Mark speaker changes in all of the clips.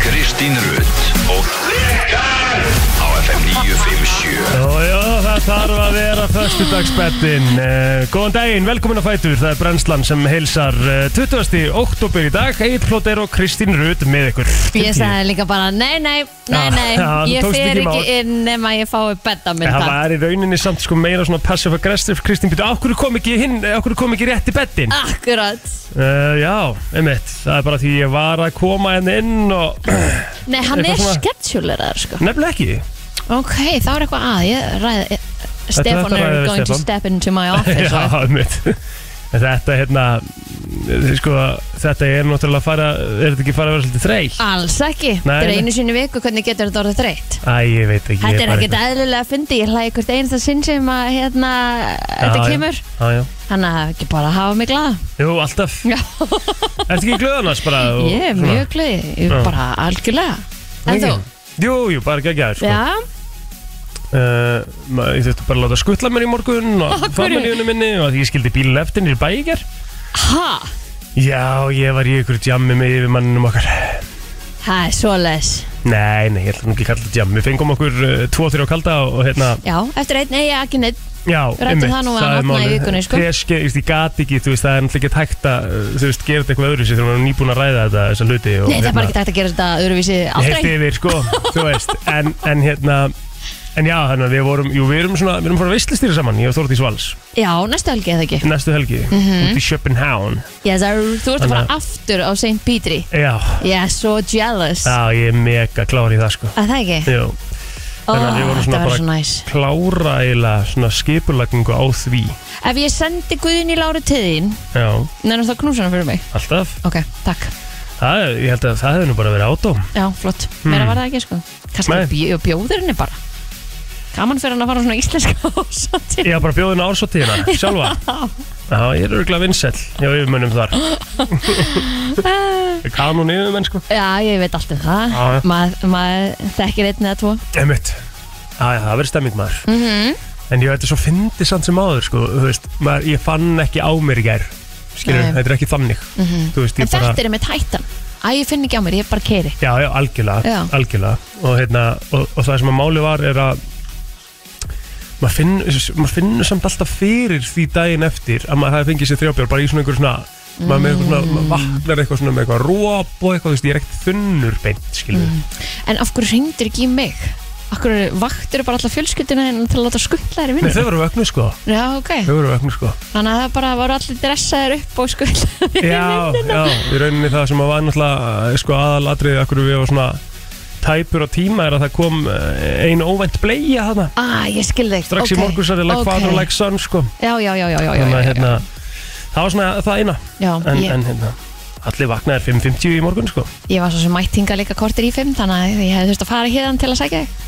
Speaker 1: Kristín Rutt og á FM 957
Speaker 2: Jó, jó, það þarf að vera Föstudagsbettin uh, Góðan daginn, velkomin að fætur Það er brennslan sem heilsar uh, 20. oktober í dag Egil Plóter og Kristín Rut með ykkur
Speaker 3: Ég sagði líka bara, nei, nei, nei,
Speaker 2: Já,
Speaker 3: nei,
Speaker 2: Ah, já, þú
Speaker 3: ég
Speaker 2: tókst
Speaker 3: fer
Speaker 2: ekki í mál.
Speaker 3: ekki inn nema ég fái betta minn
Speaker 2: Eh, Það
Speaker 3: takk.
Speaker 2: var í rauninni samt sko meira svona passive aggressive Kristín Bítur, okkur kom ekki hinn, okkur kom ekki rétt í bettin
Speaker 3: Ah. Akkurat.
Speaker 2: uh, Já, einmitt, það er bara því ég var að koma henni inn og
Speaker 3: Nei, hann
Speaker 2: Eitthvað
Speaker 3: er
Speaker 2: svona-
Speaker 3: sketsjúleraður, sko.
Speaker 2: nefnilega ekki
Speaker 3: Ok, þá er eitthvað að, ég ræði,
Speaker 2: þetta
Speaker 3: Stefan
Speaker 2: ræðum
Speaker 3: er
Speaker 2: við
Speaker 3: going to
Speaker 2: Stefán.
Speaker 3: step into my office.
Speaker 2: Já,
Speaker 3: og-
Speaker 2: einmitt En Þetta hérna eh, sko, Þetta er náttúrulega að fara Er þetta ekki fara að vera svolítið þreytt?
Speaker 3: Alls ekki.
Speaker 2: Nei,
Speaker 3: Þetta er
Speaker 2: nei.
Speaker 3: einu sinni í viku, hvernig getur þetta orðið þreytt?
Speaker 2: Æ, ég veit ekki
Speaker 3: Þetta er ekkert eðlilega að fyndi, ég hlæði hvert einasta sinn sem að hérna, þetta kemur.
Speaker 2: já, já.
Speaker 3: Þannig að ekki bara hafa mig glaða.
Speaker 2: Jú, alltaf
Speaker 3: Já.
Speaker 2: Ertu ekki glöðanars bara? og
Speaker 3: Ég er
Speaker 2: svona?
Speaker 3: mjög glöði,
Speaker 2: Já.
Speaker 3: ég er bara algjörlega. En þú?
Speaker 2: Jú, jú, bara ekki að gera sko.
Speaker 3: Já,
Speaker 2: Uh, ma- Ég þurfti bara að láta skutla mér í morgun og
Speaker 3: Af hverju?
Speaker 2: fara mér í unni minni og því ég skildi bílinn eftir nýr bæjar
Speaker 3: ha,
Speaker 2: Já, ég var í ykkur djammi með yfir manninum okkar
Speaker 3: það er svoleiðis.
Speaker 2: Nei, nei, ég ætla nú ekki að kalla þetta djammi Við fengum okkur uh, tvo, þrjá kalda og hérna
Speaker 3: Já, eftir einn, nei, ekki neitt
Speaker 2: Já,
Speaker 3: Ræddu það nú við hann opna í vikunni, sko.
Speaker 2: Kreski, ég veist, ég gati ekki, þú veist, það er náttúrulega ekki hægt að, uh, þú veist, gera þetta eitthvað öðru sér þegar maður er nýbúin að ræða þetta, þessa hluti og,
Speaker 3: Nei, það er bara ekki hægt að gera þetta öðruvísi
Speaker 2: Heilt
Speaker 3: aldrei
Speaker 2: hérna. yfir, sko, þú veist, en, en hérna, en já, þannig að við vorum, jú, við erum svona, við erum bara veistlistýri saman, ég og Þórdís Valls,
Speaker 3: Já, Mhm. næstu helgi eða ekki
Speaker 2: næstu helgi, út í Schopenháun,
Speaker 3: yes, sir. Þú ert að
Speaker 2: Þannig
Speaker 3: fara aftur á St. Petri
Speaker 2: já,
Speaker 3: Ég er so jealous
Speaker 2: já, ég er mega klár í það, sko,
Speaker 3: Að það ekki?
Speaker 2: jú,
Speaker 3: Ó,
Speaker 2: þannig að við vorum svona bara-
Speaker 3: þetta var svo næs
Speaker 2: klára eiginlega svona skipulagningu á því,
Speaker 3: Ef ég sendi Guðin í Láru til þín
Speaker 2: já,
Speaker 3: Nennum þá knúsana fyrir mig
Speaker 2: alltaf,
Speaker 3: Ok, takk
Speaker 2: það, er- ég held að það hefði nú bara verið ádóm,
Speaker 3: Já, flott Meira var það ekki, sko
Speaker 2: Hmm. Nei.
Speaker 3: Kannski bjó, bjóður henni bara Gaman fyrir hann að fara á svona íslenska ásati
Speaker 2: ég hafa bara bjóðin ársóttíðina, Hérna, sjálfa, Já, ég er örgulega vinsæll hjá yfirmönnum þar Kanun yfirmenn sko
Speaker 3: Já, ég veit allt um það
Speaker 2: Já, já.
Speaker 3: Maður maður þekkir einn eða tvo
Speaker 2: Emmett Já, já, það verður stemming maður
Speaker 3: Mhm.
Speaker 2: En ég veit þetta svo fyndi samt sem áður sko Þú veist, maður, ég fann ekki á mér í gær Skilur,
Speaker 3: Nei.
Speaker 2: þetta er ekki þannig Þú veist,
Speaker 3: Mhm. En
Speaker 2: ég bara
Speaker 3: þetta er með tættan Æ, ég finn ekki á mér, ég bara keri
Speaker 2: Já, já, algjörlega,
Speaker 3: Já.
Speaker 2: algjörlega. Og, hérna, og, og það sem að máli var er að maður finn, maður finnur samt alltaf fyrir því daginn eftir að maður hafi fengið sér þrjábjörn bara í svona einhver svona maður með eitthvað svona, maður vaknar eitthvað svona með eitthvað róp og eitthvað, þú veist, ég er ekkert þunnur beint, skilur
Speaker 3: Mhm. Mm. En af hverju hringdir ekki í mig? Af hverju vaktir bara alla fjölskyldina en til að láta skuttla þér í
Speaker 2: Nei,
Speaker 3: vinnu?
Speaker 2: þau voru vögnu sko,
Speaker 3: Já, ok.
Speaker 2: þau voru vögnu sko
Speaker 3: Þannig að það bara voru allir dressaðir upp og skuttla þér í
Speaker 2: Já,
Speaker 3: vinnu.
Speaker 2: já, í rauninni það sem að var náttúrulega eh, sko aðalatriðið af hverju við varum svona tæpur á tíma er að það kom eh, ein óvænt bleia þarna
Speaker 3: Æ, ah, ég skil þig.
Speaker 2: strax í
Speaker 3: Ok,
Speaker 2: morgunsari, like
Speaker 3: ok.
Speaker 2: father, like son sko
Speaker 3: Já, já, já, já, já, já,
Speaker 2: þannig að
Speaker 3: já, já.
Speaker 2: hérna, það var svona það eina
Speaker 3: Já,
Speaker 2: en,
Speaker 3: ég,
Speaker 2: en hérna, allir vaknaðir 5.50 í morgun sko,
Speaker 3: ég var svo sem mætt hinga líka kortir í fimm þannig að ég hefði þurft að fara hérðan til að sækja þig.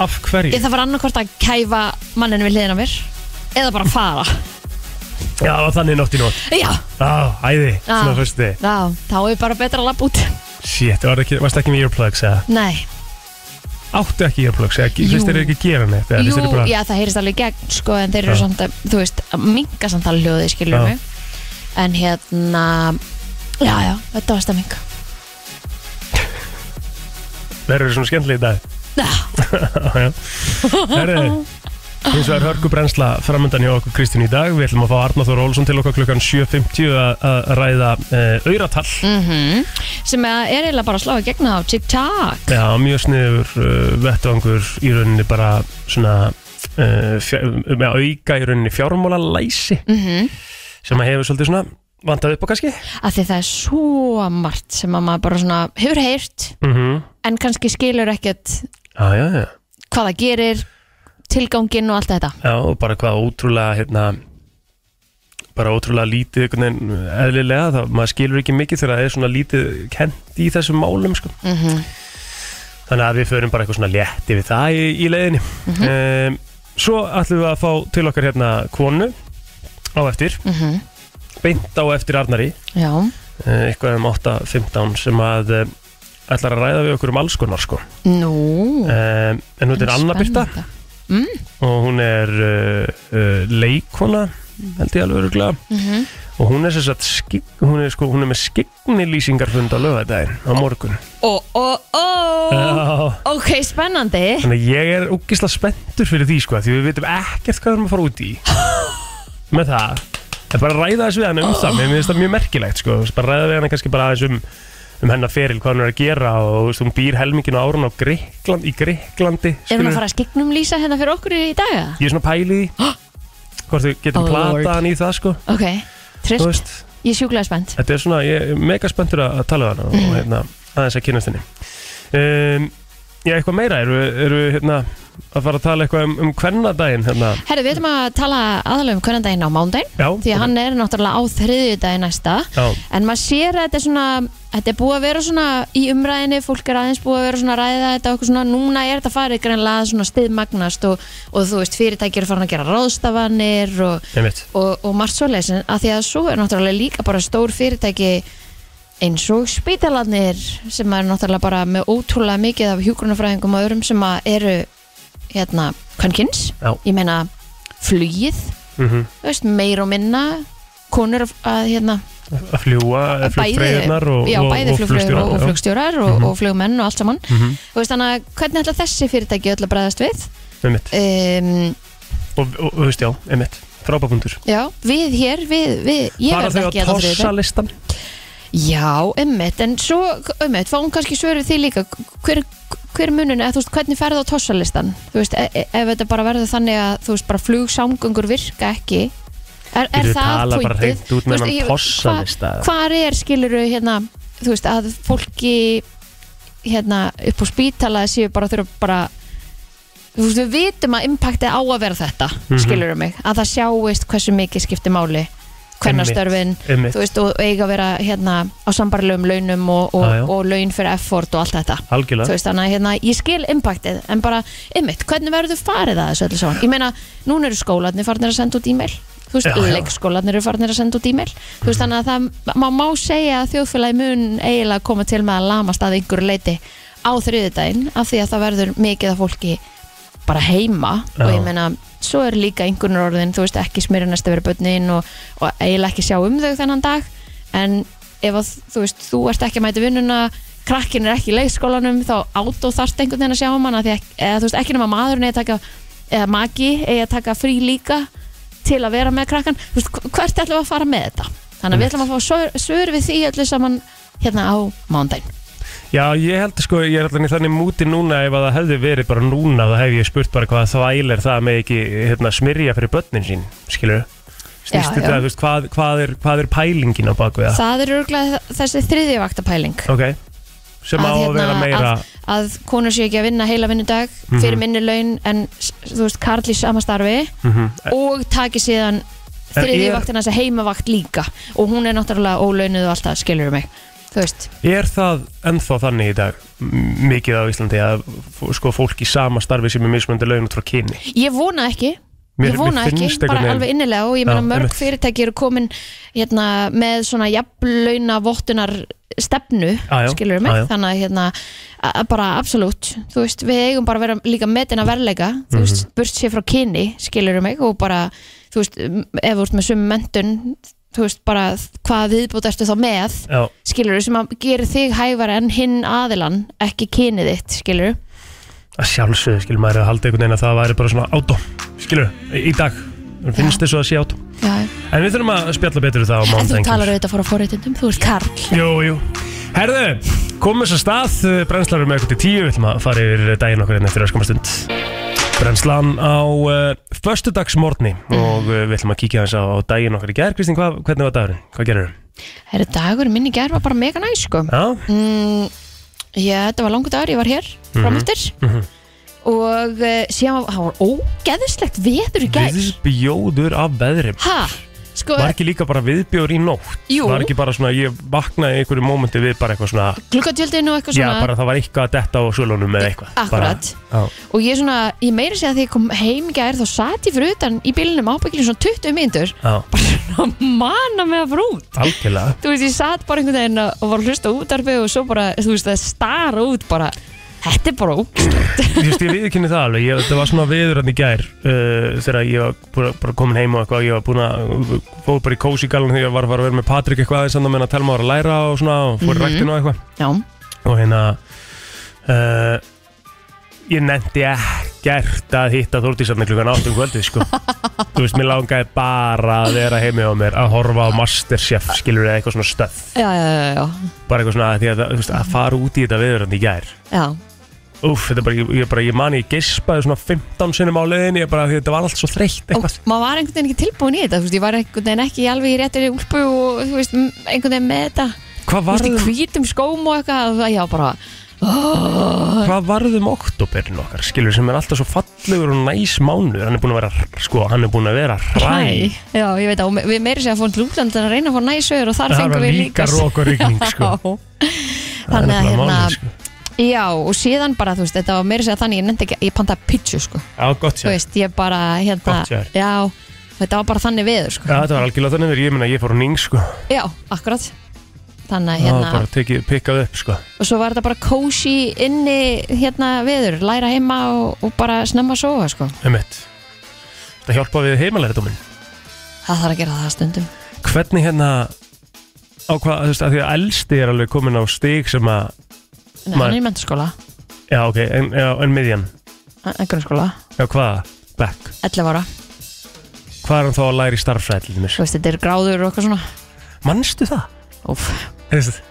Speaker 2: af hverju?
Speaker 3: Ég það var annarkort að kæfa manninu við hliðina á mér eða bara fara.
Speaker 2: Já, það var þannig nótt í nótt
Speaker 3: Já,
Speaker 2: Á, æði,
Speaker 3: Já.
Speaker 2: svona fyrsti
Speaker 3: já, þá er bara betra að lappa út.
Speaker 2: Shit, var ekki, varst ekki með earplugs eða?
Speaker 3: Nei,
Speaker 2: Áttu ekki earplugs eða?
Speaker 3: Jú.
Speaker 2: Fyrst þeir ekki að gera neitt? eða
Speaker 3: Jú,
Speaker 2: finnst þér bara-
Speaker 3: já, það heyrist alveg í gegn sko, en þeir eru
Speaker 2: Já.
Speaker 3: samt að, þú veist, að minga samt alveg hljóði, skilur
Speaker 2: Já.
Speaker 3: mig en hérna já, já, þetta var stemming
Speaker 2: Verður svona skemmtileg í dag?
Speaker 3: Já,
Speaker 2: Herri, eins og er hörkubrennsla framöndan hjá okkur Kristín í dag Við ætlum að fá Arnar Þór Olsson til okkar klukkan 7.50 að að ræða uh, auratall
Speaker 3: mhm. sem að er eiginlega bara að slá í gegna á TikTok
Speaker 2: Já, mjög sniður uh, vettvangur í rauninni bara svona uh, fjár, með að auka í rauninni fjármála læsi
Speaker 3: mm
Speaker 2: sem að hefur svolítið svona vandað upp á kannski
Speaker 3: af því það er svo margt sem að maður bara svona hefur heyrt
Speaker 2: mm -hmm.
Speaker 3: en kannski skilur ekkert
Speaker 2: Já, já, já
Speaker 3: hvað það gerir tilganginn og allt þetta
Speaker 2: Já, og bara hvað ótrúlega hérna bara ótrúlega lítið einhvern veginn eðlilega, það, maður skilur ekki mikið þegar það er svona lítið kent í þessum málum sko.
Speaker 3: mm
Speaker 2: Þannig að við förum bara eitthvað svona létti við það í, í leiðinni um, Svo ætlum við að fá til okkar hérna konu á eftir, beint á eftir Arnari
Speaker 3: Já,
Speaker 2: uh, eitthvað um 8.15 sem að uh, ætlar að ræða við okkur um alls konar sko
Speaker 3: nú
Speaker 2: um, En hún er Anna Birta
Speaker 3: Spennandi. Mm,
Speaker 2: og hún er uh, uh, leikona held ég alveg öruglega
Speaker 3: Mhm.
Speaker 2: og hún er, sem sagt, skik, hún er, sko, hún er með skiknilýsingarfund á lögadaginn á morgun
Speaker 3: Ó, ó, ó
Speaker 2: Já.
Speaker 3: Ok, spennandi
Speaker 2: Þannig að ég er úkislega spenntur fyrir því sko Því við veitum ekkert hvað við erum að fara út í Með það En bara ræða þess við hann um það Mér finnst það mjög merkilegt sko Bara ræða við hann kannski bara aðeins um Um hennar feril, hvað hann er að gera Og þú veist, hún býr helmingin á árun á Greikland Í Greiklandi
Speaker 3: Er hún að fara að skignum lýsa hérna fyrir okkur í dag? eða?
Speaker 2: Ég er svona pæli því Hvort við getum
Speaker 3: Oh,
Speaker 2: oh,
Speaker 3: Lord.
Speaker 2: platað hann í það sko
Speaker 3: Ok,
Speaker 2: Þú
Speaker 3: trillt,
Speaker 2: veist,
Speaker 3: ég er sjúklega spennt
Speaker 2: Þetta er svona, ég er mega spenntur að að tala við hana og hérna, aðeins að kynast henni um, Já, eitthvað meira eru, eru hérna, að fara að tala eitthvað um, um hvernadaginn hérna.
Speaker 3: Herri, við ætlum að tala aðalega um kvörandaginn á mándaginn
Speaker 2: Já,
Speaker 3: Því að hann er náttúrulega á þriðjudaginn næsta
Speaker 2: Já,
Speaker 3: En maður sér að þetta er svona Þetta er búið að vera svona í umræðinni Fólk er aðeins búið að vera svona að ræða þetta og eitthvað svona, Núna er þetta farið greinlega að svona stiðmagnast og, og þú veist, fyrirtæki eru farin að gera ráðstafanir og,
Speaker 2: einmitt
Speaker 3: og, og margt svoleiðis en að Því að svo er náttúrulega líka bara stór fyrirtæki eins og spítalarnir sem er náttúrulega bara með ótrúlega mikið af hjúgrunafræðingum og öðrum sem að eru hérna, kvenkins
Speaker 2: Já.
Speaker 3: ég meina flugið
Speaker 2: mm
Speaker 3: þú veist, meir og minna konur að, að hérna,
Speaker 2: Að fljúa, flugfreyðnar og,
Speaker 3: já,
Speaker 2: og,
Speaker 3: bæði
Speaker 2: og
Speaker 3: flugfreyður og, og
Speaker 2: já.
Speaker 3: flugstjórar og, og flugmenn og allt saman
Speaker 2: Mhm.
Speaker 3: Þú veist, þannig að hvernig ætla þessi fyrirtæki öll að bregðast við
Speaker 2: Einmitt,
Speaker 3: um,
Speaker 2: og, og þú veist, já, einmitt Frábapundur
Speaker 3: já, við hér við, við, ég
Speaker 2: Bara
Speaker 3: verð
Speaker 2: þau að
Speaker 3: ekki hérna á
Speaker 2: tossa
Speaker 3: þriðjudaginn.
Speaker 2: listan
Speaker 3: já, ummitt, en svo ummitt, fáum kannski svöru því líka hver, hver munun, eða þú veist, hvernig ferðu á tossalistan, þú veist, e e- ef þetta bara verður þannig að, þú veist, bara flugsamgöngur virka ekki er, er
Speaker 2: Við
Speaker 3: það
Speaker 2: tala bara
Speaker 3: pointið?
Speaker 2: hreint út
Speaker 3: Þú
Speaker 2: með
Speaker 3: veist, ég-
Speaker 2: hann
Speaker 3: hva-
Speaker 2: tossalista
Speaker 3: hvar er skiluru hérna þú veist að fólki hérna upp á spítala séu bara þurfa bara þú veist við vitum að impactið á að vera þetta mm
Speaker 2: Mhm.
Speaker 3: skiluru mig, að það sjáist hversu mikið skiptir máli, hvernar störfin
Speaker 2: Einmitt,
Speaker 3: þú veist og eiga að vera hérna á sambarlegum launum og, og,
Speaker 2: Já, já.
Speaker 3: og laun fyrir effort og allt þetta þú
Speaker 2: algjörlega
Speaker 3: veist þannig að hérna ég skil impactið en bara ymmit, hvernig verður þú farið að þessu öllu saman ég meina, núna eru skólanir farnir að senda út e-mail þú veist,
Speaker 2: Já, já.
Speaker 3: leikskólanir eru farnir að senda út e-mail þú veist þannig að það má, má segja að þjóðfélagi mun eiginlega koma til með að lamast að einhverju leiti á þriðudaginn af því að það verður mikið af fólki bara heima
Speaker 2: Já.
Speaker 3: og ég meina svo er líka einhvernur orðin, þú veist ekki smyrja næst að vera bönnin og, og eiginlega ekki sjá um þau þennan dag en ef að, þú veist, þú ert ekki að mæta í vinnuna krakkin er ekki í leikskólanum þá át og þarft einhvern veginn að sjá um hana því, að- eða þú veist, ekki nema maðurinn eigi að taka eða maki, eigi að taka frí líka til að vera með krakkan þú veist, hv- hvert ætlum við að fara með þetta þannig að við ætlum að fá svör, svör við því öllu saman hérna á mándaginn
Speaker 2: Já, ég held sko, ég er allan í þannig múti núna ef að það hefði verið bara núna þá hef ég spurt bara hvað þvæl er það með ekki hérna, smyrja fyrir börnin sín, skilur Snýst
Speaker 3: Já,
Speaker 2: þetta,
Speaker 3: já.
Speaker 2: þú veist, hvað, hvað, er, hvað er pælingin á bakvið það?
Speaker 3: það er örgulega þessi þriðja vaktapæling
Speaker 2: Ok, sem á
Speaker 3: Að,
Speaker 2: að vera
Speaker 3: hérna,
Speaker 2: meira
Speaker 3: að konur séu ekki að vinna heila vinnudag fyrir minni laun en s- þú veist karl í sama starfi
Speaker 2: Mhm.
Speaker 3: og taki síðan
Speaker 2: En
Speaker 3: þriði
Speaker 2: er-
Speaker 3: vaktina þessi heimavakt líka og hún er náttúrulega ólaunuð og alltaf skilur mig þú veist,
Speaker 2: Er það ennþá þannig í dag m- mikið á Íslandi að f- sko, fólk í sama starfi sem er mismöndi laun út frá kyni?
Speaker 3: ég vona ekki
Speaker 2: Mér-
Speaker 3: ég vona
Speaker 2: mér
Speaker 3: ekki,
Speaker 2: finnst einhvern
Speaker 3: bara
Speaker 2: veginn-
Speaker 3: alveg innilega og ég
Speaker 2: Já,
Speaker 3: meina mörg
Speaker 2: einmitt.
Speaker 3: fyrirtæki eru komin hérna, með svona jafnlauna vottunar stefnu
Speaker 2: Já, já,
Speaker 3: skilur
Speaker 2: já,
Speaker 3: mig,
Speaker 2: já.
Speaker 3: þannig að hérna, a- a- bara absolutt, þú veist, við eigum bara að vera líka metin að verleika,
Speaker 2: Mhm.
Speaker 3: þú veist, burt sér frá kyni, skilur mig, og bara þú veist, m- ef þú ert með sum mentun þú veist, bara hvað viðbútt ertu þá með,
Speaker 2: Já,
Speaker 3: skilur sem að gera þig hæfara en hinn aðilan ekki kynið þitt, skilur
Speaker 2: að sjálfsögðu, skilur maður er að halda einhvern veginn að það væri bara svona átó, skilur, í í dag Mér finnst þess að sé átó
Speaker 3: Já,
Speaker 2: En við þurfum að spjalla betur um það á
Speaker 3: en þú
Speaker 2: mándengum
Speaker 3: talar auðvitað fór að forréttindum, þú ert karl
Speaker 2: Jú, jú Herðu, komum þess að stað Brennslarum með eitthvað til tíu Við ætlum að fara yfir daginn okkar hérna eftir að skoma stund Brennslan á uh, Föstudagsmorni
Speaker 3: Mhm.
Speaker 2: Og uh, við ætlum að kíkja þess á, á daginn okkar í gær Kristín, hva, hvernig var dagurinn? Hvað gerir
Speaker 3: Herra dagur minn í gerð var bara mega næs sko
Speaker 2: Já,
Speaker 3: mm, Já, þetta var langur dagur, ég var hér framöftir
Speaker 2: Mhm.
Speaker 3: og uh, síðan var, það var ógeðislegt veður í gær
Speaker 2: viðbjóður af veðri
Speaker 3: Ha, sko,
Speaker 2: Var ekki líka bara viðbjóður í nótt?
Speaker 3: Jú.
Speaker 2: Var ekki bara svona, ég vaknaði í einhverju mómenti við bara eitthvað svona
Speaker 3: gluggatjöldin og eitthvað
Speaker 2: Já,
Speaker 3: svona
Speaker 2: bara það var eitthvað að detta á svölunum eða eitthvað Bara-
Speaker 3: Akkurat Og ég svona, ég meira segja að því ég kom heim í gær þá sat ég fyrir utan í bílunum ábyggilin svona 20 myndur
Speaker 2: Já, já,
Speaker 3: að mana mig að frút
Speaker 2: algjörlega
Speaker 3: þú veist, ég satt bara einhvern veginn og var að hlusta á útarfi og svo bara, þú veist, það star út bara þetta er bara ógst
Speaker 2: Þú veist, ég viðkynni það alveg, ég, það var svona veður hann í gær uh, þegar ég var bara, bara komin heim og eitthvað, ég var búin að fóð bara í kósi galan þegar ég var að fara að vera með Patrik eitthvað aðeins andan meðan að telma var að læra og svona og fór í
Speaker 3: Mhm.
Speaker 2: ræktinu og eitthvað
Speaker 3: Já,
Speaker 2: og hérna uh, ég nefndi ekkert að hitta Þórdísarni klukkan áttum kvöldið sko þú veist, mér langaði bara að vera heimi á mér að horfa á Masterchef skilur eða eitthvað svona stöð
Speaker 3: já, já, já, já,
Speaker 2: bara eitthvað svona að, að, að, þú veist, að fara út í þetta veður hann í gær
Speaker 3: já.
Speaker 2: Úf, þetta er bara, ég, ég, bara, ég mani, ég gespaði svona 15 sinnum á leiðinni, ég bara, því þetta var allt svo þreytt
Speaker 3: Og
Speaker 2: eitthvað.
Speaker 3: maður var einhvern veginn ekki tilbúin í þetta þú veist, Ég var einhvern veginn ekki alveg í réttir úlpu og þú veist, m- einhvern veginn með þetta
Speaker 2: Hvað um-
Speaker 3: Þú veist, í
Speaker 2: varðum,
Speaker 3: hvítum skóm og eitthvað og það- Já, bara,
Speaker 2: hvað um varðum oktoberin okkar, skilur, sem er alltaf svo fallegur og næs mánuður, hann er búin að vera, sko, hann er búin að vera
Speaker 3: hæ
Speaker 2: ræ.
Speaker 3: Já, ég veit að og me- við meiri sér að fórum til útland að reyna að fá næsöður og þar
Speaker 2: Það
Speaker 3: fengum
Speaker 2: var
Speaker 3: við
Speaker 2: líka
Speaker 3: líka
Speaker 2: rók og rigning, sko.
Speaker 3: Já. Þannig að
Speaker 2: nefnilega
Speaker 3: hérna
Speaker 2: málið, sko.
Speaker 3: Já, og síðan bara, þú veist, þetta var meiri sér að þannig ég nefndi ekki, ég pantaði pitchu, sko
Speaker 2: Já, gott
Speaker 3: Þú
Speaker 2: sér.
Speaker 3: veist, ég bara, hérna
Speaker 2: Gott hjá þér.
Speaker 3: Já, þetta var bara þannig veður, sko
Speaker 2: Já, þetta var algjörlega þannig verið, ég meina, ég fór á ning, sko.
Speaker 3: Já, akkurat Þannig að
Speaker 2: Það
Speaker 3: hérna
Speaker 2: var bara tekið, pikkað upp, sko.
Speaker 3: og svo var þetta bara kósi inni hérna viður, læra heima og, og bara snemma að sofa sko.
Speaker 2: Emmett. Þetta hjálpa við heimalærdóminn.
Speaker 3: Það þarf að gera það stundum.
Speaker 2: Hvernig hérna, á hvað, þú veist, að því að elsti er alveg komin á stig sem að, Maður-
Speaker 3: Nei, hann er í mentaskóla,
Speaker 2: já, ok, en, já, en miðjan.
Speaker 3: en grunnskóla,
Speaker 2: Já, hvaða? Back.
Speaker 3: 11 ára,
Speaker 2: Hvað er hann þá að læra í starffræðlinni?
Speaker 3: þú veist þetta er gráður og eitthvað svona.
Speaker 2: Manstu það?
Speaker 3: Úf,
Speaker 2: Hefst,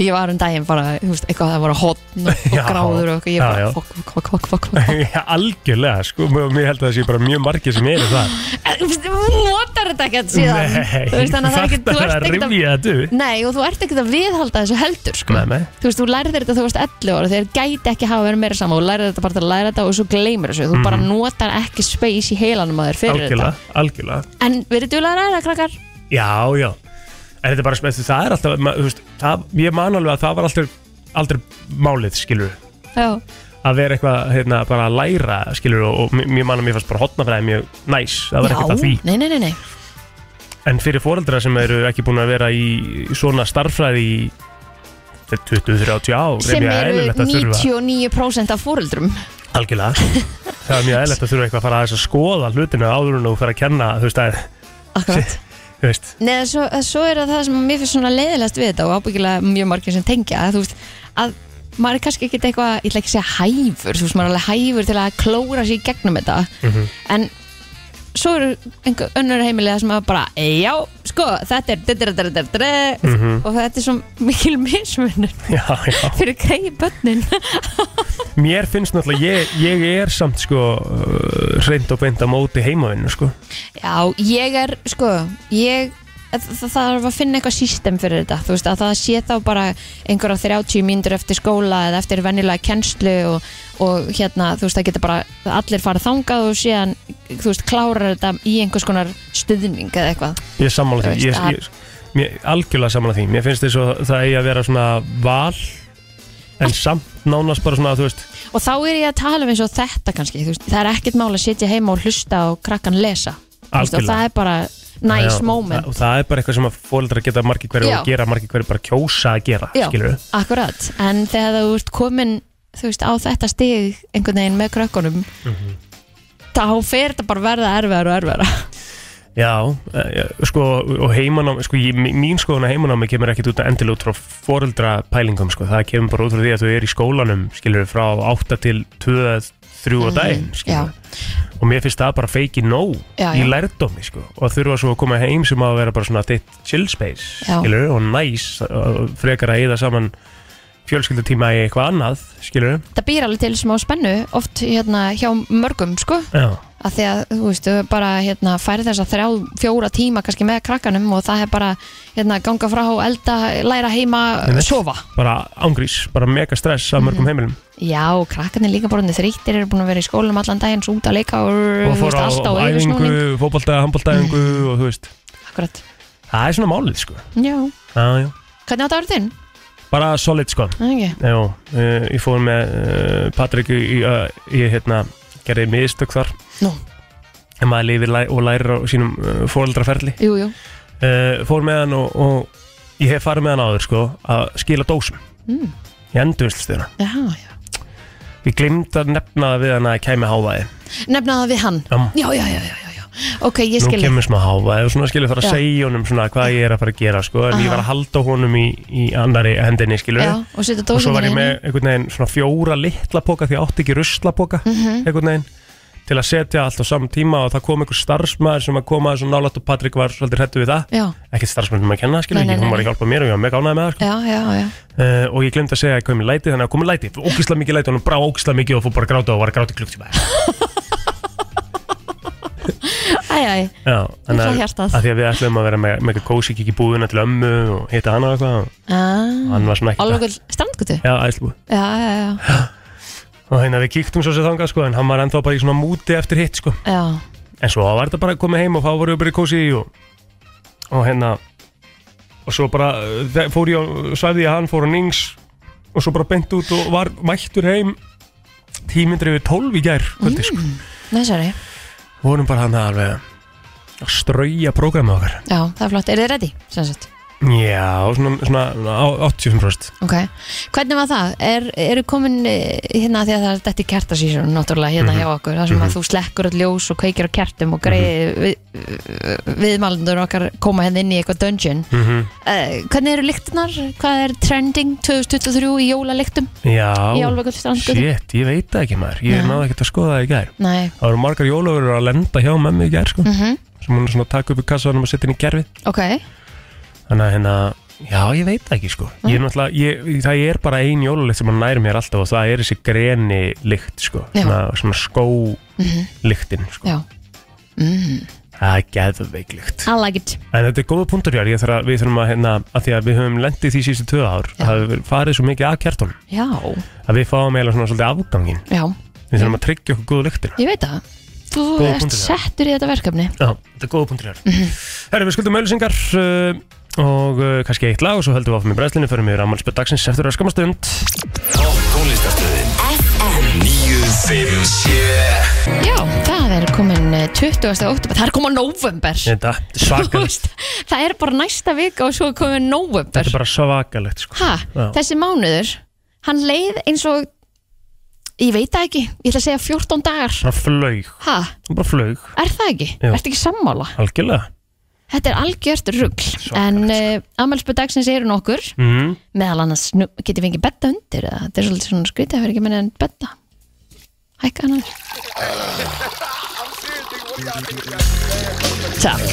Speaker 3: ég var um daginn bara, þú veist, eitthvað það voru hotn og,
Speaker 2: Já.
Speaker 3: og gráður og eitthvað, ég
Speaker 2: Já,
Speaker 3: bara
Speaker 2: já.
Speaker 3: fokk, fokk, fokk, fokk, fokk, fokk.
Speaker 2: já, algjörlega, sko, og mér held að það sé bara mjög margir sem eru það.
Speaker 3: En, "Eh, Þú veist, þú notar þetta ekkert síðan. þú veist, þannig að það er ekkert,
Speaker 2: þarft
Speaker 3: þú
Speaker 2: að
Speaker 3: ert ekkert að,
Speaker 2: rifja þetta upp.
Speaker 3: nei, og þú ert ekkert að viðhalda þessu heldur, sko.
Speaker 2: Nei, nei.
Speaker 3: þú veist, þú lærið þetta þú varst 11 ára þegar gæti ekki hafa verið meira saman þú lærið þetta bara til að læra þetta og svo gleymir þessu þú bara notar ekki space í heilanum að þér fyrir
Speaker 2: Mhm. Algjörlega, algjörlega.
Speaker 3: þetta en verið þú að ræða krakkar?
Speaker 2: Já, já. En þetta er bara, veistu, það er alltaf, ma- þú veist, það, ég man alveg að það var aldrei, aldrei málið, skilur.
Speaker 3: Já,
Speaker 2: Að vera eitthvað, hérna, bara að læra, skilur, og, og mér man að mér fannst bara hotnafræði mjög næs. Það var ekkert að því.
Speaker 3: nei, nei, nei, nei
Speaker 2: En fyrir fóreldra sem eru ekki búin að vera í svona starffræði í 20-30 ár er
Speaker 3: sem
Speaker 2: mjög
Speaker 3: eru
Speaker 2: eðlilegt að þurfa
Speaker 3: 99% af fóreldrum
Speaker 2: Algjörlega Það er mjög eðlilegt að þurfa eitthvað að fara aðeins að skoða hlutinu áður en þú fer að kenna þú veist að
Speaker 3: akkurat
Speaker 2: þú veist
Speaker 3: Nei, en svo, en svo er það það sem mér finnst svona leiðilegast við þetta og ábyggilega mjög margir sem tengja að þú veist að maður er kannski ekkert eitthvað, ég ætla ekki að segja hæfur þú veist, maður er alveg hæfur til að klóra sér í gegnum þetta
Speaker 2: Mhm.
Speaker 3: en svo eru einhver önnur heimilega sem að bara, já, sko, þetta er þetta er þetta er þetta er og þetta er svo mikil mismunur
Speaker 2: Já, já
Speaker 3: fyrir greið bönnin
Speaker 2: Mér finnst náttúrulega ég, ég er samt sko uh, reynd og beint á móti heimavinnu sko
Speaker 3: Já, ég er, sko, ég það þarf að finna eitthvað system fyrir þetta þú veist að það sé þá bara einhverja 30 mínútur eftir skóla eða eftir venjulega kennslu og, og hérna þú veist það getur bara allir fara þangað og síðan þú veist klárar þetta í einhvers konar stuðning eða eitthvað
Speaker 2: Ég er sammála því
Speaker 3: Þú
Speaker 2: ég,
Speaker 3: veist,
Speaker 2: ég, mér, Algjörlega sammála því Mér finnst þess að það eigi að vera svona val En samt nánast bara svona þú veist
Speaker 3: og þá er ég að tala um eins og þetta kannski þú veist, það er ekkert mál að sitja heima og hlusta og krakkan lesa Þú veist, og
Speaker 2: Algjörlega.
Speaker 3: það er bara nice
Speaker 2: Já,
Speaker 3: moment
Speaker 2: og það er bara eitthvað sem að fóreldrar geta margir hverju
Speaker 3: Já.
Speaker 2: að gera, margir hverju bara kjósa að gera
Speaker 3: Já,
Speaker 2: skilur
Speaker 3: akkurat, en þegar þú ert komin þú veist, á þetta stig einhvern veginn með krökkunum þá fer þetta bara að verða erfiðar og erfiðar
Speaker 2: já, eh, eh, sko, og heimanámi sko, ég, mí- mín skoðun að heimanámi kemur ekkit út endilega út frá fóreldra pælingum sko. það kemur bara út frá því að þau eru í skólanum skilur frá 8 til 2 eða 3
Speaker 3: Mhm.
Speaker 2: á daginn
Speaker 3: Mm, já.
Speaker 2: skilur og mér finnst það bara feiki nóg
Speaker 3: Já,
Speaker 2: í
Speaker 3: já.
Speaker 2: lærdómi sko. og þurfa svo að koma heim sem á að vera bara svona ditt chill space
Speaker 3: Já.
Speaker 2: skilur, og næs og frekar að eyða saman fjölskyldutíma í eitthvað annað skilur,
Speaker 3: það býr alveg til smá spennu oft hérna hjá mörgum sko
Speaker 2: já
Speaker 3: að því að þú veist, þau bara hérna færi þess að þrjá, fjóra tíma kannski með krakkanum og það er bara hérna ganga frá, elda, læra heima
Speaker 2: Einmitt.
Speaker 3: sofa. Mhm.
Speaker 2: bara ángrís, bara mega stress að mörgum heimilum
Speaker 3: Já, krakkanir líka bara þrýttir eru búin að vera í skólum allan daginn svo út að leika og,
Speaker 2: og
Speaker 3: Mm, þú
Speaker 2: fór
Speaker 3: veist,
Speaker 2: á,
Speaker 3: alltaf
Speaker 2: á
Speaker 3: yfirsnúning.
Speaker 2: æfingu, fótbolta, handboltaæfingu og þú veist,
Speaker 3: Mhm. Akkurat,
Speaker 2: það er svona málið sko
Speaker 3: já.
Speaker 2: já, já,
Speaker 3: Hvernig átt árið þinn?
Speaker 2: bara solid sko
Speaker 3: Það er ekki.
Speaker 2: já, uh, ég fór með uh, Patrik í, uh, ég hérna gerði mistök þar
Speaker 3: Nú.
Speaker 2: en maður lifir læ og lærir á sínum uh, fóreldraferli
Speaker 3: Jú, jú.
Speaker 2: uh, fór með hann og, og ég hef farið með hann áður sko að skila dósum
Speaker 3: Mm.
Speaker 2: í endurvinslustöðuna
Speaker 3: Já, já.
Speaker 2: Ég gleymd að nefna það við hann að ég kæmi hávæði
Speaker 3: nefna það við hann
Speaker 2: Já.
Speaker 3: já, já, já, já, já, já. ok, ég
Speaker 2: Nú
Speaker 3: skil
Speaker 2: kemur smá hávæði og svona skilur þarf að
Speaker 3: Já.
Speaker 2: segja honum svona hvað ég er að fara að gera sko, en ég
Speaker 3: Aha.
Speaker 2: var að halda honum í, í annari hendinni skilur
Speaker 3: já, og setja
Speaker 2: og svo var
Speaker 3: dósina
Speaker 2: ég með einhvern veginn svona fjóra litla póka því ég átti ekki ruslapoka
Speaker 3: Mhm.
Speaker 2: einhvern veginn til að setja allt á saman tíma og það kom einhver starfsmæður sem að koma þessu nálætt og Patrik var svolítið hrættu við það
Speaker 3: já,
Speaker 2: ekkert starfsmæður með að kenna, skilur
Speaker 3: Nei, nei,
Speaker 2: ekki, hún
Speaker 3: nei,
Speaker 2: var ekki að hjálpa mér og ég var mjög ánægð með það sko.
Speaker 3: já, já, já
Speaker 2: uh, og ég glemt að segja að ég kom í læti þannig að komið læti, ógisla mikið læti og hún brá ógisla mikið og fór bara að gráta og var að gráta í klukktíma
Speaker 3: æ, æ,
Speaker 2: Já, þannig
Speaker 3: Það
Speaker 2: að,
Speaker 3: er hjartað.
Speaker 2: að því að við ætlum að vera með, með eitthvað kósi kikið búðuna til ömmu og hitta hana og eitthvað og
Speaker 3: ah.
Speaker 2: hann var svona ekki
Speaker 3: alveg strandgötu
Speaker 2: Já, æslu
Speaker 3: já, já, já,
Speaker 2: og hérna við kíktum svo sér þangað sko en hann var ennþá bara í svona múti eftir hitt sko
Speaker 3: já
Speaker 2: en svo var þetta bara komið heim og þá voru við bara í kósi og, og hérna og svo bara uh, þe- fór ég og svæði ég að hann fór á Nings og svo bara bent út og var mættur heim tímindri við 12 í gær kvöldi
Speaker 3: Mm.
Speaker 2: sko
Speaker 3: Hmm. næsari,
Speaker 2: vorum bara hann alveg að strauja prógramið okkar
Speaker 3: já, það er flott er þið ready, sem sagt
Speaker 2: já, svona, svona á- 85%
Speaker 3: Ok, hvernig var það? Er, eru komin eh, hérna því að það er þetta í kertasísun náttúrulega hérna hjá
Speaker 2: Mhm.
Speaker 3: okkur, þar sem að þú slekkur all ljós og kveikir á kertum og greiði
Speaker 2: Mhm.
Speaker 3: við, viðmælundur okkar koma hérna inn í eitthvað dungeon
Speaker 2: mm
Speaker 3: uh, Hvernig eru lyktirnar? Hvað er trending 2023 í jólalyktum
Speaker 2: Já,
Speaker 3: í Álfagöld strandgötu?
Speaker 2: shit, ég veit það ekki maður Ég
Speaker 3: Nei.
Speaker 2: náði ekkert að skoða það í gær
Speaker 3: Nei,
Speaker 2: Það voru margar jólöfurur að lenda hjá með mig í gær sko,
Speaker 3: mm
Speaker 2: sem hún er svona að taka upp í kassanum og setja inn í gerfið
Speaker 3: ok,
Speaker 2: Þannig að hérna, já, ég veit það ekki sko Ég er
Speaker 3: Mhm.
Speaker 2: náttúrulega, ég, það er bara ein jólulikt sem hann nær mér alltaf og það er þessi greni lykt sko,
Speaker 3: Já. Mhm.
Speaker 2: svona, svona skó lyktin sko,
Speaker 3: já mm.
Speaker 2: það er geðveik lykt
Speaker 3: I like it
Speaker 2: En þetta er góða punktur hjá, ég þarf að við þurfum að hérna, að því að við höfum lendið því síðustu tvö ár, að
Speaker 3: Já.
Speaker 2: það hefur farið svo mikið að kjartunum,
Speaker 3: Já,
Speaker 2: að við fáum eiginlega svona svolítið afgangin,
Speaker 3: já,
Speaker 2: við þurfum að tryggja okkur góðu lyktina.
Speaker 3: ég veit það Þú
Speaker 2: Góða
Speaker 3: ert
Speaker 2: punktur, já.
Speaker 3: settur í þetta verkefni
Speaker 2: Já, þetta er góða punktur hér Herri, við skuldum öllusingar uh, og uh, kannski eitt lag og svo höldum við áfram í brennslinu fyrir mig rámálspöld dagsins eftir öskamma stund
Speaker 1: Topp tónlistarstöðin FM 957
Speaker 3: Já, það er komin eh, 20. oktober, það er komin november
Speaker 2: Þetta er
Speaker 3: Þú
Speaker 2: svakalegt
Speaker 3: veist, það er bara næsta vika og svo er komið
Speaker 2: Þetta
Speaker 3: nóvember
Speaker 2: er bara svakalegt sko.
Speaker 3: ha,
Speaker 2: Já.
Speaker 3: þessi mánuður hann leið eins og ég veit það ekki, ég ætla að segja 14 dagar
Speaker 2: Bara flaug
Speaker 3: ha,
Speaker 2: Bara flaug
Speaker 3: er það ekki?
Speaker 2: Jú.
Speaker 3: ertu ekki sammála?
Speaker 2: Algjörlega
Speaker 3: þetta er algjört rugl en uh, ammælspöð dagsins eru nokkur
Speaker 2: mm.
Speaker 3: meðal annars nú- getum við ekki betta undir eða? þetta er svolítið svona skrítið að vera ekki menna en betta hækka hann aðeins. takk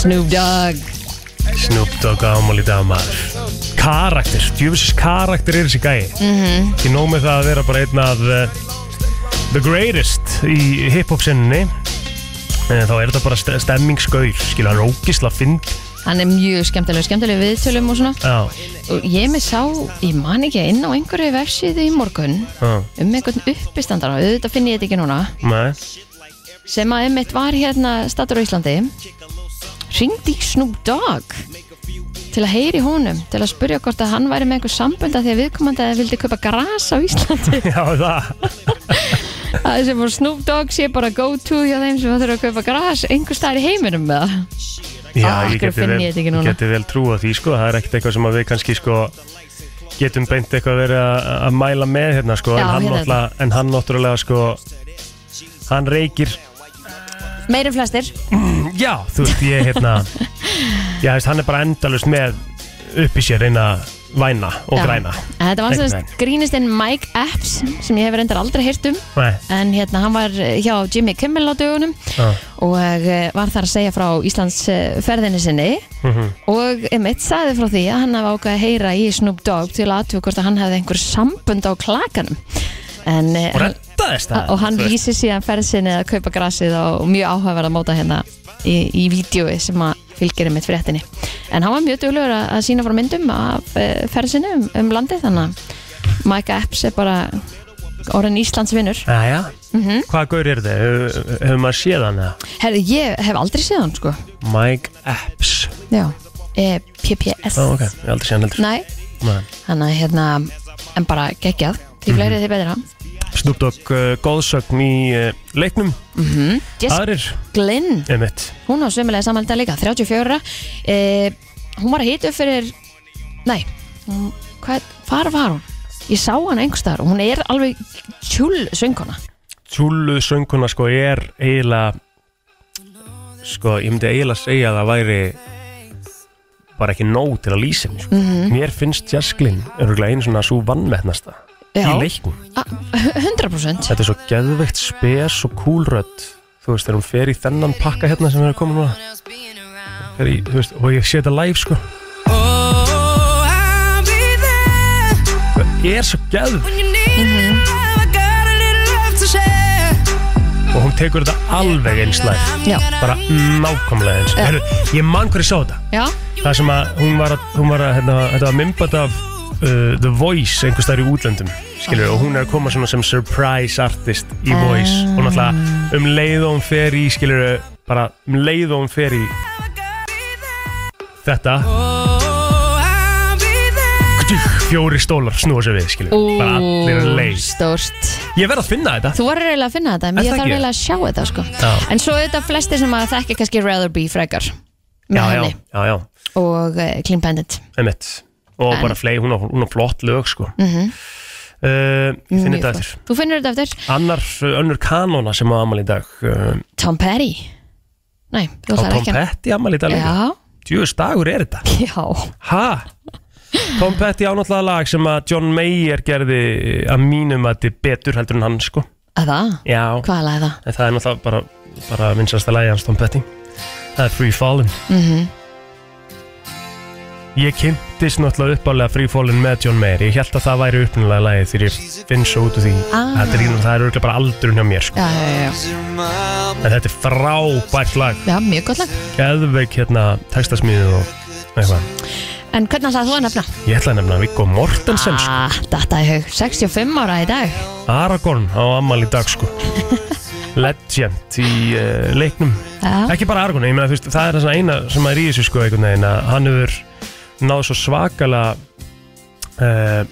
Speaker 3: Snoop Dogg
Speaker 2: Snoop Dogg ámál í dag maður Karakter, djúfisins karakter er þessi gæi mm -hmm. Ég nóg með það að vera bara einn af uh, The greatest í hip-hop sinni Þá er þetta bara st stemmingsgauð Skilja, hann er ógisla fynd
Speaker 3: hann er mjög skemmtileg, skemmtileg viðtölum og svona
Speaker 2: Já,
Speaker 3: og ég með sá, ég man ekki inn á einhverju vefsíðu í morgun
Speaker 2: já,
Speaker 3: um einhvern uppistandara, auðvitað finn ég þetta ekki núna
Speaker 2: nei
Speaker 3: sem að einmitt var hérna statur á Íslandi ringdi í Snoop Dogg til að heyri honum, til að spurja hvort að hann væri með einhver sambönd að því að viðkomandi að vildi kaupa gras á Íslandi
Speaker 2: Já, það
Speaker 3: að sem var Snoop Dogg sé bara go to hjá þeim sem þurfa að kaupa gras einhver staðar í heiminum með það
Speaker 2: Já,
Speaker 3: Ah,
Speaker 2: ég
Speaker 3: af
Speaker 2: geti
Speaker 3: hverju finn
Speaker 2: vel,
Speaker 3: ég þetta ekki núna?
Speaker 2: geti vel trúa því sko, það er ekkert eitthvað sem að við kannski sko getum beint eitthvað verið að að mæla með hérna sko,
Speaker 3: Já,
Speaker 2: en, hann
Speaker 3: hérna er
Speaker 2: náttúrulega- en hann náttúrulega sko hann reykir
Speaker 3: meirinn flestir,
Speaker 2: Já, þú veist, ég hérna Já, veist, hann er bara endalust með upp í sér reyna væna og
Speaker 3: Já.
Speaker 2: græna
Speaker 3: en þetta var
Speaker 2: Einhvern
Speaker 3: sem grínistinn Mike Epps sem ég hef reyndar aldrei heyrt um
Speaker 2: Nei,
Speaker 3: en hérna hann var eh, hjá Jimmy Kimmel á dögunum
Speaker 2: já,
Speaker 3: og eh, var þar að segja frá Íslands eh, ferðinni sinni
Speaker 2: mhm,
Speaker 3: og emitt sagði frá því að hann hafði ákveð að heyra í Snoop Dogg til aðtöku hvort að hann hefði einhver sambund á klakanum en, eh,
Speaker 2: og reddaðist það
Speaker 3: og hann
Speaker 2: þú veist.
Speaker 3: lýsir síðan ferð sinni að kaupa grasið og mjög áhugaverð að móta hérna í, í vídjói sem að fylgir emitt fréttinni en hann var mjög duglegur að, að sína frá myndum af eh, ferð sinni um, um landið þannig að Mike Epps er bara orðin Íslands vinnur Mhm.
Speaker 2: Jæja, hvaða gaur er þið? Hefur hef maður séð hann eða?
Speaker 3: Herðu, ég hef aldrei séð hann sko
Speaker 2: Mike Epps
Speaker 3: Já, e, PPS
Speaker 2: Ó, ok, ég hef aldrei séð hann heldur
Speaker 3: Nei,
Speaker 2: Nei.
Speaker 3: þannig að hérna En bara geggjað, því
Speaker 2: Mhm.
Speaker 3: fleiri því betra
Speaker 2: Snoop Dogg uh, góðsögn í uh, leiknum
Speaker 3: Mhm. Jess
Speaker 2: aðrir
Speaker 3: Glynn,
Speaker 2: emitt
Speaker 3: hún á sömulega samanlega líka 34 e, Hún var að hita upp fyrir Nei, hún, hvað, hvar var hún? ég sá hana einhverstaðar og hún er alveg tjúl söngona
Speaker 2: Tjúlu sönguna sko er eiginlega sko, ég myndi eiginlega segja að það væri bara ekki nóg til að lýsa henni sko.
Speaker 3: Mhm.
Speaker 2: mér finnst jazzglinn örgulega einu svona svo vannmetnasta
Speaker 3: Já.
Speaker 2: í leiknum,
Speaker 3: A- 100%
Speaker 2: þetta er svo geðveikt spes og kúlrödd þú veist, þegar hún fer í þennan pakka hérna sem er að koma núna Fer í, þú veist, og ég sé þetta live sko það er svo geð og hún tekur þetta alveg eins live
Speaker 3: Já.
Speaker 2: bara nákvæmlega eins Heru, ég man hverju sá þetta
Speaker 3: Já,
Speaker 2: það sem að hún var, að- hún var að, hérna, þetta var mymbat af uh, The Voice einhvers þar í útlöndum skilur, og hún er að koma svona sem surprise artist í Voice og náttúrulega um leið og hún fer í skilur, bara um leið og hún fer í þetta fjóri stólar snúa sér við skilur,
Speaker 3: Ú,
Speaker 2: bara allir að leið
Speaker 3: stórt
Speaker 2: ég verð að finna þetta
Speaker 3: Þú verður eiginlega að finna þetta, en
Speaker 2: Er það
Speaker 3: ég þarf
Speaker 2: ekki?
Speaker 3: eiginlega að sjá þetta sko.
Speaker 2: Já.
Speaker 3: En svo auðvitað flestir sem að þekki kannski Rather Be frekar með
Speaker 2: já, já,
Speaker 3: henni
Speaker 2: já, já,
Speaker 3: og uh, Clean Bandit
Speaker 2: einmitt og
Speaker 3: En- Mm.
Speaker 2: bara flei, hún á, hún á flott lög sko uh, ég finn
Speaker 3: Mhm. Mjög
Speaker 2: þetta
Speaker 3: gott.
Speaker 2: eftir
Speaker 3: Þú finnur þetta eftir
Speaker 2: annar uh, önnur kanóna sem á amal í dag uh,
Speaker 3: Tom Petty Nei, þú
Speaker 2: á
Speaker 3: ætlar
Speaker 2: Tom
Speaker 3: ekki að-
Speaker 2: Petty amal í dag líka.
Speaker 3: Já,
Speaker 2: djöðs dagur er þetta
Speaker 3: já
Speaker 2: ha? Tom Petty ánáttlega lag sem að John Mayer gerði eh, að mínum að þetta betur heldur en hann sko
Speaker 3: Að það?
Speaker 2: já,
Speaker 3: Hvað er það?
Speaker 2: en það er náttúrulega bara, bara minnstasta lagi hans Tom Petty það er Free Fallin
Speaker 3: Mhm.
Speaker 2: ég kynntist náttúrulega uppálega Free Fallin með John Mayer ég held að það væri uppnulega lagi þegar ég finn svo út úr því
Speaker 3: Ah.
Speaker 2: þetta er í- það er örgulega bara aldurinn hjá mér sko.
Speaker 3: Já, já, já,
Speaker 2: en þetta er frábært lag
Speaker 3: já, mjög gott lag
Speaker 2: geðveik hérna textasmíðu og eitthvað
Speaker 3: En hvernig ætlaði þú að nefna?
Speaker 2: ég ætla að nefna Viggo Mortensen sko.
Speaker 3: Ah, Datta í hug, 65 ára í dag
Speaker 2: Aragorn á ammal í dag sko legend í uh, leiknum
Speaker 3: Já,
Speaker 2: ekki bara Aragorn, ég meina þú veist það er það eina sem maður er í þessu sko einhvern veginn að hann hefur náð svo svakala uh,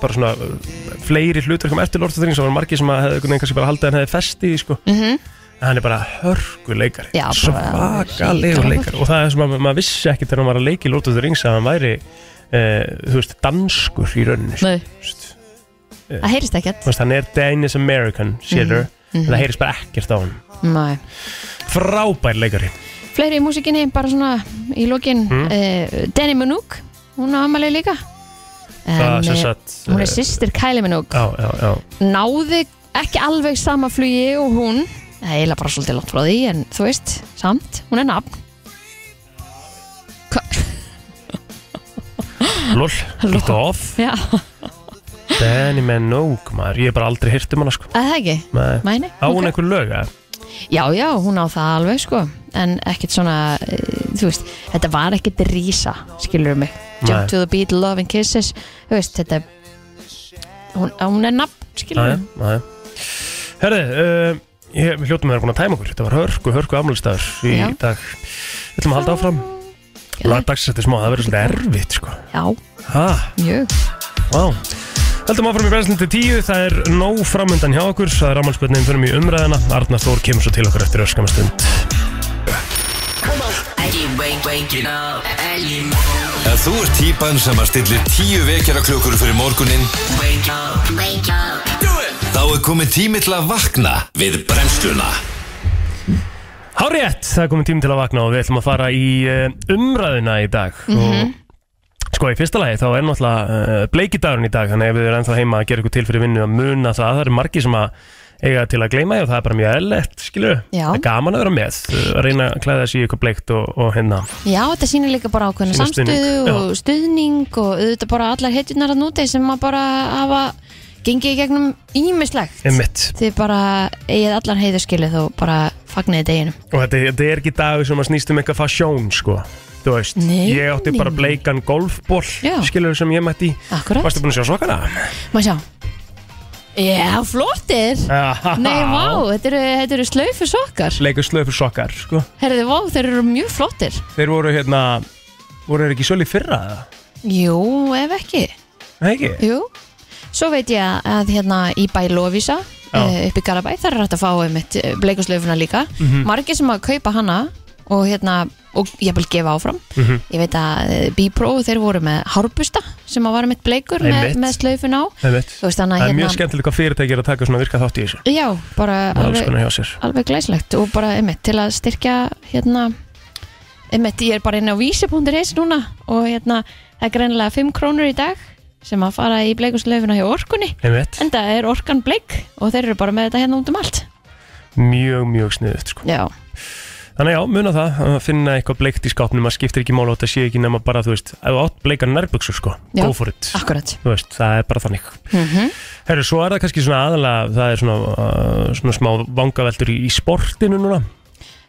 Speaker 2: bara svona eh, fleiri hlutverkum eftir Lord of the Rings það var margir sem að hefði einhvern veginn kannski bara haldið að hann hefði festi sko
Speaker 3: mm
Speaker 2: en hann er bara hörgu leikari
Speaker 3: Já, bara
Speaker 2: svakalegur
Speaker 3: hrikalegur.
Speaker 2: leikari og það er sem að maður vissi ekki þegar hann var að leiki Lord of the Rings að hann væri uh, þú veist danskur í rauninni sko.
Speaker 3: Nei,
Speaker 2: Þú veist,
Speaker 3: það heyrist ekkert
Speaker 2: Þú veist, hann er Danish American, séður
Speaker 3: mhm.
Speaker 2: það heyrist bara ekkert á hann
Speaker 3: Nei
Speaker 2: frábær leikari
Speaker 3: Fleiri í músikinni, bara svona í lokin
Speaker 2: Mm.
Speaker 3: eh, Danny Minook, hún á amalegi líka
Speaker 2: það
Speaker 3: en,
Speaker 2: sem
Speaker 3: eh,
Speaker 2: sagt
Speaker 3: Hún
Speaker 2: eh,
Speaker 3: er systir Kylie Minook
Speaker 2: já, já, já,
Speaker 3: Náði ekki alveg sama flugi og hún Það er eiginlega bara svolítið langt frá því En þú veist, samt, hún er nafn Hva?
Speaker 2: lol,
Speaker 3: Lol.
Speaker 2: ít off
Speaker 3: Já,
Speaker 2: Danny Minogue, maður, ég hef bara aldrei hýrt um hana sko,
Speaker 3: að það ekki
Speaker 2: Nei.
Speaker 3: Mæni,
Speaker 2: á hún einhver lög eða?
Speaker 3: Já, já, hún á það alveg sko En ekkert svona, e, þú veist Þetta var ekkert rísa, skilur mig Jump
Speaker 2: Nei.
Speaker 3: to the beat, love and kisses Þú veist, þetta Hún, eh, hún er nafn, skilur
Speaker 2: Já,
Speaker 3: mig
Speaker 2: já, já. herði uh, ég, við hljóttum að vera búin að tæma okkur þetta var hörku, hörku afmælstæður í
Speaker 3: Já.
Speaker 2: dag við ætlum að halda áfram lagdags þetta er smá, það verður svolítið erfitt sko.
Speaker 3: Já,
Speaker 2: ha,
Speaker 3: mjög
Speaker 2: vá Heldum áfram í brennslinn til tíu, það er nóg framöndan hjá okkur, það er afmælspötnin fyrir mig umræðina, Arnar Þór kemur svo til okkur eftir öskamastund.
Speaker 1: Ef þú ert típan sem að stillir tíu vekjara klukkur fyrir morgunin Þá er komið tími til að vakna við brennsluna
Speaker 2: Hárétt, það er komið tími til að vakna og við ætlum að fara í eh, umræðuna í dag
Speaker 3: Mhm.
Speaker 2: og sko í fyrsta lagi þá er náttúrulega uh, bleikidagurinn í dag þannig ef við erum ennþá heima að gera eitthvað til fyrir vinnu að muna það, það eru margir sem að eiga til að gleyma því og það er bara mjög ellett, skilur
Speaker 3: Já.
Speaker 2: það er gaman að vera með, eh, að reyna að klæða sig í eitthvað bleikt og, og hérna
Speaker 3: Já, þetta sýnir líka bara ákveðna
Speaker 2: Sýnir stuðning, já.
Speaker 3: samstöðu og stuðning og auðvitað bara allar heitjurnar að núti sem að bara hafa gengið í gegnum ímislegt
Speaker 2: einmitt.
Speaker 3: Þið bara eigið allar heiðurskilið og bara fagniði deginum
Speaker 2: og þetta, þetta er ekki dagur sem að snýst um eitthvað fasjón, sko, þú veist
Speaker 3: Nei,
Speaker 2: ég átti bara
Speaker 3: nei.
Speaker 2: bleikan golfból,
Speaker 3: Já.
Speaker 2: skilur sem ég mætti í
Speaker 3: Akkurat,
Speaker 2: Varstu búin að sjá svakana?
Speaker 3: maður sjá Já, flottir Nei, vá, þetta eru, þetta eru slaufu sokkar
Speaker 2: Leikur slöfur sokkar, sko
Speaker 3: Herðu, vá, þeir eru mjög flottir
Speaker 2: Þeir voru hérna Voru þeir ekki svolítið fyrra eða?
Speaker 3: Jú, ef ekki
Speaker 2: Nei ekki?
Speaker 3: Jú, svo veit ég að, að hérna í bæ Lovisa
Speaker 2: Já.
Speaker 3: uh, upp í eh, Mhm. Garabæ, þar er hægt að fá um eitt bleikuslaufuna líka margir sem að kaupa hana og hérna og ég vil gefa áfram
Speaker 2: Mhm.
Speaker 3: ég veit að eh, B-Pro þeir voru með hárbusta sem að var mitt bleikur með,
Speaker 2: Einmitt.
Speaker 3: með slaufun á
Speaker 2: Einmitt.
Speaker 3: þú veist þannig
Speaker 2: Það
Speaker 3: að
Speaker 2: er
Speaker 3: hérna
Speaker 2: mjög skemmtilegt hvað fyrirtæki er að taka svona virka þátt í þessu
Speaker 3: já, bara
Speaker 2: Með alls
Speaker 3: alveg,
Speaker 2: konar hjá sér
Speaker 3: alveg glæslegt og bara einmitt til að styrkja hérna einmitt ég er bara inn á vísi.is núna og hérna það er greinilega 5 krónur í dag sem að fara í bleikuslaufuna hjá orkunni
Speaker 2: Einmitt.
Speaker 3: en það er orkan bleik og þeir eru bara með þetta hérna út um allt
Speaker 2: Mjög, mjög sniðut sko.
Speaker 3: já,
Speaker 2: Þannig já, muna það að finna eitthvað bleikt í skápnum maður skiptir ekki mála og þetta sé ekki nema bara þú veist, ef þú átt bleika nærbuksu sko,
Speaker 3: Já.
Speaker 2: go for it
Speaker 3: akkurat
Speaker 2: þú veist, það er bara þannig
Speaker 3: mm
Speaker 2: Herru, svo er það kannski svona aðalega það er svona, uh, svona smá vangaveldur í, í sportinu núna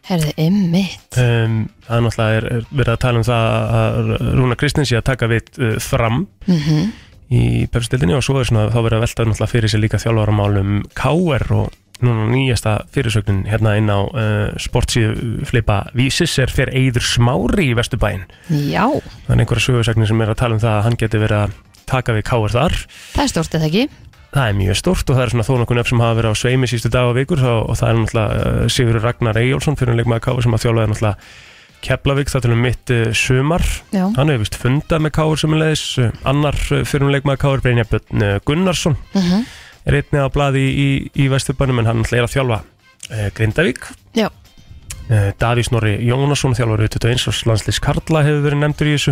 Speaker 3: herði, einmitt
Speaker 2: um, það er náttúrulega er, er verið að tala um það að Rúna Kristins sé að taka við uh, fram
Speaker 3: mm
Speaker 2: í pepsildinni og svo er svona þá verið að velta náttúrulega fyrir sér líka þjálfaramálum KR og núna nýjasta fyrirsögnin hérna inn á uh, sportsíðu flipa vísis er fyrir Eidur Smári í Vesturbæin
Speaker 3: já,
Speaker 2: það er einhverja sögursögnin sem er að tala um það að hann geti verið að taka við KR þar
Speaker 3: það er stórt eða ekki
Speaker 2: Það er mjög stort og það er svona þó nokkuð nefn sem hafa verið á sveimi sístu dag og vikur og, og það er náttúrulega uh, Sigur Ragnar Eyjálsson fyrir leikmaður Káur sem að þjálfaði náttúrulega Keflavík það til um mitt uh, sumar
Speaker 3: já,
Speaker 2: hann hefur vist fundað með Káur sem er leiðis uh, annar uh, fyrir um leikmaður Káur Brynja Björn uh, Gunnarsson
Speaker 3: mm
Speaker 2: er einnig á blaði í, í, í Vesturbænum en hann náttúrulega er að þjálfa uh, Grindavík
Speaker 3: Já.
Speaker 2: uh, Davís Norri Jónasson þjálfur 21 árs landslis Karla hefur verið nefndur í þessu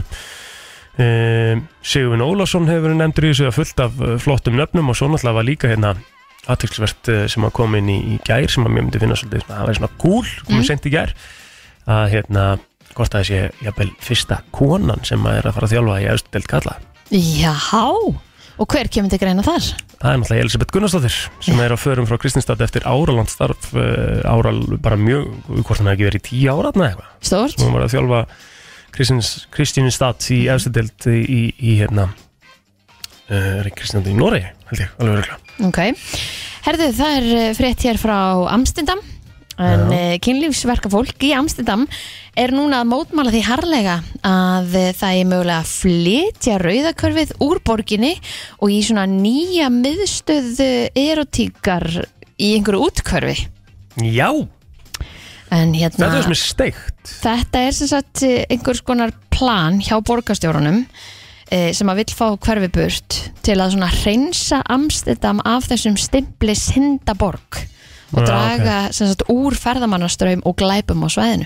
Speaker 2: uh, Sigurvin Ólafsson hefur verið nefndur í þessu það er fullt af uh, flottum nöfnum og svo náttúrulega var líka hérna aðtilsvert uh, sem að kom inn í, í gær sem að mér myndi finna svolítið svona, það væri svona gúl komið
Speaker 3: Mm.
Speaker 2: mm. sent í gær að hérna hvort að þessi jafnvel fyrsta konan sem að er að fara að þjálfa í austu delt Karla
Speaker 3: Jáhá, og hver kemur til greina þar?
Speaker 2: Það er náttúrulega Elisabeth Gunnarsdóttir sem er á förum frá Kristinstad eftir áraland starf, áral bara mjög, hvort hann hafi ekki verið í tíu ára eða eitthvað,
Speaker 3: Stórt?
Speaker 2: sem hún var að þjálfa Kristins, Kristinstad í efstadelt í, í, í hérna uh, Kristinstad í Noregi held ég, alveg örgulega.
Speaker 3: Ok. Herðu, það er eh, frétt hér frá Amstendam. En
Speaker 2: Já.
Speaker 3: uh, kynlífsverka fólk í Amstendam er núna að mótmála því harlega að eh, það er mögulega að flytja rauðakörfið úr borginni og í svona nýja miðstöð eh, erotíkar í einhverju útkörfi.
Speaker 2: Já,
Speaker 3: En hérna...
Speaker 2: þetta er sem er steikt
Speaker 3: Þetta er sem sagt eh, einhvers konar plan hjá borgarstjórunum eh, sem að vill fá hverfi burt til að svona hreinsa Amsterdam af þessum stimpli syndaborg og
Speaker 2: Já,
Speaker 3: draga sem sagt úr ferðamannaströym og glæpum á svæðinu.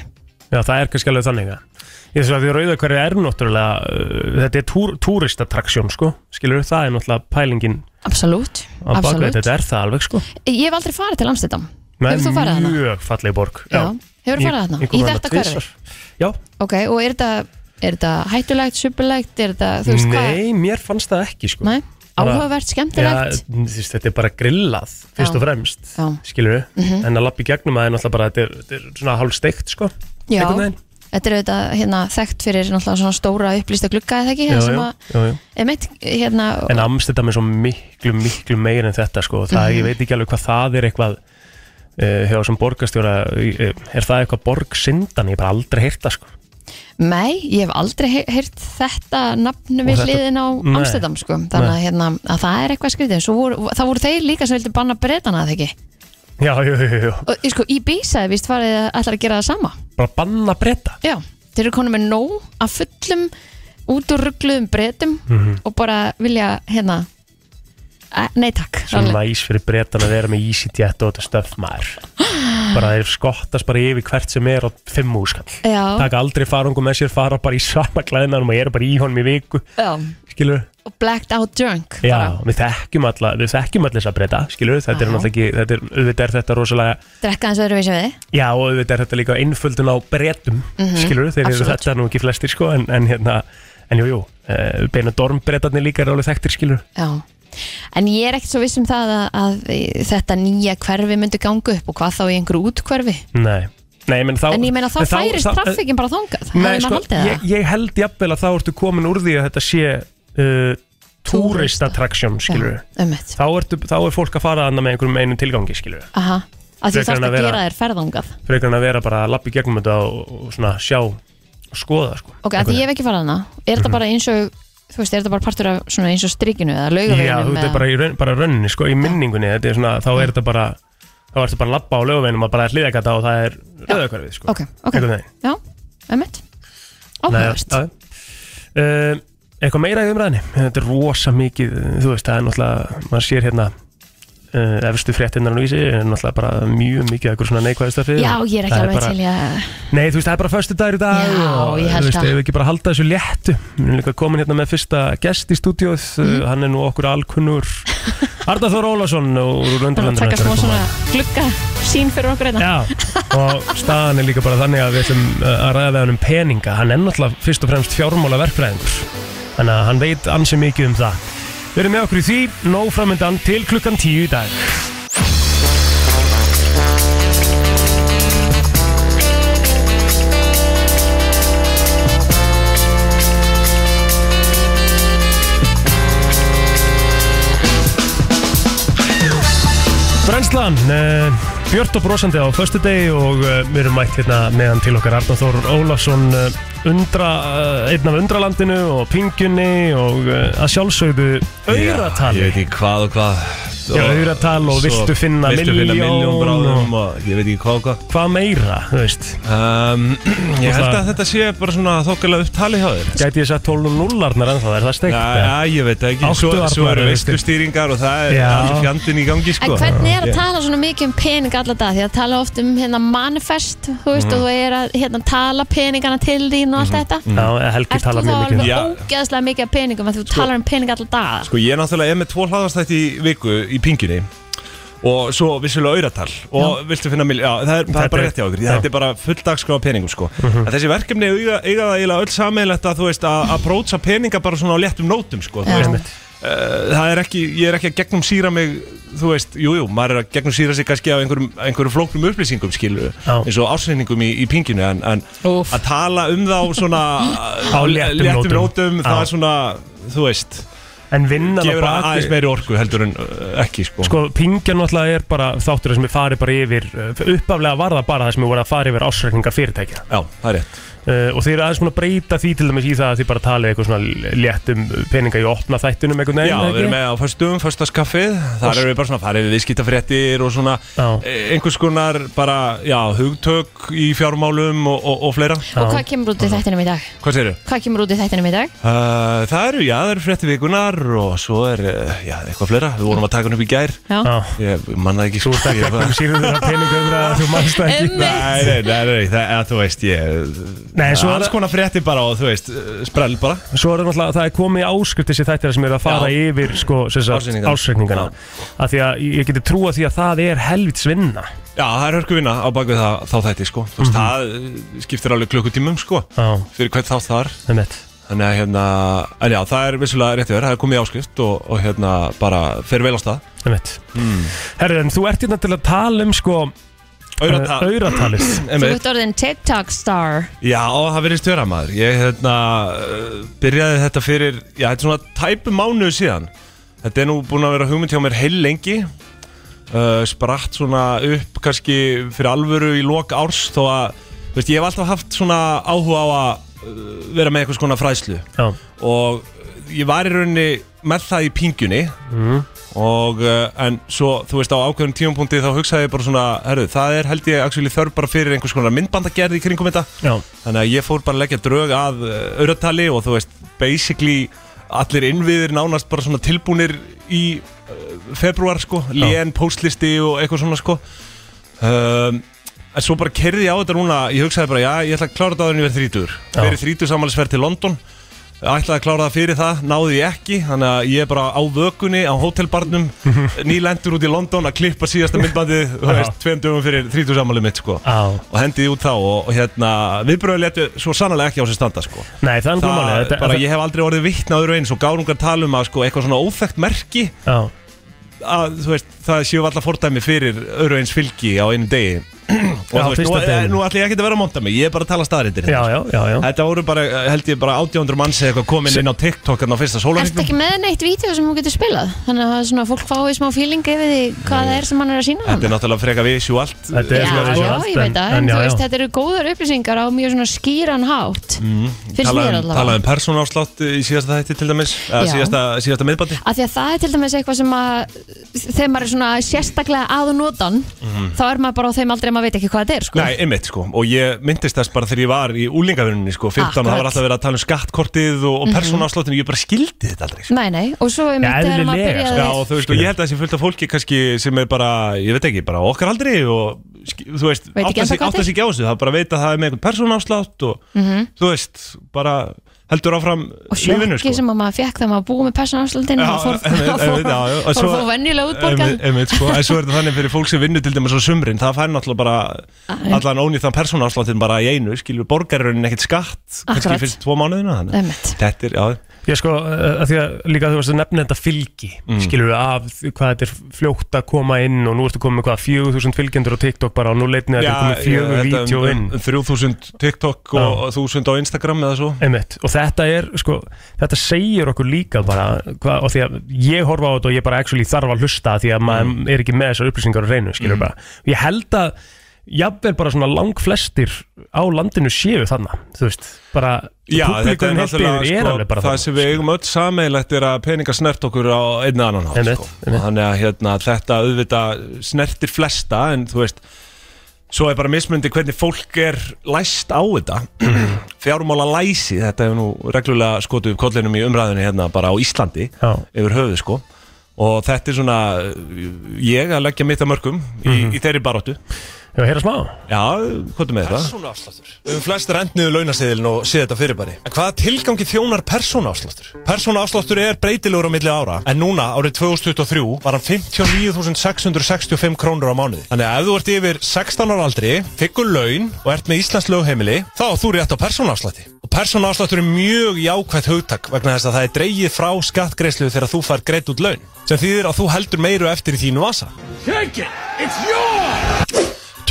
Speaker 2: Já, það er kannski alveg þannig að Ég þess að því rauða hverju er náttúrulega uh, þetta er túr, túristattraksjón sko skilur það er náttúrulega pælingin
Speaker 3: Absolutt,
Speaker 2: á bakveit,
Speaker 3: absolutt.
Speaker 2: þetta er það alveg sko
Speaker 3: Ég hef aldrei farið til Amsterdam.
Speaker 2: Nei,
Speaker 3: Hefur þú farið þarna?
Speaker 2: Mjög falleg borg
Speaker 3: Hefur þú farið
Speaker 2: Ég-
Speaker 3: þarna?
Speaker 2: ég kom
Speaker 3: Í
Speaker 2: þarna
Speaker 3: þetta hverfi?
Speaker 2: tvisvar. Já,
Speaker 3: Ok, og er þetta, er þetta hættulegt, supulegt, er þetta, þú veist hvað?
Speaker 2: nei, mér fannst það ekki sko.
Speaker 3: Nei.
Speaker 2: Bara-
Speaker 3: Áhugavert,
Speaker 2: Já,
Speaker 3: skemmtilegt?
Speaker 2: þú veist, þetta er bara grillað fyrst
Speaker 3: Já.
Speaker 2: og fremst,
Speaker 3: Já.
Speaker 2: skilur við
Speaker 3: Mhm.
Speaker 2: en að lappa í gegnum að það er náttúrulega bara þetta er, þetta er svona hálf steikt sko.
Speaker 3: Já.
Speaker 2: einhvern veginn.
Speaker 3: Þetta er auðvitað hérna, þekkt fyrir náttúrulega svona stóra upplýsta glugga eða ekki,
Speaker 2: já,
Speaker 3: sem
Speaker 2: já,
Speaker 3: að,
Speaker 2: já, já.
Speaker 3: emitt, hérna,
Speaker 2: en Amsterdam er svo miklu, miklu meir en þetta sko. það,
Speaker 3: Mhm.
Speaker 2: ég veit ekki alveg hvað það er eitthvað Uh, hjá sem borgarstjóra uh, er það eitthvað borgsindan, ég hef bara aldrei heyrta sko.
Speaker 3: mei, ég hef aldrei he- heyrt þetta nafnum
Speaker 2: Og
Speaker 3: við
Speaker 2: þetta-
Speaker 3: hliðin á
Speaker 2: Nei.
Speaker 3: Amsterdam, sko, þannig að, hérna, að það er eitthvað skrítið, svo voru, það voru þeir líka sem vildi banna breytana það ekki,
Speaker 2: já, jú, jú, jú, jú.
Speaker 3: og ég sko, í Bísa víst farið að ætlar að gera það sama,
Speaker 2: bara banna breyta
Speaker 3: já, þeir eru konum með nóg af fullum, út úr ruggluðum breytum
Speaker 2: Mhm.
Speaker 3: og bara vilja, hérna, eh, nei takk,
Speaker 2: svo
Speaker 3: rannlega,
Speaker 2: næs fyrir bretan að vera með EasyJet og þetta stöf maður bara þeir skottast bara yfir hvert sem er á fimm úskall
Speaker 3: já,
Speaker 2: taka aldrei farungu með sér, fara bara í sama klæðinanum og eru bara í honum í viku
Speaker 3: já,
Speaker 2: skilur,
Speaker 3: og blacked out drunk,
Speaker 2: já,
Speaker 3: bara.
Speaker 2: við þekkjum alla við þekkjum alla þess að breyta, skilur þetta er
Speaker 3: Já.
Speaker 2: náttúrulega ekki, þetta er, auðvitað er þetta rosalega
Speaker 3: drekka eins og öðru við þið
Speaker 2: já, og auðvitað er þetta líka einföldun á breytum mm
Speaker 3: Mhm,
Speaker 2: skilur, þeir eru
Speaker 3: absolutt.
Speaker 2: þetta nú ekki flestir sko, en, en hérna, en jú, jú uh, beina dormbreytarnir líka er alveg þekktir skilur
Speaker 3: Já En ég er ekkert svo viss um það að, að þetta nýja hverfi myndi ganga upp og hvað þá í einhverju útkverfi
Speaker 2: nei, nei, menn þá
Speaker 3: En ég meina þá
Speaker 2: en
Speaker 3: færist traffikin bara þangað
Speaker 2: Nei,
Speaker 3: Hefði maður
Speaker 2: sko,
Speaker 3: haldið
Speaker 2: ég,
Speaker 3: það?
Speaker 2: ég held jafnvel að þá ertu komin úr því að þetta sé uh, túristattraksjón, skilur við.
Speaker 3: Já, um
Speaker 2: Þá, ertu, þá er fólk að fara annað með einhverjum einum tilgangi, skilur við.
Speaker 3: Aha að
Speaker 2: Frekar
Speaker 3: því
Speaker 2: en
Speaker 3: þarfst
Speaker 2: að
Speaker 3: að
Speaker 2: vera-
Speaker 3: gera þér ferðangað
Speaker 2: Frekar en að vera bara að lappa í gegnum þetta og, og svona sjá og skoða, sko.
Speaker 3: Ok, að því ég hef ekki farað hana
Speaker 2: Mhm.
Speaker 3: Er þetta bara eins og, þú veist, er þetta bara partur af svona eins og strikinu eða
Speaker 2: Já,
Speaker 3: laugaveginum
Speaker 2: þú veit bara í raun, bara rauninni, sko, í minningunni, þetta er svona, þá er þetta bara, þá ertu bara að lappa á lögveinum og bara hliðakata og það er rauðakvarfið, sko.
Speaker 3: Ok, ok,
Speaker 2: Einhvern veginn.
Speaker 3: já, Emmett
Speaker 2: Nei,
Speaker 3: Áhugavert
Speaker 2: já, já. Eh, Eitthvað meira í umræðinni Þetta er rosa mikið, þú veist, það er náttúrulega maður sér hérna uh, efstu fréttinnar á vísi, er náttúrulega bara mjög mikið eitthvað svona neikvæðistöfi
Speaker 3: Já, ég er ekki alveg til í að
Speaker 2: Nei, þú veist, það er bara föstu dagur í dag
Speaker 3: Já,
Speaker 2: og, eh,
Speaker 3: ég held
Speaker 2: Þú veist,
Speaker 3: það.
Speaker 2: ef við ekki bara halda þessu léttu Við erum líka komin hérna með fyrsta gest í stúdíóð
Speaker 3: Mhm.
Speaker 2: mm. Hann er nú okkur alkunnur Arnar Þór Ólafsson úr
Speaker 3: bara
Speaker 2: Lundurlundur
Speaker 3: taka smá svona glugga sín fyrir okkur hérna. þetta
Speaker 2: Já, og staðan er líka bara þannig að við ætlum uh, að ræða við hann um peninga Hann er náttúrulega fyrst og fremst fjármála verkfræðingur Þannig að hann veit ansi mikið um það Við erum með okkur í því, nóg framöndan til klukkan tíu í dag Brennslan, uh, Björn og brosandi á föstu degi og uh, við erum mætt hérna meðan til okkar Arnar Þór Ólafsson uh, undra, uh, einn af undralandinu og pingjunni og uh, að sjálfsögðu auðratal
Speaker 4: Ég veit ekki hvað og hvað
Speaker 2: Já, auratal og viltu finna milljón
Speaker 4: miljón
Speaker 2: og-
Speaker 4: bráðum og ég veit ekki hvað og hvað
Speaker 2: Hvað meira, þú veist,
Speaker 4: um, Ég
Speaker 2: Og
Speaker 4: held
Speaker 2: það-
Speaker 4: að þetta sé bara svona þokkalega upptali hjá þér
Speaker 2: gæti ég sagt 12 nullarnar en það er það steikt
Speaker 4: Já, já, ég veit það ekki
Speaker 2: Áttu
Speaker 4: Svo, svo
Speaker 2: arnar,
Speaker 4: eru
Speaker 2: veistu.
Speaker 4: veistustýringar og það er
Speaker 2: Já.
Speaker 4: allir fjandinn í gangi
Speaker 3: En
Speaker 4: sko
Speaker 3: hvernig er að
Speaker 4: Ég-
Speaker 3: tala svona mikið um pening alla dag? Því að tala oft um hérna manifest, þú veist,
Speaker 4: Mm.
Speaker 3: og þú er að hérna, tala peningana til þín og allt þetta.
Speaker 2: Já, eða Helgi
Speaker 3: Ert þú
Speaker 2: talar
Speaker 3: þá
Speaker 2: mjög mikið um
Speaker 3: alveg
Speaker 4: Mhm. Mm. Já.
Speaker 3: ógeðslega mikið af peningum að þú talar um pening alla daga?
Speaker 4: Sko ég er náttúrulega er með tvo hlaðastætti í viku í pingjunni og svo vissulega auratal og viltu finna milj... Já, það er, það
Speaker 2: Þetta
Speaker 4: er bara
Speaker 2: er-
Speaker 4: rétt hjá ykkur,
Speaker 2: já.
Speaker 4: þetta er bara full dagskráð peningum sko.
Speaker 2: Mhm.
Speaker 4: En þessi verkefni eiga, eiga það eiginlega öll sammeilegt að þú veist að að prótsa peninga bara svona á léttum nótum sko. Þú
Speaker 3: Já.
Speaker 4: veist,
Speaker 2: Einmitt.
Speaker 4: uh, það er ekki, ég er ekki að gegnum síra mig þú veist, jújú, jú, maður er að gegnum síra sig kannski af einhverjum, einhverjum flóknum upplýsingum skilu,
Speaker 2: Já.
Speaker 4: eins og ásreyningum í, í pinginu en, en
Speaker 3: Úff.
Speaker 4: að tala um þá svona
Speaker 2: Á léttum nótum.
Speaker 4: nótum, það
Speaker 2: Já.
Speaker 4: er svona þú veist,
Speaker 2: En vinnan á
Speaker 4: gefur að aðeins
Speaker 2: baki
Speaker 4: meiri orku heldur en uh, ekki sko.
Speaker 2: Sko, pingjan náttúrulega er bara þáttur sem við farið bara yfir uh, Uppaflega var það bara það sem við vorum að fara yfir ásreikningar fyrirtækja
Speaker 4: Já, það er rétt
Speaker 2: uh, Og þeir eru aðeins búin að breyta því til dæmis í það að þið bara talið eitthvað svona léttum peninga í opna þættunum einhvern
Speaker 4: Já,
Speaker 2: veginn
Speaker 4: við erum með á föstum, föstaskaffið Þar erum við bara svona farið við viðskiptafréttir og svona
Speaker 2: Já.
Speaker 4: eh, einhvers konar bara, já, hugtök í fjármálum og, og, og fleira
Speaker 3: Og hvað kemur út í þættinum í dag?
Speaker 4: Hvað segirðu?
Speaker 3: Hvað kemur út í þættinum í dag?
Speaker 4: Uh, það eru, já, það eru frétti vikunar og svo er, uh, já, eitthvað fleira Við vorum að taka hann upp í gær
Speaker 3: Já.
Speaker 2: Já,
Speaker 4: Ég manna ekki sko,
Speaker 2: þú ert ekki
Speaker 4: ég
Speaker 2: að
Speaker 4: bara-
Speaker 2: koma síður þeirra peninga um það að þú mannst það ekki
Speaker 3: Einmitt.
Speaker 4: Nei, nei, nei, nei, það er, þú veist, ég
Speaker 2: Nei, svo er
Speaker 4: alls konar frétti bara og, þú veist, uh, sprell bara
Speaker 2: Svo er það náttúrulega, það er komið áskrift þessi þættir sem eru að fara
Speaker 4: Já.
Speaker 2: yfir sko,
Speaker 4: Ársreikningana.
Speaker 2: ásreikningana Af því að ég geti trúa því að það er helvitsvinna
Speaker 4: Já, það er hörku vinna á bakvið það, þá þætti, sko Þú veist, það uh, skiptir alveg klukkutímum, sko
Speaker 2: Mhm. Já,
Speaker 4: Fyrir hvern þátt það er
Speaker 2: það er mitt
Speaker 4: Þannig að, hérna, en já, það er vissulega rétti verið Það er komið í áskrift og, og hérna, bara, fer vel á stað
Speaker 2: Einmitt.
Speaker 4: Hmm.
Speaker 2: Herri, en þú ert hérna til að tala um sko eh,
Speaker 4: Aurata-
Speaker 2: Auratalið
Speaker 3: Þú
Speaker 4: Einmitt.
Speaker 3: ert orðin TikTok star.
Speaker 4: Já, það verið störa maður Ég hérna, uh, byrjaði þetta fyrir Já, þetta er svona tæpu mánuðu síðan Þetta er nú búin að vera hugmynd hjá mér heil lengi uh, Spratt svona upp kannski fyrir alvöru í lok árs Þó að, þú veist, ég hef alltaf haft svona áhuga á að uh, vera með einhvers konar fræslu
Speaker 2: Já,
Speaker 4: og uh, ég var í rauninni með það í pingjunni og uh, en svo þú veist á ákveðum tímapunkti þá hugsaði ég bara svona herru, það er held ég actually þörf bara fyrir einhvers konar myndbandagerð í kringum þetta
Speaker 2: já,
Speaker 4: þannig að ég fór bara að leggja drög að uh, auðratali og þú veist basically allir innviðir nánast bara svona tilbúnir í uh, februar sko, lén, postlisti og eitthvað svona sko um, en svo bara kerði ég á þetta núna ég hugsaði bara já, ég ætla að klára þetta áður en ég verð þrítur
Speaker 2: Já.
Speaker 4: fyrir þrítur samanlisverð til London ætlaði að klára það fyrir það, náði ég ekki þannig að ég er bara á vökunni á hótelbarnum nýlendur út í London að klippa síðasta myndbandið, þú
Speaker 2: Já.
Speaker 4: veist, tveim dögum fyrir þrítur samanlið mitt sko
Speaker 2: á
Speaker 4: og hendiði út þá og, og hérna, viðbröðu letu svo sannlega ekki á sér standa sko.
Speaker 2: Nei, það er
Speaker 4: það,
Speaker 2: náttúrulega málið. Þetta-
Speaker 4: bara
Speaker 2: þetta-
Speaker 4: ég hef aldrei orðið vitna öðru eins og gárungar tala um að sko, eitthvað svona óþekkt merki
Speaker 2: Já,
Speaker 4: að þú veist, það séu alltaf fordæmi fyrir öðru eins fylgi á einu degi og
Speaker 2: Já,
Speaker 4: þú veist,
Speaker 2: fyrsta
Speaker 4: nú, eh,
Speaker 2: deginum.
Speaker 4: nú ætla ég ekki að vera að monta mig ég er bara að tala staðrindir
Speaker 2: já, já, já, já.
Speaker 4: þetta voru bara, eh, held ég bara 800 manns eða eitthvað komin inn á TikTok en á fyrsta
Speaker 3: Erst
Speaker 4: sólarhengnum
Speaker 3: ekki með neitt vídeo sem hún getur spilað? Þannig að það er svona að fólk fái smá feeling yfir því hvað það er sem hann er að sína
Speaker 4: þetta er náttúrulega freka visuált
Speaker 2: Þetta
Speaker 3: Já,
Speaker 2: er svona
Speaker 3: já,
Speaker 2: visuált,
Speaker 3: ég veit
Speaker 2: en-
Speaker 3: það,
Speaker 2: en
Speaker 3: en
Speaker 2: já,
Speaker 3: þú veist,
Speaker 2: já.
Speaker 3: þetta eru góðar upplýsingar á mjög svona skýran hátt finnst mér
Speaker 4: talaði um,
Speaker 3: allavega
Speaker 4: tala um persónáfslátt í síðasta þætti til dæmis eða
Speaker 3: Já.
Speaker 4: síðasta, síðasta miðbandi
Speaker 3: af því að það er til dæmis eitthvað sem að þegar maður er svona sérstaklega að og notan þá er maður bara á þeim aldrei að maður veit ekki hvað þetta er sko.
Speaker 4: Mm. Nei, einmitt sko og ég myndist þess bara þegar ég var í úlingavinnunni sko 15 það var
Speaker 3: Akkurat.
Speaker 4: alltaf verið að tala um skattkortið og, og persónafslottinu, ég bara skildi þetta aldrei sko.
Speaker 3: Nei, nei, og svo er
Speaker 2: Ja,
Speaker 3: mitt þegar maður
Speaker 2: eðlilega, sko.
Speaker 3: byrjaði
Speaker 4: Já, og þú veist, og ég held að það sé fullt af fólki kannski sem er bara, ég veit ekki, bara á okkar aldrei og sk- þú veist,
Speaker 3: Veit ekki
Speaker 4: átta
Speaker 3: ennþá
Speaker 4: sig
Speaker 3: hvað
Speaker 4: átta
Speaker 3: þetta er. Mhm.
Speaker 4: sig ekki á þessu, það bara veit að það er með einhvern persónafslátt og þú veist, bara heldur áfram sko.
Speaker 3: og sjokki sem að maður fekk þegar maður búið með persónafslöndinu
Speaker 4: Já,
Speaker 3: og fór
Speaker 4: einmitt, einmitt, já, já, og
Speaker 3: fór- fór
Speaker 4: svo-
Speaker 3: að fá venjulega útborgað
Speaker 4: Einmitt, einmitt, sko, en svo er þetta þannig fyrir fólk sem vinnur til dæmis á sumrin, það fær náttúrulega bara
Speaker 3: Æ.
Speaker 4: allan ónýttan persónafsláttin bara í einu, skilur borgarurinn ekkert skatt kannski
Speaker 3: Akkurat.
Speaker 4: fyrst tvo mánuðina þannig
Speaker 3: Einmitt.
Speaker 4: Þetta er, já,
Speaker 2: Ég sko, eh, að því að líka þú varst að nefna þetta fylgi
Speaker 4: Hmm.
Speaker 2: mm. skilur við af því hvað þetta er fljótt að koma inn og nú ertu komið með hvað 4000 fylgjendur á TikTok bara og nú leitnið að þetta er komið
Speaker 4: já,
Speaker 2: fjögur
Speaker 4: þetta
Speaker 2: vídeo
Speaker 4: um-
Speaker 2: inn
Speaker 4: um 3000 TikTok og 1000 á Instagram eða svo
Speaker 2: Einmitt. og þetta er sko, þetta segir okkur líka bara, hva, og því að ég horfa á þetta og ég bara actually þarf að hlusta því að
Speaker 4: Mm.
Speaker 2: maður er ekki með þessar upplýsingar á reynu skilur bara, ég held að jafnvel bara svona langflestir á landinu séu þarna, þú veist bara,
Speaker 4: Já, þetta er
Speaker 2: publikum heilt
Speaker 4: náttúrulega
Speaker 2: yfir er alveg
Speaker 4: sko,
Speaker 2: bara
Speaker 4: það sem við eigum öll sameigilegt er að peninga snert okkur á einn eða annan hátt
Speaker 2: Einmitt,
Speaker 4: sko.
Speaker 2: einmitt.
Speaker 4: Þannig að hérna, þetta auðvitað snertir flesta en þú veist Svo er bara mismundi hvernig fólk er læst á þetta Fjármála læsi, þetta hefur nú reglulega skotuð upp kollinum í umræðinu hérna bara á Íslandi
Speaker 2: Já.
Speaker 4: yfir höfuð sko Og þetta er svona, ég að leggja mitt að mörgum í, í þeirri baróttu
Speaker 2: Já, heyra Mhm. smá
Speaker 4: Já, hvað er með þetta?
Speaker 5: Persónuafsláttur.
Speaker 4: Við höfum flest rentniðu launaseðilin og séð þetta fyrirbæri. En hvaða tilgangi þjónar persónaafsláttur? Persónaafsláttur er breytilegur á milli ára, en núna árið 2023 var hann 59.665 krónur á mánuði. Þannig að ef þú ert yfir 16 ára aldri, fikkur laun og ert með Íslands lögheimili, þá átt þú rétt á persónaafslátti. Og persónaafsláttur er mjög jákvætt hugtak vegna þess að það er dreigið frá skattgreislu þegar þú fær greitt út laun, sem þýðir að þú heldur meiru eftir í þínu vasa.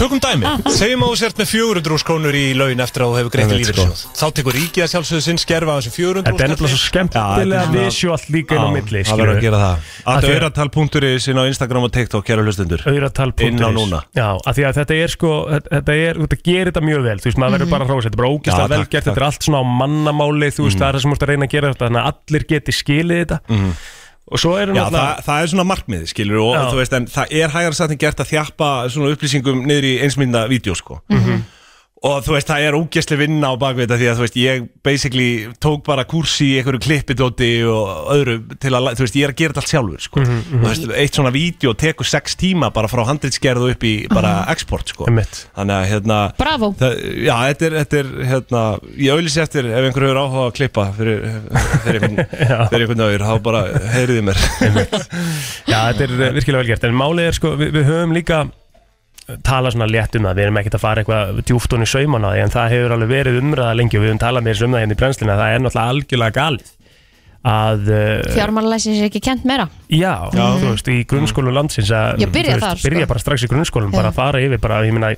Speaker 4: Tökum dæmi, segjum að þú sért með 400 krónur í laun eftir að þú hefur greitt í
Speaker 2: Einmitt,
Speaker 4: lífeyrissjóð Þá tekur ríkið að sjálfsögðu sinn skerfa af þessum 400
Speaker 2: sko. Þetta er nefnilega svo skemmtilega visuált líka inn á milli skilurðu.
Speaker 4: það
Speaker 2: Af
Speaker 4: Að
Speaker 2: því að-
Speaker 4: öðratal.is inn á Instagram og TikTok, kæra hlustundur
Speaker 2: Auratal.is
Speaker 4: Inn á núna.
Speaker 2: Já, af því að þetta er sko Þetta, er, þetta gerir þetta mjög vel Þú veist, maður verður bara að hrósa Þetta er bara
Speaker 4: Já,
Speaker 2: ógæslega
Speaker 4: takk,
Speaker 2: vel gert Þetta
Speaker 4: takk. Mhm.
Speaker 2: er allt svona á mannamáli Þú veist, það er það sem þú ert að reyna að gera þetta Þannig að allir geti skilið þetta Og svo erum
Speaker 4: Já,
Speaker 2: við
Speaker 4: það, það er svona markmiðið, skilur og
Speaker 2: Já.
Speaker 4: þú veist, en það er hægara satt en gert að þjappa svona upplýsingum niður í einsmynda vídeo, sko og þú veist, það er ógæsli vinna á bakvið þetta því að þú veist, ég basically tók bara kursi í einhverju klippidóti og öðru til að, þú veist, ég er að gera þetta allt sjálfur, sko
Speaker 2: Mhm,
Speaker 4: þú veist, eitt svona vídeo tekur sex tíma bara frá handritsgerð og upp í bara export, sko
Speaker 2: Einmitt.
Speaker 4: þannig að, hérna
Speaker 3: Bravo.
Speaker 4: það, Já, þetta er, þetta er, hérna ég auðlýsi eftir ef einhver hefur áhuga að klippa fyrir, fyrir einhvern, fyrir einhvern öður þá bara heyriði mér
Speaker 2: Já, þetta er eh, virkilega vel gert En málið er sko, við, við höfum líka tala svona létt um það, við erum ekkert að fara eitthvað djúft hún í sauman á því, en það hefur alveg verið umræða lengi og við höfum talað með þessu um það hérna í brennslina það er náttúrulega algjörlega galið að eh,
Speaker 3: fjármálalæsins er ekki kent meira
Speaker 2: Já, þú veist, í grunnskólu landsins að,
Speaker 3: Já, Mhm. byrja
Speaker 2: þú veist,
Speaker 3: þar, sko.
Speaker 2: byrja bara strax í grunnskólum, bara að fara yfir bara, ég meina,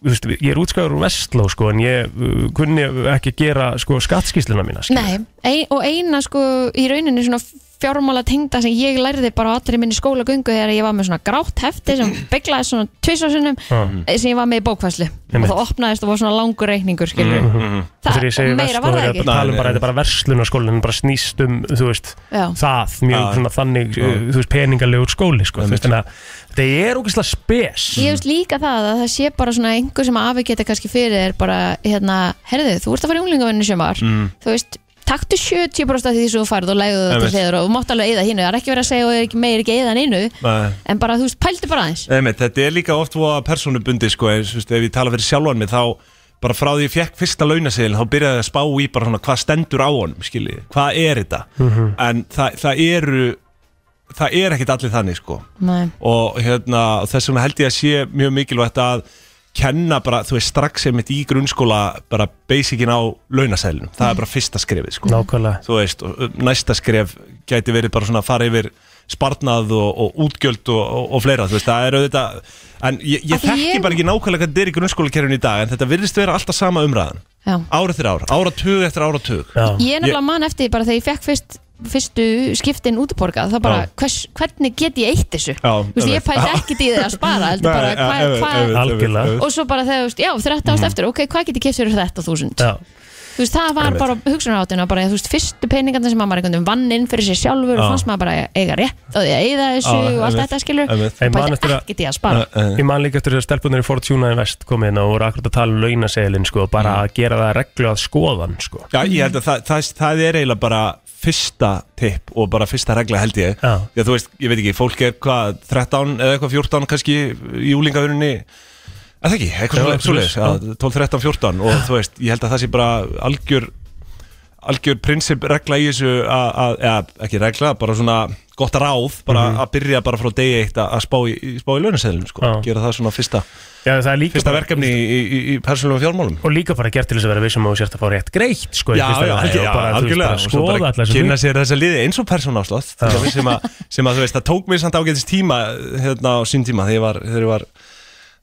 Speaker 2: þú veist, ég er útskjáður úr Vestló, sko, en ég uh, kunni ekki gera, sko, skattskýsluna mína, sko.
Speaker 3: Nei, ein, og eina sko í rauninni svona fjármála tengda sem ég lærði bara á allri minni skólagöngu þegar ég var með svona grátt hefti sem bygglaði svona tvisvarsinnum mm. sem ég var með í bókvæslu og
Speaker 2: Einmitt.
Speaker 3: það opnaðist og var svona langur reikningur skilur
Speaker 2: Mhm. Og þegar ég segi
Speaker 3: og meira
Speaker 2: Vestló,
Speaker 3: var
Speaker 2: þegar
Speaker 3: það
Speaker 2: ég
Speaker 3: ekki
Speaker 2: bara tala
Speaker 4: Nei,
Speaker 2: um bara,
Speaker 4: nei.
Speaker 2: þetta er bara verslunarskólinn, bara snýst um, þú veist,
Speaker 3: Já.
Speaker 2: það, mjög
Speaker 4: Já.
Speaker 2: svona þannig, uh, þú veist, peningalegur skóli, sko, þú veist, þannig að þetta er ógeðslega spes.
Speaker 3: Ég veist líka það að það sé bara svona einhver sem afi geta kannski fyrir er bara hérna, herðu, þú ert að fara í unglingavinnu sem var þú veist, taktu 70% af því sem þú farð og legðu það til
Speaker 4: Einmitt.
Speaker 3: hliður og þú mátt alveg eða hínu, það er ekki verið að segja og er ekki meir ekki eða innu,
Speaker 4: Nei.
Speaker 3: en bara þú veist, pældu bara aðeins
Speaker 4: Einmitt, þetta er líka oft voða persónubundi sko, eins, veist, ef ég tala fyrir sjálfan mig þá bara frá því ég fekk fyrsta launaseðil þá byrjaði ég að spá í bara svona hvað stendur á honum skilji, hvað er þetta
Speaker 1: Mm.
Speaker 4: en það, það eru það er ekkert allir þannig sko
Speaker 3: Nei.
Speaker 4: og hérna, þess vegna held ég að sé mjög mikilvægt að kenna bara, þú veist, strax einmitt í grunnskóla bara basicin á launaseðlinum það er bara fyrsta skrefið sko
Speaker 2: Nákvæmlega.
Speaker 4: þú veist, og uh, næsta skref gæti verið bara svona að fara yfir sparnað og, og útgjöld og, og, og fleira þú veist, það er auðvitað en ég, ég
Speaker 3: Af því
Speaker 4: þekki
Speaker 3: ég-
Speaker 4: bara ekki nákvæmlega hvað þetta er í grunnskólakerfinu í dag en þetta virðist vera alltaf sama umræðan
Speaker 3: Já.
Speaker 4: ára eftir ára, ára tug eftir ára tug
Speaker 2: Já.
Speaker 3: Ég er nefnilega mann eftir því bara þegar ég fekk fyrst, fyrstu skiptin útborgað þá bara,
Speaker 4: Já.
Speaker 3: hvers, hvernig get ég eitt þessu?
Speaker 4: Já,
Speaker 3: Þú veist, ég
Speaker 4: einmitt.
Speaker 3: pældi ekkit í því að spara, heldur bara, hvað, hvað
Speaker 2: Algjörlega.
Speaker 4: Mm.
Speaker 3: og svo bara þegar, þú veist, já, 30 ást eftir, ok, hvað get ég keft fyrir þetta þúsund?
Speaker 2: Já.
Speaker 3: Þú þú veist, það var
Speaker 4: Einmitt.
Speaker 3: bara hugsunarháttina bara, þú veist, fyrstu peningarnir sem maður einhvern veginn vann inn fyrir sér sjálfur
Speaker 4: Já.
Speaker 3: og fannst maður bara að eiga rétt á því að eigða
Speaker 4: Já,
Speaker 3: þessu og allt
Speaker 4: einmitt,
Speaker 3: þetta skilur
Speaker 4: einmitt.
Speaker 2: Ég
Speaker 3: og
Speaker 2: man eftir
Speaker 3: bæti
Speaker 2: að-
Speaker 3: ekkert í að spara
Speaker 4: Eh,
Speaker 2: Ég man líka eftir þess að stelpunir í Fortuna Invest komið inn og voru akkurat að tala um launaseilin sko, bara að gera það að reglu að skoðan sko.
Speaker 4: Mm. Já, ég held að það, það, það er eiginlega bara fyrsta tipp og bara fyrsta regla held ég
Speaker 2: Já.
Speaker 4: Já, þú veist, ég veit ekki, fólk er hvað 13 eða eitthvað 14 kannski í úlingaðurinni Það ekki,
Speaker 2: Já,
Speaker 4: eitthvað svoleiðis,
Speaker 2: svoleiðis,
Speaker 4: svoleiðis 12, 13, 14 og þú veist, ég held að það sé bara algjör algjör prinsip regla í þessu að, að, eða, ekki regla, bara svona gott ráð, bara að byrja bara frá degi eitt að, að spá í, í- spá í launaseðlum sko.
Speaker 2: Mhm. Já.
Speaker 4: gera það svona fyrsta,
Speaker 2: Já, það er líka
Speaker 4: fyrsta
Speaker 2: bara-
Speaker 4: verkefni í, í, í, í persónulegum fjármálum
Speaker 2: og líka bara gert til þess að vera vissum að þú sért að fá rétt greitt sko,
Speaker 4: já,
Speaker 2: í fyrsta
Speaker 4: já,
Speaker 2: lagi,
Speaker 4: algjör,
Speaker 2: og
Speaker 4: já,
Speaker 2: bara, þú veist,
Speaker 4: algjörlega
Speaker 2: bara
Speaker 4: og svo
Speaker 2: skoða
Speaker 4: bara
Speaker 2: allar
Speaker 4: kynna
Speaker 2: þessu
Speaker 4: sér þessa liði eins og persónáfslátt sem, að, sem að þú veist, það tók mér samt ágætist tíma hérna á sín tíma þegar ég var, þegar ég var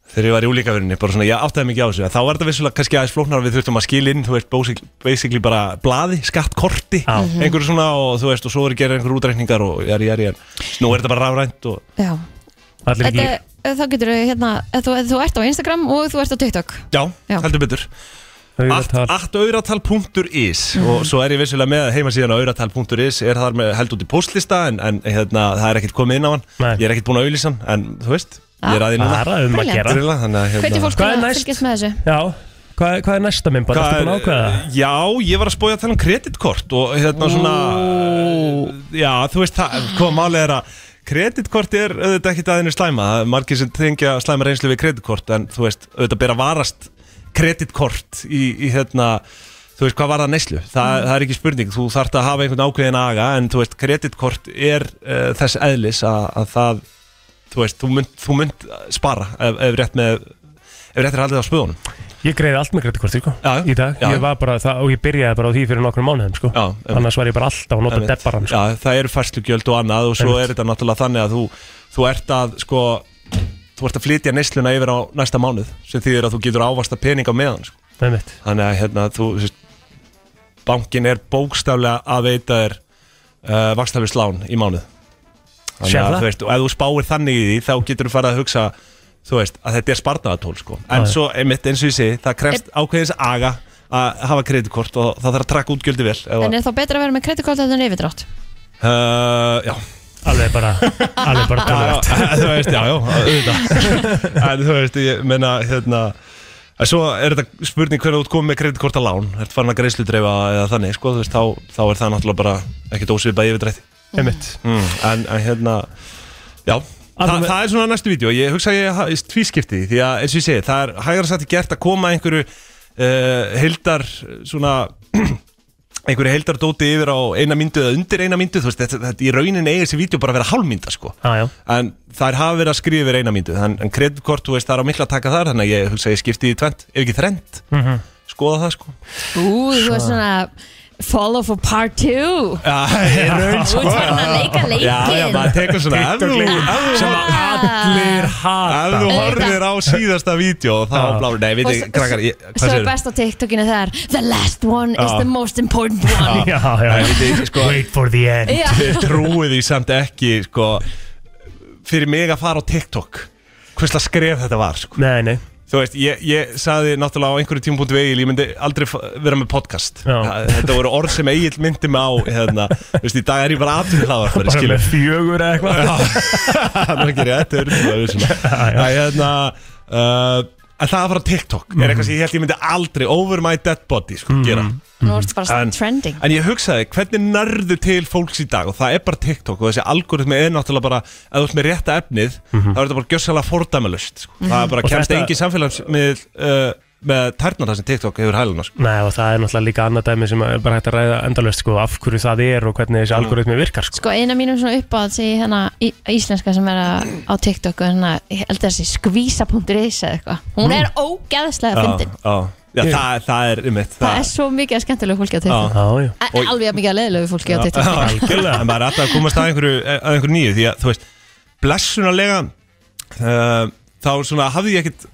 Speaker 4: þegar ég var í úlíkaverunni, bara svona, ég áttaði mikið á þessu þá var þetta vissulega kannski aðeins flóknar við þurftum að skilja inn, þú veist, basically, basically bara blaði, skattkorti,
Speaker 2: Já.
Speaker 3: Mhm.
Speaker 4: einhverju svona og þú veist, og svo voru gerðið einhverju útreikningar og jari, jari, jari, nú er þetta bara rafrænt og
Speaker 3: Já,
Speaker 2: allir
Speaker 3: þetta,
Speaker 2: ekki
Speaker 3: þá getur þau hérna, ef þú, ef þú ert á Instagram og þú ert á TikTok
Speaker 4: já,
Speaker 3: Já.
Speaker 4: heldur betur
Speaker 2: auðvitað-
Speaker 4: Attauratal.is og svo er ég vissulega með heimasíðan á auratal.is er þar með held út í postlista en, en hérna, það er ekkert komið inn á hann
Speaker 2: Nei.
Speaker 4: ég er ekkert búin að auðlýsa hann en þú veist, ég er
Speaker 3: Ah.
Speaker 4: aðeins núna
Speaker 2: bara um að
Speaker 3: Brilliant.
Speaker 2: gera
Speaker 4: Drilla, þannig að, hérna-
Speaker 3: Hvernig fólk
Speaker 2: Hvað
Speaker 3: til
Speaker 2: er
Speaker 3: að
Speaker 2: næst?
Speaker 3: fylgjast með þessu?
Speaker 2: Já, hvað, hvað er næsta minn bara, ertu búin að ákveða það?
Speaker 4: Já, ég var að spója að tala um kreditkort og hérna svona Já, þú veist, það, hvað málið er að kreditkort er auðvitað ekkit aðeins slæma það er margir sem tengja slæma reynslu við kreditkort en þú veist, auðvitað bera varast kreditkort í, í hérna þú veist, hvað var það neyslu? Þa,
Speaker 2: Mm.
Speaker 4: Það er ekki spurning, þú þarft að hafa einhvern ákveðin aga en þú veist, kreditkort er uh, þess eðlis að, að það þú veist, þú mynd, þú mynd spara ef, ef rétt með ef rétt er haldið á spöðunum
Speaker 2: Ég greiði allt með kreditkorti sko,
Speaker 4: Já, já.
Speaker 2: í dag
Speaker 4: Já, já.
Speaker 2: Ég var bara það, og ég byrjaði bara á því fyrir nokkrum mánuðum sko.
Speaker 4: Já, einmitt.
Speaker 2: annars var ég bara alltaf að nota
Speaker 4: Einmitt.
Speaker 2: debbaran sko.
Speaker 4: Já, það eru færslugjöld og annað og svo
Speaker 2: Einmitt.
Speaker 4: er þetta náttúrulega þannig að þú, þú ert að sko, þú ert að flytja neysluna yfir á næsta mánuð sem þýðir að þú getur ávasta pening á meðan sko.
Speaker 2: Einmitt.
Speaker 4: þannig að hérna, þú sérst, bankin er bókstaflega að veita þér uh, vakstaflega slán í mánuð þannig
Speaker 2: Sér
Speaker 4: að
Speaker 2: það?
Speaker 4: þú veist, og ef þú spáir þannig í því þá getur þú farið að hugsa þú veist, að þetta er spartaðatól sko. en
Speaker 2: Já, já.
Speaker 4: svo, einmitt eins og ég segi, það krefst ákveðins aga að hafa kreditkort og það þarf að trakka útgjöldi vel ef að-
Speaker 3: En er þá betra að vera með kreditkort heldur en yfirdrátt?
Speaker 4: uh, Já,
Speaker 2: Alveg bara, alveg bara
Speaker 4: Já,
Speaker 2: tölvægt
Speaker 4: já, þú veist, já, já, auðvitað En þú veist, ég meina, hérna En svo er þetta spurning hvernig þú ert komið með kreditkorta lán Ert farin að greiðslu dreifa eða þannig, sko Þú veist, þá, þá er það náttúrulega bara ekkert ósvipað yfirdrætti
Speaker 2: Einmitt.
Speaker 4: mm. en, en hérna, já Þa,
Speaker 2: með-
Speaker 4: Það er svona næstu vídeo, ég hugsa að ég ha- ég tvískipti því. Því að eins og ég segi, það er hægara satt í gert að koma einhverju uh, heildar svona einhverju heildardóti yfir á eina myndu eða undir eina myndu, þú veist, þetta, þetta í rauninni eigið þessi vídeo bara að vera hálmynda, sko
Speaker 2: Já, já.
Speaker 4: en þær hafa verið að skrifa yfir eina myndu en, en kreditkort, þú veist, það er á mikla að taka þar þannig að ég hugsa að ég skipti í tvent, ef ekki þrend skoða það sko
Speaker 3: Ú, þú er svona Follow for part 2
Speaker 4: Já,
Speaker 3: Þú ert farin að leika
Speaker 4: já, já,
Speaker 3: leikinn
Speaker 4: maður tekur svona ef þú, ef þú-
Speaker 2: sem að
Speaker 3: Ah.
Speaker 2: allir
Speaker 4: ef
Speaker 2: hata
Speaker 4: þú
Speaker 3: Auðvitað.
Speaker 4: horfir á síðasta vídeo þá
Speaker 2: Já.
Speaker 4: blá, nei, við
Speaker 3: Og
Speaker 4: þið,
Speaker 3: s-
Speaker 4: krakkar, ég,
Speaker 3: Svo
Speaker 4: hvað
Speaker 3: er
Speaker 4: segir
Speaker 3: best á TikTokinu þar The last one is
Speaker 4: Já.
Speaker 3: the most important one
Speaker 2: Já, já,
Speaker 4: Nei, við þið, sko,
Speaker 2: Wait for the end
Speaker 3: Já,
Speaker 4: Ég trúi því samt ekki, sko fyrir mig að fara á TikTok hversla skref þetta var, sko
Speaker 2: Nei, nei,
Speaker 4: Þú veist, ég, ég saði náttúrulega á einhverju tímapunktu við Egil, ég myndi aldrei fa- vera með podcast
Speaker 2: Já.
Speaker 4: Þa- Þetta voru orð sem Egil myndi mig á, hérna, þú veist, í dag er ég bara aðtunni hlaðvarpari,
Speaker 2: bara
Speaker 4: skilur
Speaker 2: með fjögur eða eitthvað
Speaker 4: Það er ekki rétt, það er það, við svona
Speaker 2: já.
Speaker 4: Það er hérna, uh, en það að fara á TikTok
Speaker 2: Mhm.
Speaker 4: er eitthvað sem ég held ég myndi aldrei, over my dead body, sko, gera
Speaker 2: Mhm.
Speaker 3: nú ertu bara
Speaker 4: En-
Speaker 3: trending
Speaker 4: En ég hugsaði, hvernig nærðu til fólks í dag og það er bara TikTok og þessi algoritmi er náttúrulega bara, ef þú ert með rétta efnið þá er þetta bara gjössalega fordæmalust sko.
Speaker 3: Mhm.
Speaker 4: það er bara
Speaker 2: Mhm. Og
Speaker 4: kemst
Speaker 2: þetta-
Speaker 4: engin samfélags með, uh, með tærnar það sem TikTok hefur hæluna sko.
Speaker 2: Nei, og það er náttúrulega líka annað dæmi sem er bara hægt að ræða endalaust sko, af hverju það er og hvernig þessi algoritmi virkar sko.
Speaker 3: Sko eina mínum svona uppáð sé ég hérna í- íslenska sem er að- á TikTok og hérna, ég held að þessi skvísa.is eða eitthvað, hún er ógeðslega fyndin,
Speaker 4: já, já það, það er um eitt
Speaker 3: það er svo mikið að skemmtilegu fólki á TikTok,
Speaker 2: Já, já,
Speaker 3: A- alveg að mikið að leiðilegu fólki á TikTok líka.
Speaker 4: algjörlega en maður er alltaf að komast að einhverju, eh, að einhverju nýju því að þú veist, blessunarlega uh, þá svona hafði ég ekkit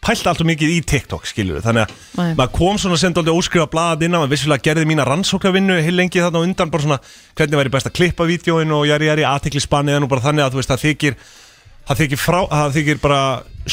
Speaker 4: pælt alltaf mikið í TikTok skilur þannig að
Speaker 3: Nei.
Speaker 4: maður kom svona sem aldrei óskrifa blaðað inn á maður vissulega gerði mína rannsóknarvinnu heil lengi þarna á undan bara svona hvernig væri best að klippa vídjóin og jari jari aðtekli spanniðan og bara þannig að þú veist það þykir það þykir, frá, það
Speaker 3: Mm.
Speaker 4: þykir bara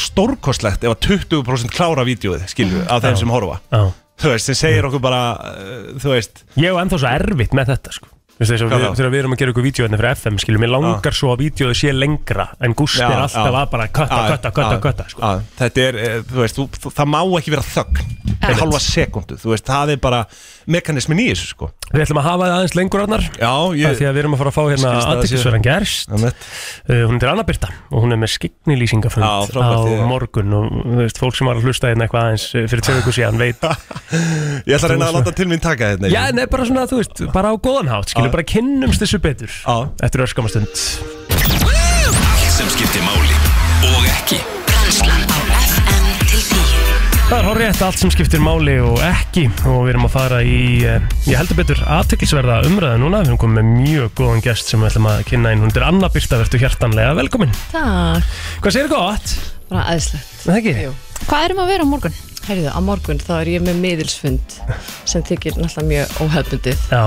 Speaker 4: stórkostlegt ef að 20% klára vídjóið skilur af þeim sem horfa
Speaker 2: já Mm.
Speaker 4: þú veist, sem segir okkur bara uh, þú veist,
Speaker 2: Ég er ennþá svo erfitt með þetta sko Þú veist, þess að
Speaker 4: Hvað
Speaker 2: við,
Speaker 4: þá?
Speaker 2: þegar við erum að gera ykkur vídeo hérna fyrir FM skilur, mér langar svo að vídeoðu sé lengra en Gústi
Speaker 4: Já,
Speaker 2: er alltaf
Speaker 4: já.
Speaker 2: að bara kötta,
Speaker 4: Já,
Speaker 2: kötta, kötta,
Speaker 4: já,
Speaker 2: kötta sko.
Speaker 4: já, þetta er, eh, þú veist, þú, þú- það má ekki vera þögn það er
Speaker 3: Einmitt.
Speaker 4: halva sekundu, þú veist, það er bara mekanismin í þessu, sko
Speaker 2: Við ætlum að hafa það aðeins lengur annar
Speaker 4: Já,
Speaker 2: af því
Speaker 4: ég,
Speaker 2: að við erum að fara að fá hérna
Speaker 4: Skilst að það sé-
Speaker 2: aðdiktisverðan gerst uh,
Speaker 4: Einmitt.
Speaker 2: Hún er Anna Birta og hún er með skiknilýsingafund
Speaker 4: Já, frábært,
Speaker 2: á
Speaker 4: ég-
Speaker 2: morgun og þú veist, fólk sem var að hlusta hérna eitthvað aðeins eh, fyrir tveiku síðan veit
Speaker 4: ég ætla að reyna að láta til mín taka hérna, þetta
Speaker 2: Já, nei, bara svona, þú veist, bara á góðan hátt skilur,
Speaker 4: Já.
Speaker 2: bara kynnumst þessu betur
Speaker 4: Já.
Speaker 2: eftir örskamastund
Speaker 1: Allt sem skiptir máli og ekki
Speaker 5: Brennslan á FM til 10
Speaker 2: Það er horrið allt sem skiptir máli og ekki og við erum að fara í, eh, ég heldur betur, aðteklisverða umræða núna. Við erum komið með mjög góðan gest sem við ætlum að kynna inn. Hún er Anna Birta, verður hjertanlega velkomin.
Speaker 6: Takk,
Speaker 2: Hvað segir gott?
Speaker 6: bara aðeinslegt
Speaker 2: Er Það ekki?
Speaker 6: Jú.
Speaker 3: Hvað erum að vera á morgun?
Speaker 6: Herðu, á morgun þá er ég með miðilsfund sem þykir náttúrulega mjög óhefbundið
Speaker 2: Já,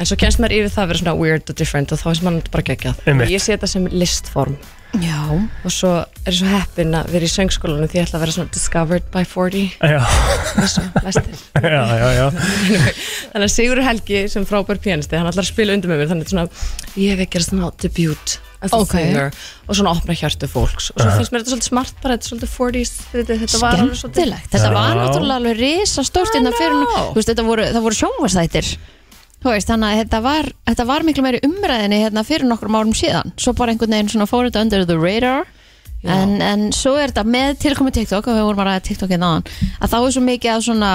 Speaker 6: en svo kemst maður yfir það að vera svona weird og different og þá finnst maður bara geggjað
Speaker 2: Einmitt.
Speaker 6: Og ég sé þetta sem listform
Speaker 3: Já,
Speaker 6: og svo er ég svo heppin að vera í söngskólanum því ég ætla að vera svona discovered by 40
Speaker 2: já,
Speaker 6: eins og flestir.
Speaker 2: já, já, já.
Speaker 6: þannig að Sigur Helgi sem frábær pianisti hann ætlar að spila undir með mér þannig að þetta er svona ég hef ekki að svona debut as a
Speaker 3: Ok.
Speaker 6: singer og svona opna hjartu fólks og svo finnst mér þetta svolítið smart bara þetta er svolítið 40s þetta, þetta var alveg svolítið
Speaker 3: skemmtilegt. Þetta var
Speaker 2: Já.
Speaker 3: náttúrulega alveg risa stórt innan fyrir hún.
Speaker 6: know.
Speaker 3: Þú veist, þetta voru, það voru sjónvarsættir. Þú veist, þannig að þetta var, þetta var miklu meiri umræðinni hérna fyrir nokkrum árum síðan. Svo bara einhvern veginn svona fór þetta under the radar. En, en svo er þetta með tilkomi TikTok og við vorum að ræða TikTok hérna áðan að þá er svo mikið að svona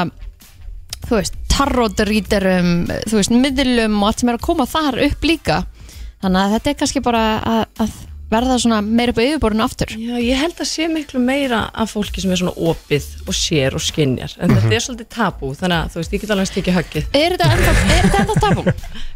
Speaker 3: þú veist, tarotrýterum þú veist, miðlum og allt sem er að koma þar upp líka þannig að þetta er kannski bara að, að verða svona meira upp á yfirborun aftur
Speaker 6: Já, ég held að sé miklu meira af fólki sem er svona opið og sér og skinjar en þetta er svolítið tabú, þannig að þú veist, ég get alveg að stikja höggið
Speaker 3: Er þetta ennþá, er þetta ennþá tabú?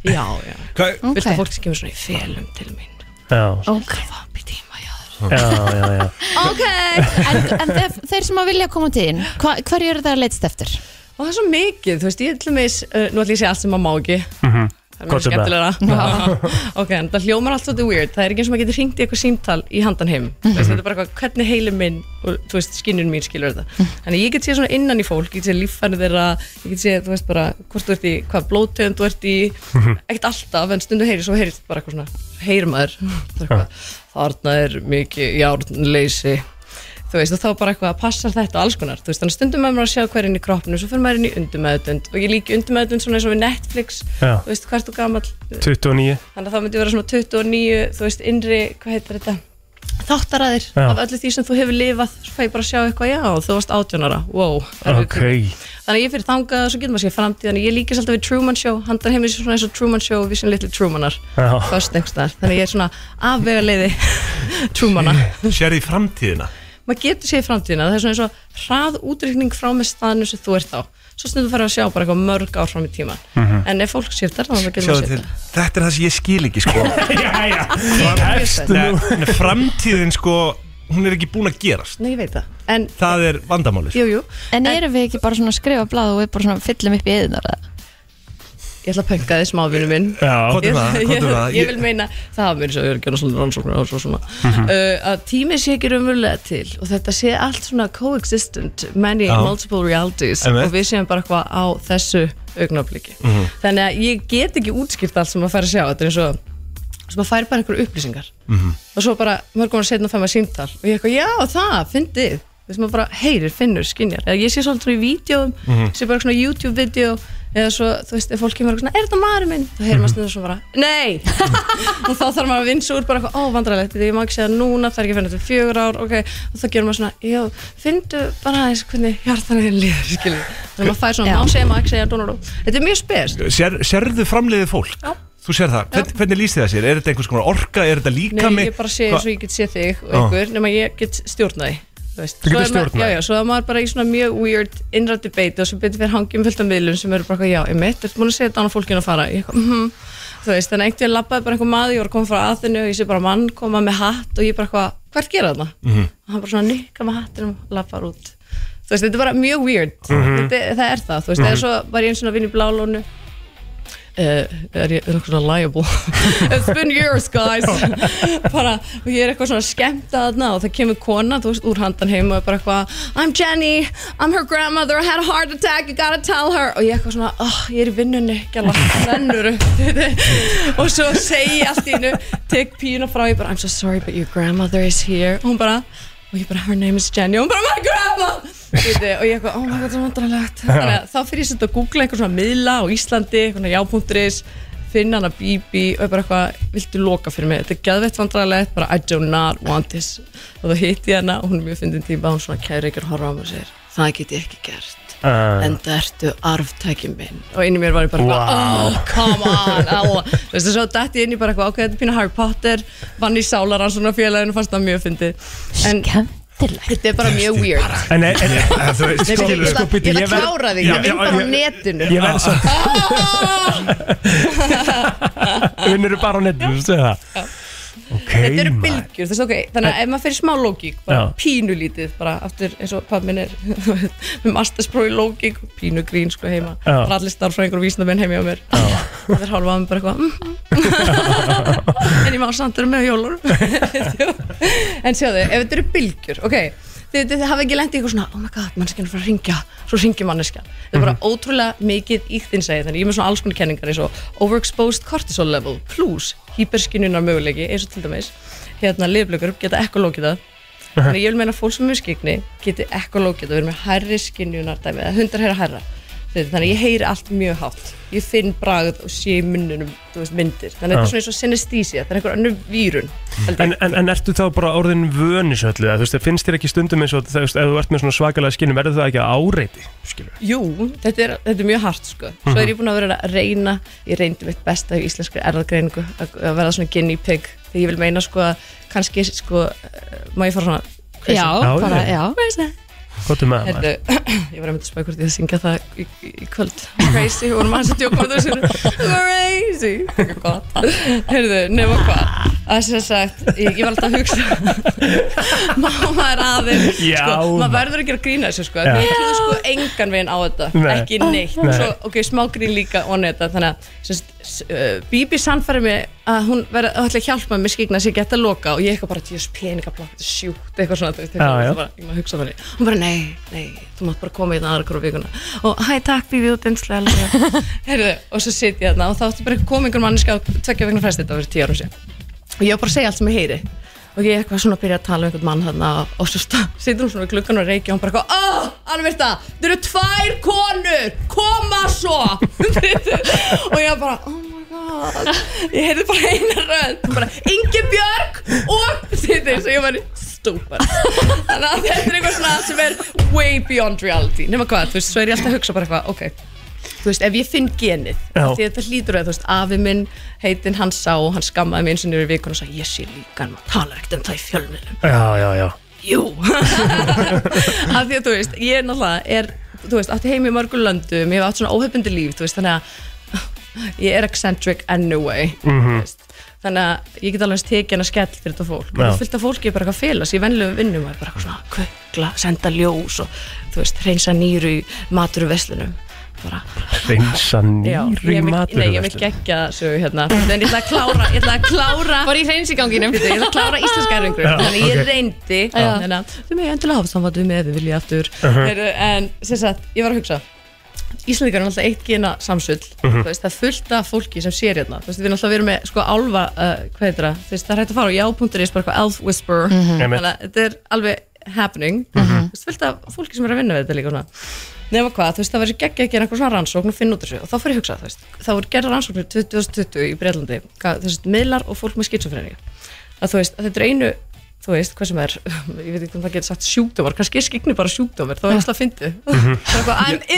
Speaker 6: Já, já,
Speaker 4: Hvað,
Speaker 6: okay. vilt að
Speaker 3: Ok,
Speaker 6: fólk sem kemur svona í felum til mín
Speaker 2: Já,
Speaker 3: ok,
Speaker 6: Það býr tíma, já
Speaker 2: já, já, já.
Speaker 3: okay. En, en þeir, þeir sem að vilja koma til þín hva, hverju eru það að leitst eftir?
Speaker 6: Og það er svo mikið, þú veist, ég ætlum eins uh, Nú ætlum ég að segja allt sem maður má ekki
Speaker 2: Mhm.
Speaker 6: Það er mjög
Speaker 2: Hvort er það?
Speaker 6: skemmtilegra Ok, en það hljómar allt svolítið weird Það er ekki eins og maður getur hringt í eitthvað símtal í handan heim Þú veist, Þetta er bara eitthvað, hvernig heilin minn og þú veist, skinnun mín skilur þetta Þannig ég get séð svona innan í fólk, ég get séð líffæri þeirra Ég get séð, þú veist, bara hvort þú ert í hvað blóðtöðum þú ert í
Speaker 2: Mhm.
Speaker 6: Ekkert alltaf, en stundu heyri, svo heyri bara eitthvað svona Heyri maður, það er eitthvað Þarna er mikið járnleysi þú veist, og þá bara eitthvað að passar þetta og alls konar, þú veist, þannig að stundum maður að sjá hvað er inn í kroppinu, svo fyrir maður inn í undumæðutund og ég líki undumæðutund svona eins og við Netflix
Speaker 2: Já.
Speaker 6: þú veist, hvað ert þú gamall
Speaker 2: 29.
Speaker 6: þannig að þá myndi ég vera svona 29, þú veist, innri hvað heitir þetta, þáttaræðir
Speaker 2: Já.
Speaker 6: af öllu því sem þú hefur lifað, svo fæ ég bara að sjá eitthvað, já, þú varst 18 ára, wow erfiður
Speaker 2: Ok,
Speaker 6: tími. Þannig að ég fyrir þangað og svo getur maður sér framtíðan Ég líkist alltaf við Truman Show, handan heimil sér svona eins og Truman Show og við sem litlu Trumanar
Speaker 2: Já.
Speaker 6: Föst einhvers staðar. Þannig að ég er svona afvega leiði Trumana
Speaker 4: sér í framtíðina?
Speaker 6: maður getur séð í framtíðina það er svona eins og hrað útrykning frá með staðinu sem þú ert á svo stundum fara að sjá bara eitthvað mörg ár fram í tíman
Speaker 2: Mhm.
Speaker 6: en ef fólk sér þetta þá getur
Speaker 4: Sjáðu
Speaker 6: maður séð
Speaker 4: til,
Speaker 6: þetta
Speaker 4: þetta er það sem ég skil ekki, sko
Speaker 2: já, já.
Speaker 6: Hefstu
Speaker 4: Nei, nei, Framtíðin, sko, hún er ekki búin að gerast
Speaker 6: Nei, ég veit það en,
Speaker 4: Það er vandamálið, sko.
Speaker 6: jú, jú,
Speaker 3: En erum við ekki bara svona að skrifa blað og við bara svona fyllum upp í eðinar
Speaker 6: ég ætla að pönka þið smávinu minn
Speaker 2: Já,
Speaker 4: Hvað
Speaker 6: Ég,
Speaker 4: er það?
Speaker 6: ég,
Speaker 4: Hvað er það?
Speaker 6: ég vil meina, það hafa mér svo, ég er að gera svona rannsóknir og svo svona
Speaker 4: Mhm.
Speaker 6: uh, að tími sé ekki raunverulega til og þetta sé allt svona coexistent many
Speaker 4: Já.
Speaker 6: multiple realities
Speaker 4: Einmitt.
Speaker 6: og við séum bara eitthvað á þessu augnabliki þannig að ég get ekki útskýrt allt sem maður fær að sjá, þetta er eins og sem maður fær bara einhverju upplýsingar og svo bara mörgum ára setna fær maður símtal og ég eitthvað, já það, fyndið þú veist maður bara heyrir, finnur, skinjar eða ég sé svolítið svona í vídjóum, sé bara svona YouTube-vídeó eða svo, þú veist, ef fólk kemur eitthvað svona, er þetta maður minn? þá heyrir maður
Speaker 3: Mhm.
Speaker 6: stundum svona bara, nei og þá þarf maður að vinsa úr bara eitthvað, ó vandrarlegt því ég má ekki segja núna, það er ekki að finna þetta fjögur ár ok, og þá gerum maður svona, já, fyndu bara aðeins hvernig hjartan er líður skilur, þannig að maður fær svona, má segja, má ekki segja dú, dú, dú. þetta er mjög spes
Speaker 4: Sér, Sérðu framleiðið fólk?
Speaker 6: Já.
Speaker 4: Þú sér það, Hvern, hvernig lýst þið það sér? Er þetta einhvers konar orka, er þetta líkami?
Speaker 6: Nei, ég bara sé
Speaker 4: Hva-
Speaker 6: eins og ég get sé þig
Speaker 4: Já.
Speaker 6: og ykkur, nema ég get stjórnaði
Speaker 2: Ah. Þú getur stjórnað því?
Speaker 6: Já, já, svo það maður bara í svona mjög weird innra debate og svo betur fyrir hangjum fullt af miðlum sem eru bara eitthvað, já, ég mitt, ertu búin að segja þetta annað fólkinu að fara Ég eitthvað, mhm, þú veist, þannig að einhvern veginn labbaði bara einhver maður, ég var að koma frá aðinu og ég sé bara mann koma með hatt og ég bara eitthvað, hvert gera þarna? Og hann bara svona nikka með hattinum og labbar út Þú
Speaker 2: Mhm.
Speaker 6: veist, þetta er bara mjög weird, þetta, það er það, þú veist, mm -hmm. svo var ég eins og að vinna í blálónu uh, er ég er eitthvað svona liable it's been years guys bara, og ég er eitthvað svona skemmt að þarna og það kemur kona, þú veist, úr handan heim og er bara eitthvað, I'm Jenny, I'm her grandmother I had a heart attack, you gotta tell her og ég er eitthvað svona, oh, ég er í vinnunni gæla þennur og svo segi ég allt í hennu tek píuna frá, ég bara, I'm so sorry but your grandmother is here, og hún bara og ég bara, her name is Jenny, og hún bara, Oh my grandma Viti, og ég eitthvað, oh my god, það er vandrarlegt þannig að þá fyrir ég svolítið að googla einhver svona miðla á Íslandi, einhvern veginn já.is finna hana bíbí og ég bara eitthvað viltu loka fyrir mig, þetta er geðveitt vandrarlegt bara I do not want this og þá hitti ég hana og hún er mjög fyndin tíma hún svona kæri ykkur horfa á mig og segir það get ég ekki gert
Speaker 2: Ah.
Speaker 6: en það ertu arftækjum minn og inni mér var ég bara wow. oh, come on Ella." þú veist svo dætti ég inn í bara eitthvað ok, þetta er pína Harry Potter vann í sálaransson og félaginu fannst það mjög fyndið en
Speaker 3: Skemmtilegt
Speaker 6: þetta er bara mjög weird
Speaker 2: En, en, en, en þú veist, sko,
Speaker 6: Nei, ég
Speaker 2: skilur
Speaker 6: ætla, ég ætla að klára þig, ég vinn bara á netinu
Speaker 2: Ég verð samt Vinnur þú bara á netinu, þú segir það Ok,
Speaker 6: Þetta eru
Speaker 2: maður.
Speaker 6: bylgjur, þessi, okay. þannig að ef maður fyrir smá lógík, bara
Speaker 2: Já.
Speaker 6: pínulítið, bara aftur eins og hvað minn er, með mastersprófi lógík, pínu grín sko heima,
Speaker 2: Já.
Speaker 6: bara allir starffræðingur og vísnamenn heimi á mér, það er hálfa að mér bara eitthvað, mm, en ég má samt vera með á jólunum. en sjáðu, ef þetta eru bylgjur, ok, þið, þið, þið hafa ekki lendið eitthvað svona, oh my god, manneskjan er frá að ringja, svo ringi manneskjan. Þetta er
Speaker 2: Mhm.
Speaker 6: bara ótrúlega mikið íktinsæði, þannig ég er með svona alls konar kenningar eins og overexposed cortisol level plus hyperskinunar möguleiki, eins og til dæmis, hérna liðblökur geta ekkolókið það. Þannig ég vil meina að fólk sem er skikni geti ekkolókið það, verið með hærri skinjunar dæmi, eða hundar heyra hærra. Þið, þannig ég heyri allt mjög hátt. Ég finn bragð og sé í munnunum, þú veist, myndir. Þannig þetta er svona eins og synestísi, það er einhver önnur vírun. held ég.
Speaker 2: En, en, en ertu þá bara orðin vönisöllu Þú veist, finnst þér ekki stundum eins og þú veist, Ef þú ert með svona svakalega skinnum, verður það ekki að áreiti Skilur
Speaker 6: Jú, þetta er, þetta er mjög hart sko. Svo er ég búin að vera að reyna Ég reyndi mitt besta í íslenskri erðagreiningu að að verða svona guinea pig Þegar ég vil meina sko að kannski sko, eh, Má ég fara svona crazy?
Speaker 3: Já,
Speaker 2: Já,
Speaker 3: bara,
Speaker 2: já.
Speaker 3: já
Speaker 6: Crazy.
Speaker 2: Hvað er með það? maður?
Speaker 6: Herðu, ég var að mynda að spæða hvort ég að syngja það í, í, í kvöld Crazy, við vorum aðeins að djóka með þessu Crazy Það er gott Herðu, nema hvað að sem sagt, ég, ég var alltaf að hugsa Mamma er aðeins
Speaker 2: Já,
Speaker 6: sko,
Speaker 2: maður.
Speaker 6: Maður verður ekki að grína þessu sko
Speaker 2: Já.
Speaker 6: Við höfum sko engan veginn á þetta
Speaker 2: Nei.
Speaker 6: Ekki neitt
Speaker 2: Nei.
Speaker 6: Svo, Ok, smá grín líka og neitt Þannig að sem sagt, s- uh, Bíbi sannfæri mig að hún verði að ætla að hjálpa mér skikna sig geta að loka og ég eitthvað bara tjóðs peningablokk, þetta er sjúkt eitthvað svona, þú
Speaker 2: Já,
Speaker 6: veist,
Speaker 2: já.
Speaker 6: eitthvað, bara, ég maður hugsa þannig hún bara nei, nei, þú mátt bara koma í það aðra hverju vikuna og hæ takk bífið út einslega herðu, og svo sit ég þarna og þá ætti bara komið einhver manneska á tvekja vegna fresti þetta var fyrir tíu árum sér og ég var bara að segja allt sem ég heyri og ég eitthvað svona að byrja að tala um einhvern mann þarna og, og svo stað- situr hún svona við gluggan og reykja og hún bara eitthvað, ahhh, Annavirta, þau eru tvær konur, koma svo og ég var bara, oh my god ég heyrði bara eina rönd bara, Ingi Björg og situr, svo ég var stúpar þannig að þetta er eitthvað svona sem er way beyond reality, nema hvað, þú veist, svo er ég alltaf að hugsa bara eitthvað, ok þú veist, ef ég finn genið
Speaker 2: Já.
Speaker 6: af því að þetta hlýtur að, þú veist, afi minn heitinn hann sá og hann skammaði mig eins og nýri vikun og sagði, ég sé líka, en maður talar ekkert um það í fjölmiðlum
Speaker 2: Já, já, já
Speaker 6: jú af því að, þú veist, ég er náttúrulega er, þú veist, átti heim í mörgum löndum ég hef átt svona óhefndi líf, þú veist, þannig að ég er eccentric anyway mm
Speaker 1: Mhm.
Speaker 6: veist, þannig að ég get alveg eins tekið hann að skell fyrir þetta fólk
Speaker 2: Já.
Speaker 6: og fyllt að fólki er bara eitthvað félags, ég venlega vinnum og er bara eitthvað svona, kukla, senda ljós og, þú veist, reynsa nýru í maturveslunum bara,
Speaker 2: Reynsa
Speaker 6: Já,
Speaker 2: nýri
Speaker 6: ég vil-
Speaker 2: matur
Speaker 6: Nei, ég vil gegja sögu hérna En ég ætla að klára Ég ætla að klára
Speaker 3: Var í hreinsiganginum
Speaker 6: Ég ætla að klára íslenska erfingur
Speaker 2: Já,
Speaker 6: Þannig ég
Speaker 2: ok.
Speaker 6: reyndi Þannig að þau með endilega hafa samvættu með ef við vilja aftur Heyrðu, En sem sagt, ég var að hugsa Íslandingar er alltaf eitt gena samsull
Speaker 2: Mhm.
Speaker 6: þú veist, Það er fullt af fólki sem sér hérna Þú veist, Við erum alltaf verið með sko álfa uh, Hvað heitir það? Þú veist, Það er hægt að fara á já.is bara eitthvað elf whisper
Speaker 2: Mhm. Einmitt. Mhm.
Speaker 6: Þannig að þetta er alveg happening Þú veist, Fullt af fólki sem er að vinna við þetta líka svona. Nefna hvað, þú veist, það verður geggja að gera einhver svona rannsókn og finna út úr þessu og þá fyrir ég hugsa, þú veist, þá voru gerða rannsóknir 2020 í Breitlandi, þessi miðlar og fólk með skitsofræningu að þú veist, að þetta er einu þú veist, hvað sem er, ég veit ekki um það getur sagt sjúkdómar, kannski er skikni bara sjúkdómar þá er alltaf að fyndi I'm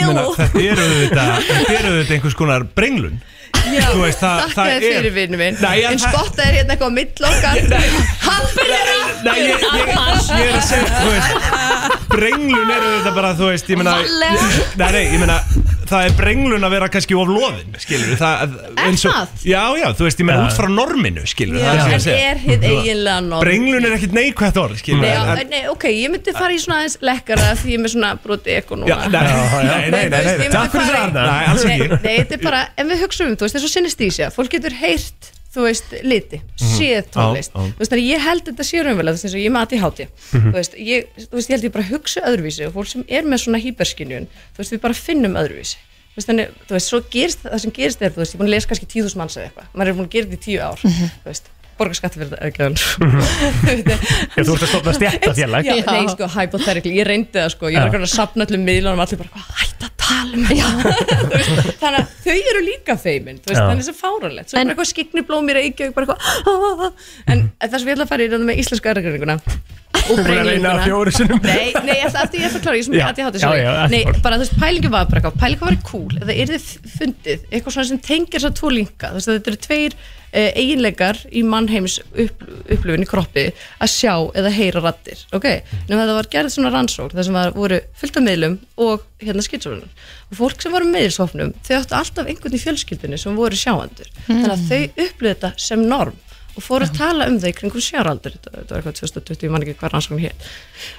Speaker 4: Meina,
Speaker 6: ill
Speaker 4: þetta eru þetta, þetta eru þetta einhvers konar brenglun
Speaker 6: Já,
Speaker 4: þú veist, það-
Speaker 6: þakka
Speaker 4: það
Speaker 6: þér
Speaker 4: er-
Speaker 6: fyrir vinnu minn
Speaker 4: Nei, en
Speaker 6: en sko,
Speaker 4: það-
Speaker 6: skotta er hérna eitthvað á millokkar hann fyrir að
Speaker 4: Nei, ég, ég, ég er að segja, þú veist Brenglun er þetta bara, þú veist, ég meina
Speaker 3: Varlega.
Speaker 4: Nei, nei, ég meina Það er brenglun að vera kannski of loðin, skilur það, eins og-
Speaker 6: það?
Speaker 4: Já, já, þú veist, ég meina
Speaker 2: Já.
Speaker 4: út frá norminu, skilur
Speaker 6: Já,
Speaker 4: það er sem ég
Speaker 6: en
Speaker 4: að segja
Speaker 6: er hitt eiginlega norm
Speaker 4: Brenglun er ekkit neikvægt orð, skilur
Speaker 6: Nei, já, nei, ok, ég myndi fara í svona aðeins lekkara því ég er með svona broti ekko núna
Speaker 4: Já, nei, nei, nei,
Speaker 6: þú
Speaker 4: nei,
Speaker 6: veist,
Speaker 4: nei,
Speaker 6: ég myndi
Speaker 4: Takk fyrir það,
Speaker 6: fara í-
Speaker 4: Arnar. Nei, alls
Speaker 6: Nei,
Speaker 4: ekki
Speaker 6: nei, þetta er bara, ef við hugsaum um, þú veist, eins og synestísja, fólk getur heyrt, þú veist, liti,
Speaker 2: Mhm.
Speaker 6: séð tónlist,
Speaker 4: Já, já.
Speaker 6: þú veist, þannig að ég held þetta sé raunverulega, þú veist, eins og ég með aðti háti,
Speaker 2: Mhm.
Speaker 6: þú veist, ég, þú veist, ég held ég bara hugsa öðruvísi og fólk sem er með svona hýperskinjun, þú veist, við bara finnum öðruvísi, þú veist, þannig, þú veist, svo gerist, það sem gerist er, þú veist, ég er búin að lesa kannski tíu þúsund manns eða eitthvað, maður er búin að gera þetta í tíu ár, þú veist, borga skatt fyrir þetta, ekki
Speaker 2: Ég, Mhm. þú ert að stofna stjættafélag
Speaker 6: Já, nei, sko, hypothetically, ég reyndi það, sko, ég var
Speaker 2: Já.
Speaker 6: eitthvað að safna öllum miðlunum, allir bara, hvað, hætt að tala um þetta, Þú veist, þannig að þau eru líka feimin, þú veist,
Speaker 2: Já.
Speaker 6: þannig að það er fáránlegt, svo er
Speaker 3: En-
Speaker 6: bara eitthvað skiknublóm í Reykjavík, bara eitthvað, "Ah, ah, ah." en það sem ég ætla að fara í þetta með íslenska erðargreininguna og
Speaker 2: Búin Mhm. að reyna
Speaker 6: breyninguna.
Speaker 2: fjóru sinum
Speaker 6: Nei, nei, ég ætla, af því ég ætla að klára, ég er
Speaker 2: Já,
Speaker 6: svo mikið aðtíð hátíð,
Speaker 2: já,
Speaker 6: sorry.
Speaker 2: já, ekki
Speaker 6: Nei,
Speaker 2: mál.
Speaker 6: bara þú veist, pælingin var bara eitthvað, pælingin var cool, eða er þið fundið, eitthvað svona sem tengir þess að tvo linka, þú veist, þetta eru tveir eh, eiginleikar í mannheims upp, upplifin í kroppi að sjá eða heyra rattir, ok? Nefnum þetta var gerð svona rannsókn, þar sem var, voru fullt af meðlum og hérna skitsóðunum. Og fólk sem var meðilsvopnum, þau áttu alltaf einhvern í fjölskyldinu sem voru sjáandur. Þannig að þau upplifið þetta sem norm og fóru að tala um það í kringum sjáaldur þetta þetta var eitthvað 2020, ég man ekki hvað rannsókn hér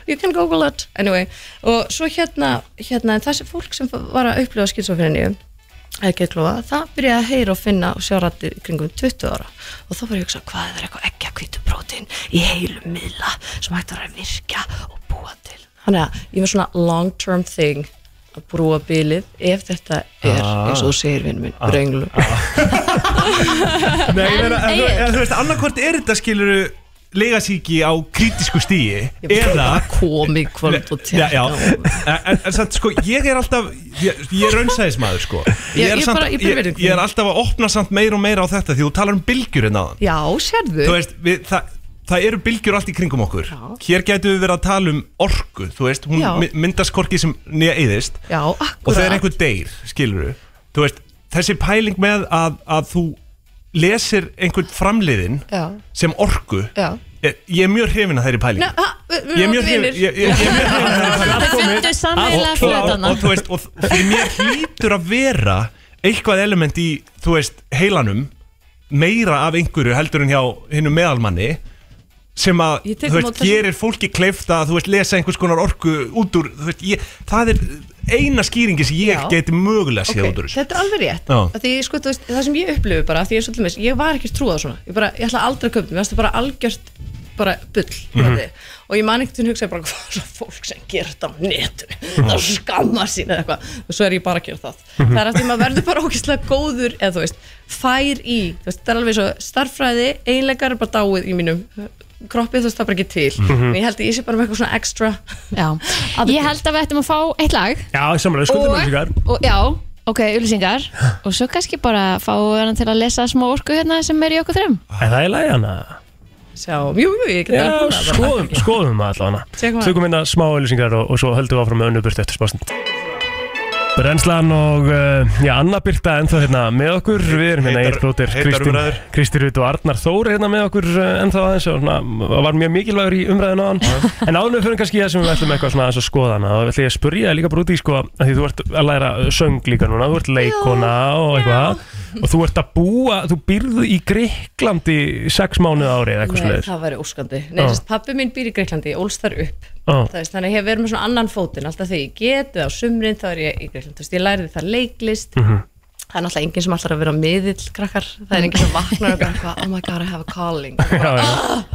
Speaker 6: you can google it, anyway og svo hérna, hérna en þessi fólk sem var að upplifa skilsofrinni eða geðklofa, það byrjaði að heyra og finna og sjá rættir kringum 20 ára og þá var ég að hugsa, hvað er það eitthvað ekki að kvítu prótín í heilum miðla sem hægt var að virka og búa til þannig að ég er með svona long term thing að brúa bilið ef þetta er, eins og þú segir vinn minn, brenglu
Speaker 4: Nei, ég meina,
Speaker 3: En,
Speaker 4: en, þú-
Speaker 3: Egill.
Speaker 4: en þú veist, annarkvort er þetta skiluru legasíki á krítisku stíi eða
Speaker 6: komi kvöld og
Speaker 4: Já, já, en, en, en samt sko, ég er alltaf ég, ég er raunsæðismæður sko
Speaker 6: Já,
Speaker 4: er
Speaker 6: ég
Speaker 4: samt,
Speaker 6: bara- ég ber virðingu
Speaker 4: ég, ég er alltaf að opna samt meira og meira á þetta því þú talar um bylgjur en aðan
Speaker 6: Já, sérðu
Speaker 4: þú veist, við, það, það eru bylgjur allt í kringum okkur
Speaker 6: Já.
Speaker 4: hér getum við verið að tala um orku þú veist, hún
Speaker 6: Já.
Speaker 4: my- myndast korki sem nýja eyðist
Speaker 6: Já,
Speaker 4: og þegar einhver
Speaker 6: akkurat
Speaker 4: deyr, skilur þú veist, þessi pæling með að, að þú lesir einhvern framliðin
Speaker 6: Já.
Speaker 4: sem orku
Speaker 6: Já.
Speaker 4: ég, ég er mjög hrifin að þeirri pæling
Speaker 6: Nei, ha, við- við
Speaker 4: ég er
Speaker 6: erum
Speaker 4: mjög
Speaker 6: allir
Speaker 4: hrifin
Speaker 6: vinir.
Speaker 4: ég, ég, ég er mjög hrifin að þeirri pæling
Speaker 3: Þau fundu
Speaker 4: og, og,
Speaker 3: sammeðilega
Speaker 4: og,
Speaker 3: flötana
Speaker 4: þú veist, og fyrir mér hlýtur að vera eitthvað element í, þú veist, heilanum meira af einhverju heldur en hjá hinnum meðalmanni sem að,
Speaker 6: Ég tek á
Speaker 4: þú veist,
Speaker 6: móti þessu.
Speaker 4: gerir fólki kleifta að, þú veist, lesa einhvers konar orku út úr, þú veist, ég, það er eina skýringi sem ég
Speaker 6: Já.
Speaker 4: geti mögulega séð
Speaker 6: Ok,
Speaker 4: út úr þessu
Speaker 6: Þetta er alveg rétt
Speaker 4: Já.
Speaker 6: Af því, sko, þú veist, Það sem ég upplifu bara af því ég, er svolítið með- ég var ekki trúað svona Ég, bara, ég ætla aldrei að köpna Mér fannst það bara algjört bara bull mm og ég man ekkert hún hugsaði bara hvað er það fólk sem gerir þetta á netinu það skammar sín eða eitthvað og svo er ég bara að gera það það er af því maður verður bara ógeðslega góður eða þú veist, fær í þú veist, það er alveg svo starffræði, einlegar er bara dáið í mínum kroppi þú veist það er bara ekki til en ég held að ég sé bara með eitthvað svona extra
Speaker 3: Já, ég held að við ættum að fá eitt lag
Speaker 2: Já, samanlega, skuldum öllugar
Speaker 3: og, já, ok, ulýsingar og svo kannski bara fá hann til að lesa smá orku hérna sem er í okkur þrem
Speaker 2: En það er læg hana
Speaker 6: sjá, jú, jú, ég get
Speaker 2: Já,
Speaker 6: alveg búin að-
Speaker 2: skoðum, skoðum maður allavega
Speaker 6: Tökum
Speaker 2: hana
Speaker 6: að.
Speaker 2: Tökum hérna smá öllusingar og, og svo höldum við áfram með önnu byrtu eftir spásnind Brennslan og uh, já, Anna Byrta ennþá hérna með okkur Við erum hérna
Speaker 4: Heitar-
Speaker 2: Egil Blóter,
Speaker 4: heitar
Speaker 2: Kristín,
Speaker 4: umræður.
Speaker 2: Kristín Rut og Arnar Þór hérna með okkur uh, ennþá aðeins og svona, var mjög mikilvægur í umræðinu á hann En áður við fyrir kannski í það sem við ætlum eitthvað svona aðeins að skoða hana og ætlum ég að spurja líka bara út í sko að því þú ert að læra eh, söng líka núna, þú ert leikona og eitthvað og þú ert að búa, þú býrðu í Gríklandi sex mánuð ári eða eitthvað
Speaker 6: Nei,
Speaker 2: slúður
Speaker 6: það væri óskandi Nei,
Speaker 2: Já.
Speaker 6: þess, pappi minn býr í Greiklandi, ég ólst þar upp
Speaker 2: Já.
Speaker 6: Það veist, Þannig að ég hef verið með svona annan fótinn Alltaf þegar ég geti á sumrin þá er ég í Greiklandi Þú veist, Ég læriði þar leiklist
Speaker 2: Mm.
Speaker 6: Það er náttúrulega enginn sem ætlar að vera miðill krakkar Það er enginn sem vaknar og bara eitthvað, Oh my god, I have a calling
Speaker 2: Já, já.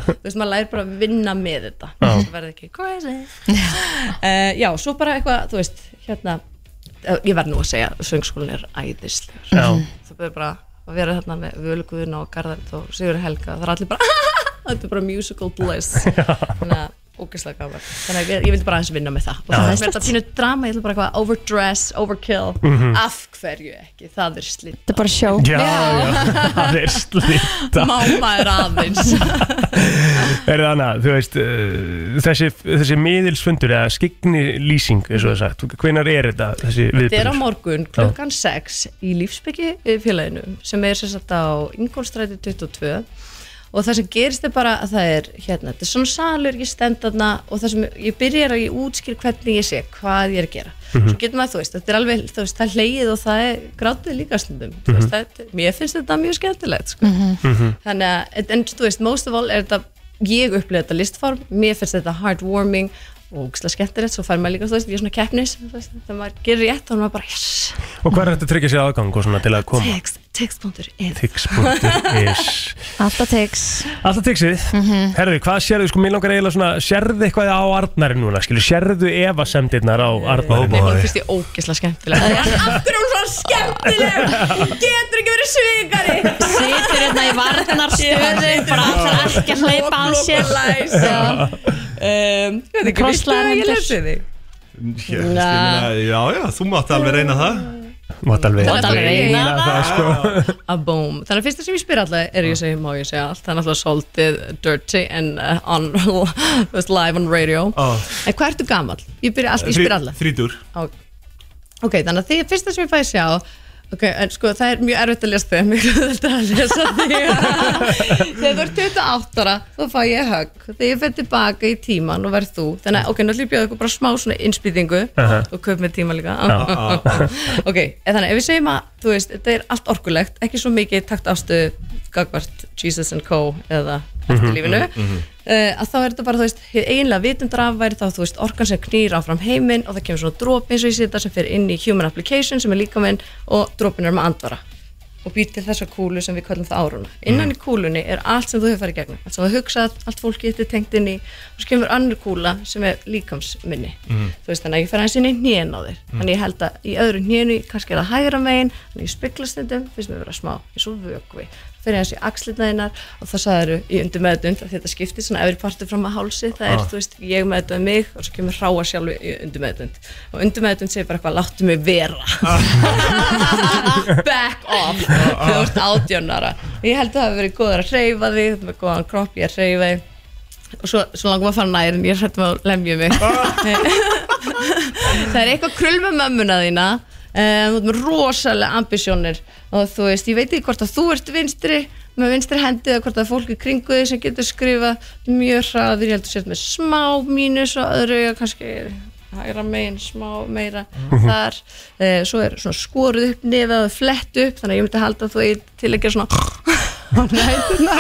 Speaker 6: Þú veist, maður læri bara að vinna með þetta
Speaker 2: Já.
Speaker 6: Það verði ekki crazy uh, Já, svo bara eitthvað, þú veist, hérna eh, Ég verð nú að segja, söngskólinn er æðislegur
Speaker 2: Já.
Speaker 6: það byrði bara að vera þarna með Völuguðun og Garðar og Sigur Helga það er allir bara þetta er bara musical bliss þannig að ógeðslega gaman þannig að ég, ég vildi bara aðeins vinna með það og það er þetta pínu drama, ég vil bara eitthvað overdress, overkill
Speaker 2: Mhm.
Speaker 6: af hverju ekki, það er slitt
Speaker 3: Þetta er bara sjó
Speaker 2: Já, já, það er slita
Speaker 6: máma er aðeins
Speaker 2: Er það annað, þú veist uh, þessi, þessi miðilsfundur eða skigni lýsing, eins og það er sagt hvenar er þetta, þessi
Speaker 6: þetta er á
Speaker 2: viðbjörn
Speaker 6: morgun klukkan eh, 6 í lífsbyggi félaginu sem er sérstaklega á Ingolstræti 22 og það sem gerist er bara að það er hérna, þetta er svona salur, ég stend þarna og það sem ég byrjar að ég útskýr hvernig ég sé hvað ég er að gera
Speaker 2: Mhm.
Speaker 3: Mhm.
Speaker 6: svo getur maður, þú veist, þetta er alveg, þú veist, það er hlegið og það er grátið líka stundum mm veist, það, mér finnst þetta mjög skemmtilegt sko. þannig að, en- en þú veist, most of all er þetta, ég upplifði þetta listform mér finnst þetta heartwarming og ógislega skemmtilegt, svo fær maður líka, þú veist, ég er svona keppnis, þú veist, þegar maður gerir rétt þá er maður bara, yes,
Speaker 2: Og hvað er þetta að tryggja sér aðgang og svona til að koma?
Speaker 6: text, text.is
Speaker 2: Tix.is
Speaker 3: Alltaf Mhm. teks
Speaker 2: Alltaf tixið Herðu, hvað sérðu, sko, mér langar eiginlega svona Sérðu eitthvað á Arnari núna, skilu Sérðu efasemdirnar á Arnari
Speaker 6: Nei, hún finnst ég ógislega skemmtileg Aftur er hún svona skemmtileg Hún getur ekki verið svikari
Speaker 3: Situr hérna í varnarstöðu Bara alltaf ekki að hleypa á sér Já.
Speaker 6: um, Ég veit ekki, viltu að ég
Speaker 3: Krosslagðar
Speaker 6: lesi þig?
Speaker 4: Ég, veist, ég meina, já, já, þú mátt alveg reyna það
Speaker 2: Mátt alveg
Speaker 6: Mátt alveg
Speaker 2: eiginlega
Speaker 6: eiginlega
Speaker 2: það, sko
Speaker 6: A boom Þannig að fyrsta sem ég spyr alltaf er ég segi, má ég segja allt Það er alltaf svolítið dirty and uh, on, þú veist, live on radio
Speaker 4: Á.
Speaker 6: En hvað ertu gamall? Ég, byrja alltaf, ég spyr alltaf
Speaker 4: Þrítur
Speaker 6: Á- Ok, þannig að því fyrsta sem ég fæði sjá Ok, en sko það er mjög erfitt að lesa þig Mjög erfitt að lesa þig Þegar þú ert 28 ára Þá fæ ég högg Þegar ég fer tilbaka í tíman og verð þú Þannig að ok, náttúrulega bjóðu ykkur bara smá svona innspýtingu Og kaup með tíma líka Ok, en þannig ef við segjum að Þú veist, þetta er allt orkulegt Ekki svo mikið takt ástu Gagvart, Jesus and Co. Eða eftirlífinu uh, að þá er þetta bara, þú veist, hið eiginlega vitundrafværi þá, þú veist, orkan sem knýr áfram heiminn og það kemur svona dropi eins og ég sé þetta sem fer inn í human application sem er líkaminn og dropin er með andvara og býr til þessa kúlu sem við kallum það áruna innan í kúlunni er allt sem þú hefur farið í gegnum allt sem þú hefur hugsað, allt fólki þetta er tengt inn í og svo kemur annar kúla sem er líkamsminni
Speaker 2: Mhm.
Speaker 6: þú veist þannig að ég fer aðeins inn í hnén á þér þannig ég held að í öðru hnénu, kannski er það hægra megin þannig ég spikla stundum, finnst mér vera smá eins og vökvi, fer aðeins í axlitaðinnar og það sagðaru í undir meðdund að þetta skiptir svona efri partur fram að hálsi það er, þú veist, ég meðdund mig og svo kemur hráa sjálfi í undir meðdund og undir meðdund segir bara eitthvað, láttu mig vera back off þegar þú ert átjónara ég held að það hefur verið góður að hreyfa þig þú ert með góðan kropp, ég að hreyfa þig og svo, svo langum að fara nær en ég er hrættum að lemja mig það er eitthvað krull með mömmuna þína um, þú ert með rosalega ambisjónir og þú veist, ég veit ekki hvort að þú ert vinstri með vinstri hendi eða hvort að fólki kringu þig sem getur skrifað mjög hraður, ég held að þú sért með smá mínus og öðru auga kannski hægra megin, smá meira þar, e, svo er svona skoruð upp nefið og flett upp, þannig að ég myndi halda að þú eigi til að gera svona á nætuna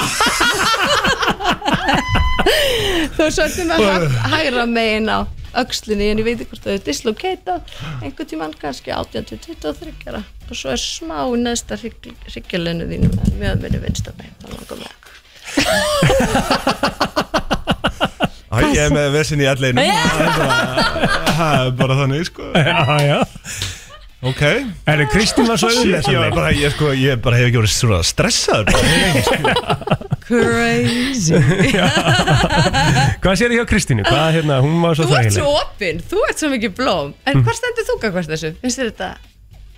Speaker 6: þú er svolítið með hæ- hægra megin á öxlinni en ég veit ekki hvort það er dislokatað einhvern tímann kannski 18-23 ára. og svo er smá í neðsta hryggjulinu þínu með minni vinstra megin það langar með
Speaker 4: Æ, ég er með vesin í alleginu Það er bara þannig, sko
Speaker 2: Já, já
Speaker 4: Ok
Speaker 2: Er þið Kristín var svo
Speaker 4: Shit, Ég, var
Speaker 2: auðvitað
Speaker 4: bara, ég, sko, ég bara hef ekki verið svona stressaður bara.
Speaker 6: crazy
Speaker 2: Hvað sérðu hjá Kristínu? Hvað, hérna, hún var svo
Speaker 6: þú ert svo
Speaker 2: þægileg
Speaker 6: opinn, þú ert svo mikið blóm en hvað stendur þú gagvart þessu? finnst þér þetta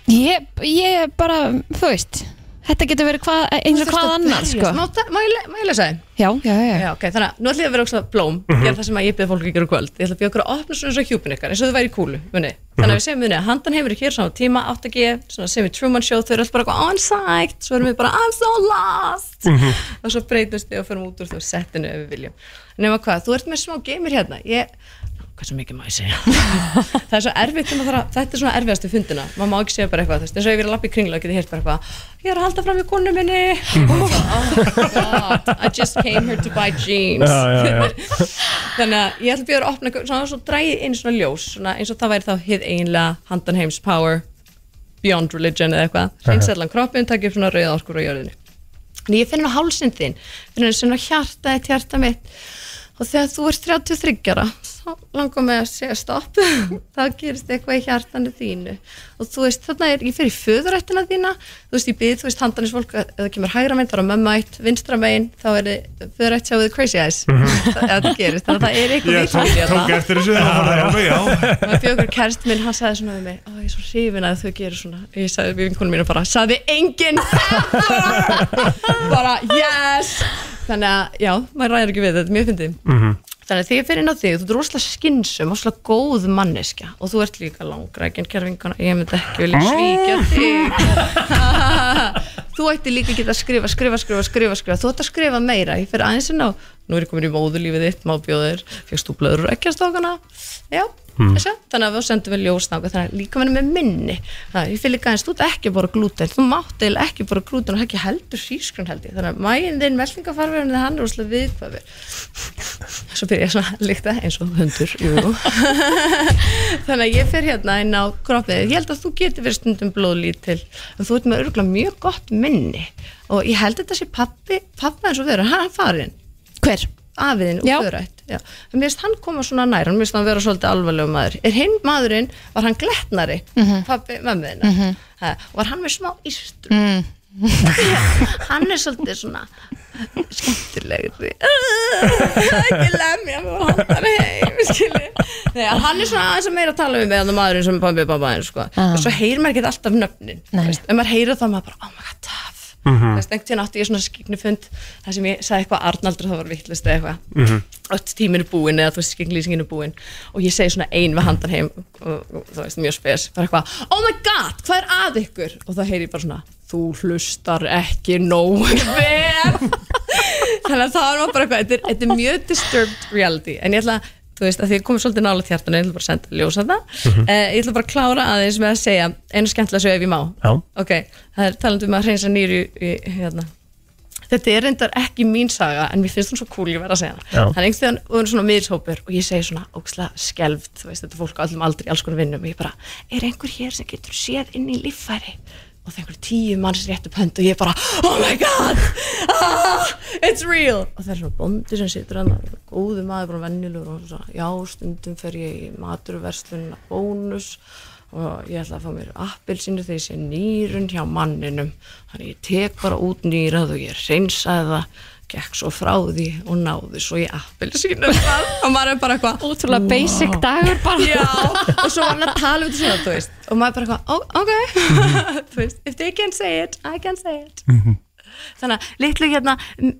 Speaker 3: Ég, ég bara, þú veist Þetta getur verið hva, eins og hvað annar sko.
Speaker 6: Má, ta- má, ég, le- má ég lesa þið?
Speaker 3: Já, já, já,
Speaker 6: Já, ok, þannig að nú ætlum ég að vera okkur blóm Ég er það sem að ég byrði fólk að gera í kvöld Ég ætla að byrja okkur að opna svona eins og hjúpin ykkar eins og þau væri í kúlu, muni Þannig að við segjum muni að handan hefur ekki hér saman tíma 8G, svona semi Truman Show Þau eru alltaf bara eitthvað on site Svo erum við bara I'm so lost Og svo breytumst við og förum út úr þú settinu ef við viljum Nefna hvað, þú ert með smá geimir hérna Ég hversu mikið má ég segja það er svo erfitt þegar maður þarf að, þetta er svona erfiðastu fundina maður má ekki segja bara eitthvað þú veist, eins og ég verið að lappa í kringla og geti heyrt bara eitthvað ég er að halda fram í konu minni oh my god I just came here to buy jeans
Speaker 2: Já, já, já
Speaker 6: þannig að ég ætla að bjóða að opna eitthvað- svona svo dræði inn svona ljós svona eins og það væri þá hið eiginlega handan heims power beyond religion eða eitthvað reynsallan kroppin, takk upp svona rauða orkur á jörðinu en ég finn á hálsinn þinn finn á svona hjarta eitt hjarta mitt og þegar þú ert 33 ára þá langar mig að segja stopp þá gerist eitthvað í hjartanu þínu og þú veist, þarna er, ég fer í föðurættina þína, þú veist, ég byrð, þú veist, handanis fólk að- ef það kemur hægra meginn, þá er það mömmu ætt vinstra meginn, þá er þið föðurætt sjáuð crazy eyes, það, það gerist þannig að það er eitthvað
Speaker 4: Ég
Speaker 6: vitlaust í
Speaker 4: tók,
Speaker 6: þetta.
Speaker 2: hérna.
Speaker 4: tók eftir þessu Það var alveg, já
Speaker 6: Það var fjögur kærst minn, hann sagði svona við mig Ó, ég er svo hrifin að þau gerir svona Ég sagði við vinkunum mínu bara, sagði enginn bara, yes Þannig að, já, maður ræðir ekki við þetta, þetta er mjög fyndið þannig að þegar ég fer inn á þig, þú ert rosalega skynsum rosalega góð manneskja og þú ert líka langrækinn kjærvingana, ég myndi ekki vilja svíkja þig þú ætti líka að geta að skrifa skrifa, skrifa, skrifa, skrifa, þú ætti að skrifa meira ég fer aðeins inn á, nú er ég komin í móðulífið þitt, má bjóðir, fegst þú blöður ekki að stókana, já þessi, þannig að við sendum við ljósnáka, þannig að líka með minni, það, ég fyrir líka aðeins þú ert ekki bara glúten, þú mátt eða ekki bara glúten og ekki heldur sískrun held ég, þannig að mægin þinn meltingafarverðin þinn hann er rosalega viðkvæður svo fyrir ég svona að líkta eins og hundur jú. þannig að ég fer hérna inn á kroppið ég held að þú getur verið stundum blóðlítil en þú ert með örgulega mjög gott minni og ég held að þetta sé pappi pappa eins og vera, hann er farinn
Speaker 3: Hver?
Speaker 6: afiðin
Speaker 3: Já.
Speaker 6: og förætt mér finnst hann koma svona nær, hann mér finnst hann vera svolítið alvarlegu maður, er hinn maðurinn var hann glettnari,
Speaker 3: Mhm.
Speaker 6: pappi mömmuðina mm var hann með smá ístur hann er svolítið svona skemmtilegri ekki lemja mig og handa mig heim skilji. Nei, hann er svona aðeins að meira að tala um með hann maðurinn sem er pabbi pappa eins sko.
Speaker 3: Ah.
Speaker 6: og svo heyrir maður ekki alltaf nöfnin
Speaker 3: Nei.
Speaker 6: þú veist. ef maður heyrir það maður bara oh my god tough mm -hmm. þess einhvern tíðan átti ég svona skiknufund þar sem ég sagði eitthvað Arnaldur það var vittlust eða eitthvað mm -hmm. öll tíminn er búinn eða þú veist skiknlýsingin er búinn og ég segi svona ein við handan heim og, og þú veist mjög spes bara eitthvað oh my god hvað er að ykkur og þá heyri ég bara svona þú hlustar ekki nógu vel þannig að það var bara eitthvað þetta er, þetta er mjög disturbed reality en ég ætla að, þú veist, að því ég komið svolítið nála hjartan ég ætla bara að senda ljósa það eh, ég ætla bara að klára aðeins með að segja einu skemmtilega sög ef ég má
Speaker 2: Já.
Speaker 6: ok, það er talandi um að hreinsa nýri í, í, hérna þetta er reyndar ekki mín saga en mér finnst hún svo cool ég verð að segja hana
Speaker 2: Já.
Speaker 6: þannig einhvern veginn og hún er svona miðshópur og ég segi svona óksla skelfd, þú veist þetta er fólk á allum aldrei alls konar vinnum og ég bara, er einhver hér sem getur séð inn í líffæri og það er einhver tíu manns rétt upp hönd og ég bara oh my god, ah, it's real og það er svona bóndi sem situr hann góðu maður, bara vennilegur og hann svona, já, stundum fer ég í maturverslunna bónus og ég ætla að fá mér appelsínu þegar ég sé nýrun hjá manninum þannig ég tek bara út nýrað og ég reynsaði það gekk svo frá því og náði svo í appelsínu og maður er bara eitthvað
Speaker 3: Ótrúlega basic dagur bara
Speaker 6: já, og svo var hann að tala um þetta svona, þú veist og maður bara eitthvað, "Ó, ok þú veist, if they can say it, I can say it þannig að litlu hérna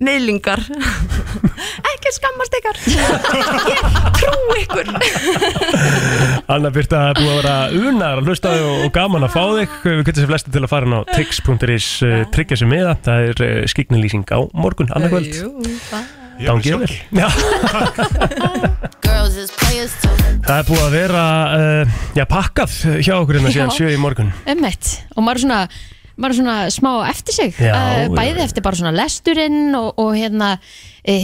Speaker 6: meðlingar ekki skammast ykkar ég trú ykkur
Speaker 2: Anna Birta, það er búið að vera unar að hlusta á þig og, og gaman að fá þig Við getum sér flesti til að fara inn á tix.is uh, tryggja sér miða, það er uh, skiknilýsing á morgun, annarkvöld
Speaker 6: Jú, það
Speaker 2: Dán Gjöfell Það
Speaker 5: Girls is players too
Speaker 2: er búið að vera uh, já, pakkað hjá okkur hérna síðan
Speaker 3: Já.
Speaker 2: sjö í morgun
Speaker 3: Emmett Og maður er svona maður er svona smá eftir sig
Speaker 2: Já,
Speaker 3: Eh,
Speaker 2: já,
Speaker 3: bæði
Speaker 2: já.
Speaker 3: eftir bara svona lesturinn og, og hérna e,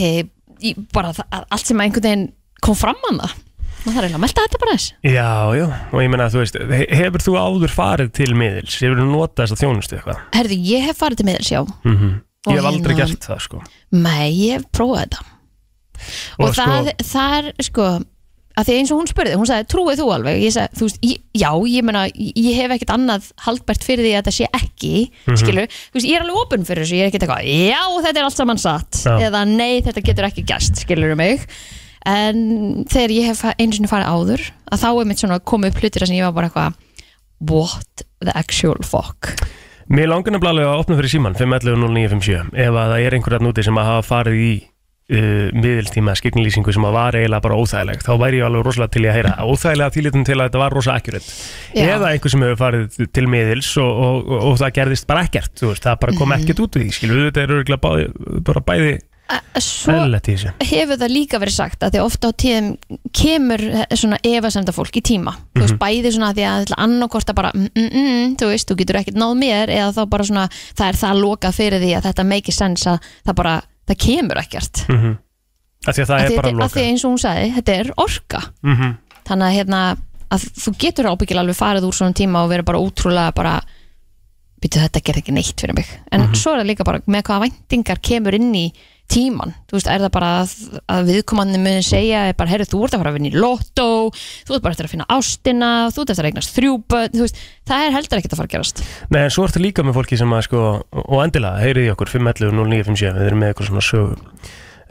Speaker 3: í, bara það, að allt sem einhvern veginn kom fram hann það og það er eiginlega að melda þetta bara þess
Speaker 2: Já, já, og ég meina að þú veist he- Hefur þú áður farið til miðils? Hefur þú notað þess að þjónustu eitthvað? Mhm.
Speaker 3: Herðu, ég hef farið til miður sjá Og
Speaker 2: Ég hef aldrei
Speaker 3: hérna-
Speaker 2: gert það sko
Speaker 3: Nei, ég hef prófað þetta og,
Speaker 2: Og sko-
Speaker 3: það, það er sko að því eins og hún spurði, hún sagði trúið þú alveg ég sagði, þú veist, ég, já, ég meina ég hef ekkert annað haldbært fyrir því að þetta sé ekki mm
Speaker 2: Mhm.
Speaker 3: þú veist, ég er alveg opinn fyrir þessu, ég er ekkert eitthvað já, þetta er allt saman satt,
Speaker 2: Já.
Speaker 3: eða nei, þetta getur ekki gæst, skilur mig en þegar ég hef einu sinni farið áður, að þá er mitt svona komið upp hlutir þar sem ég var bara eitthvað what the actual fuck
Speaker 2: Mér langar nefnilega alveg að opna fyrir síman 511-0957 ef að það er einhver einhverjarn úti sem að hafa farið í uh, miðilstíma skiknlýsingu sem að var eiginlega bara óþægileg þá væri ég alveg rosalega til í að heyra óþægilega tilítum til að þetta var rosa akkurat
Speaker 3: Já.
Speaker 2: eða einhver sem hefur farið til miðils og, og, og, og það gerðist bara ekkert þú veist, það bara kom
Speaker 3: Mhm.
Speaker 2: ekkert út við því skilur þetta er örugglega báði, bara bæði
Speaker 3: Eh, svo
Speaker 2: eðlætt í þessu
Speaker 3: hefur það líka verið sagt að því ofta á tíðum kemur eh, svona efasemda fólk í tíma þú
Speaker 2: Mhm.
Speaker 3: veist bæði svona því að annarkorta bara mm, mm, mm, þú veist, þú getur ekkert náð mér eða þá bara svona, það er það lokað fyrir því að þetta make sense að það bara það kemur ekkert mm
Speaker 2: Mhm. af því að það
Speaker 3: að,
Speaker 2: er
Speaker 3: því,
Speaker 2: bara
Speaker 3: að því
Speaker 2: loka
Speaker 3: eins og hún sagði, þetta er orka
Speaker 2: Mhm.
Speaker 3: þannig að hérna að þú getur ábyggilega alveg farið úr svona tíma og verið bara útrúlega bara býtu þetta gerði ekki neitt fyrir mig en
Speaker 2: Mhm.
Speaker 3: svo er það líka bara með hvaða væntingar kemur inn í tíman, þú veist, er það bara að, að viðkomandi muni segja, er bara heyrðu, þú ert að fara að vinna í lottó þú ert bara eftir að finna ástina, þú ert eftir að eignast þrjúböð, þú veist, það er heldur ekkert að fara að gerast
Speaker 2: Nei, en svo ertu líka með fólki sem að sko, og endilega, heyriði okkur 511-0957, við erum með eitthvað svona sögu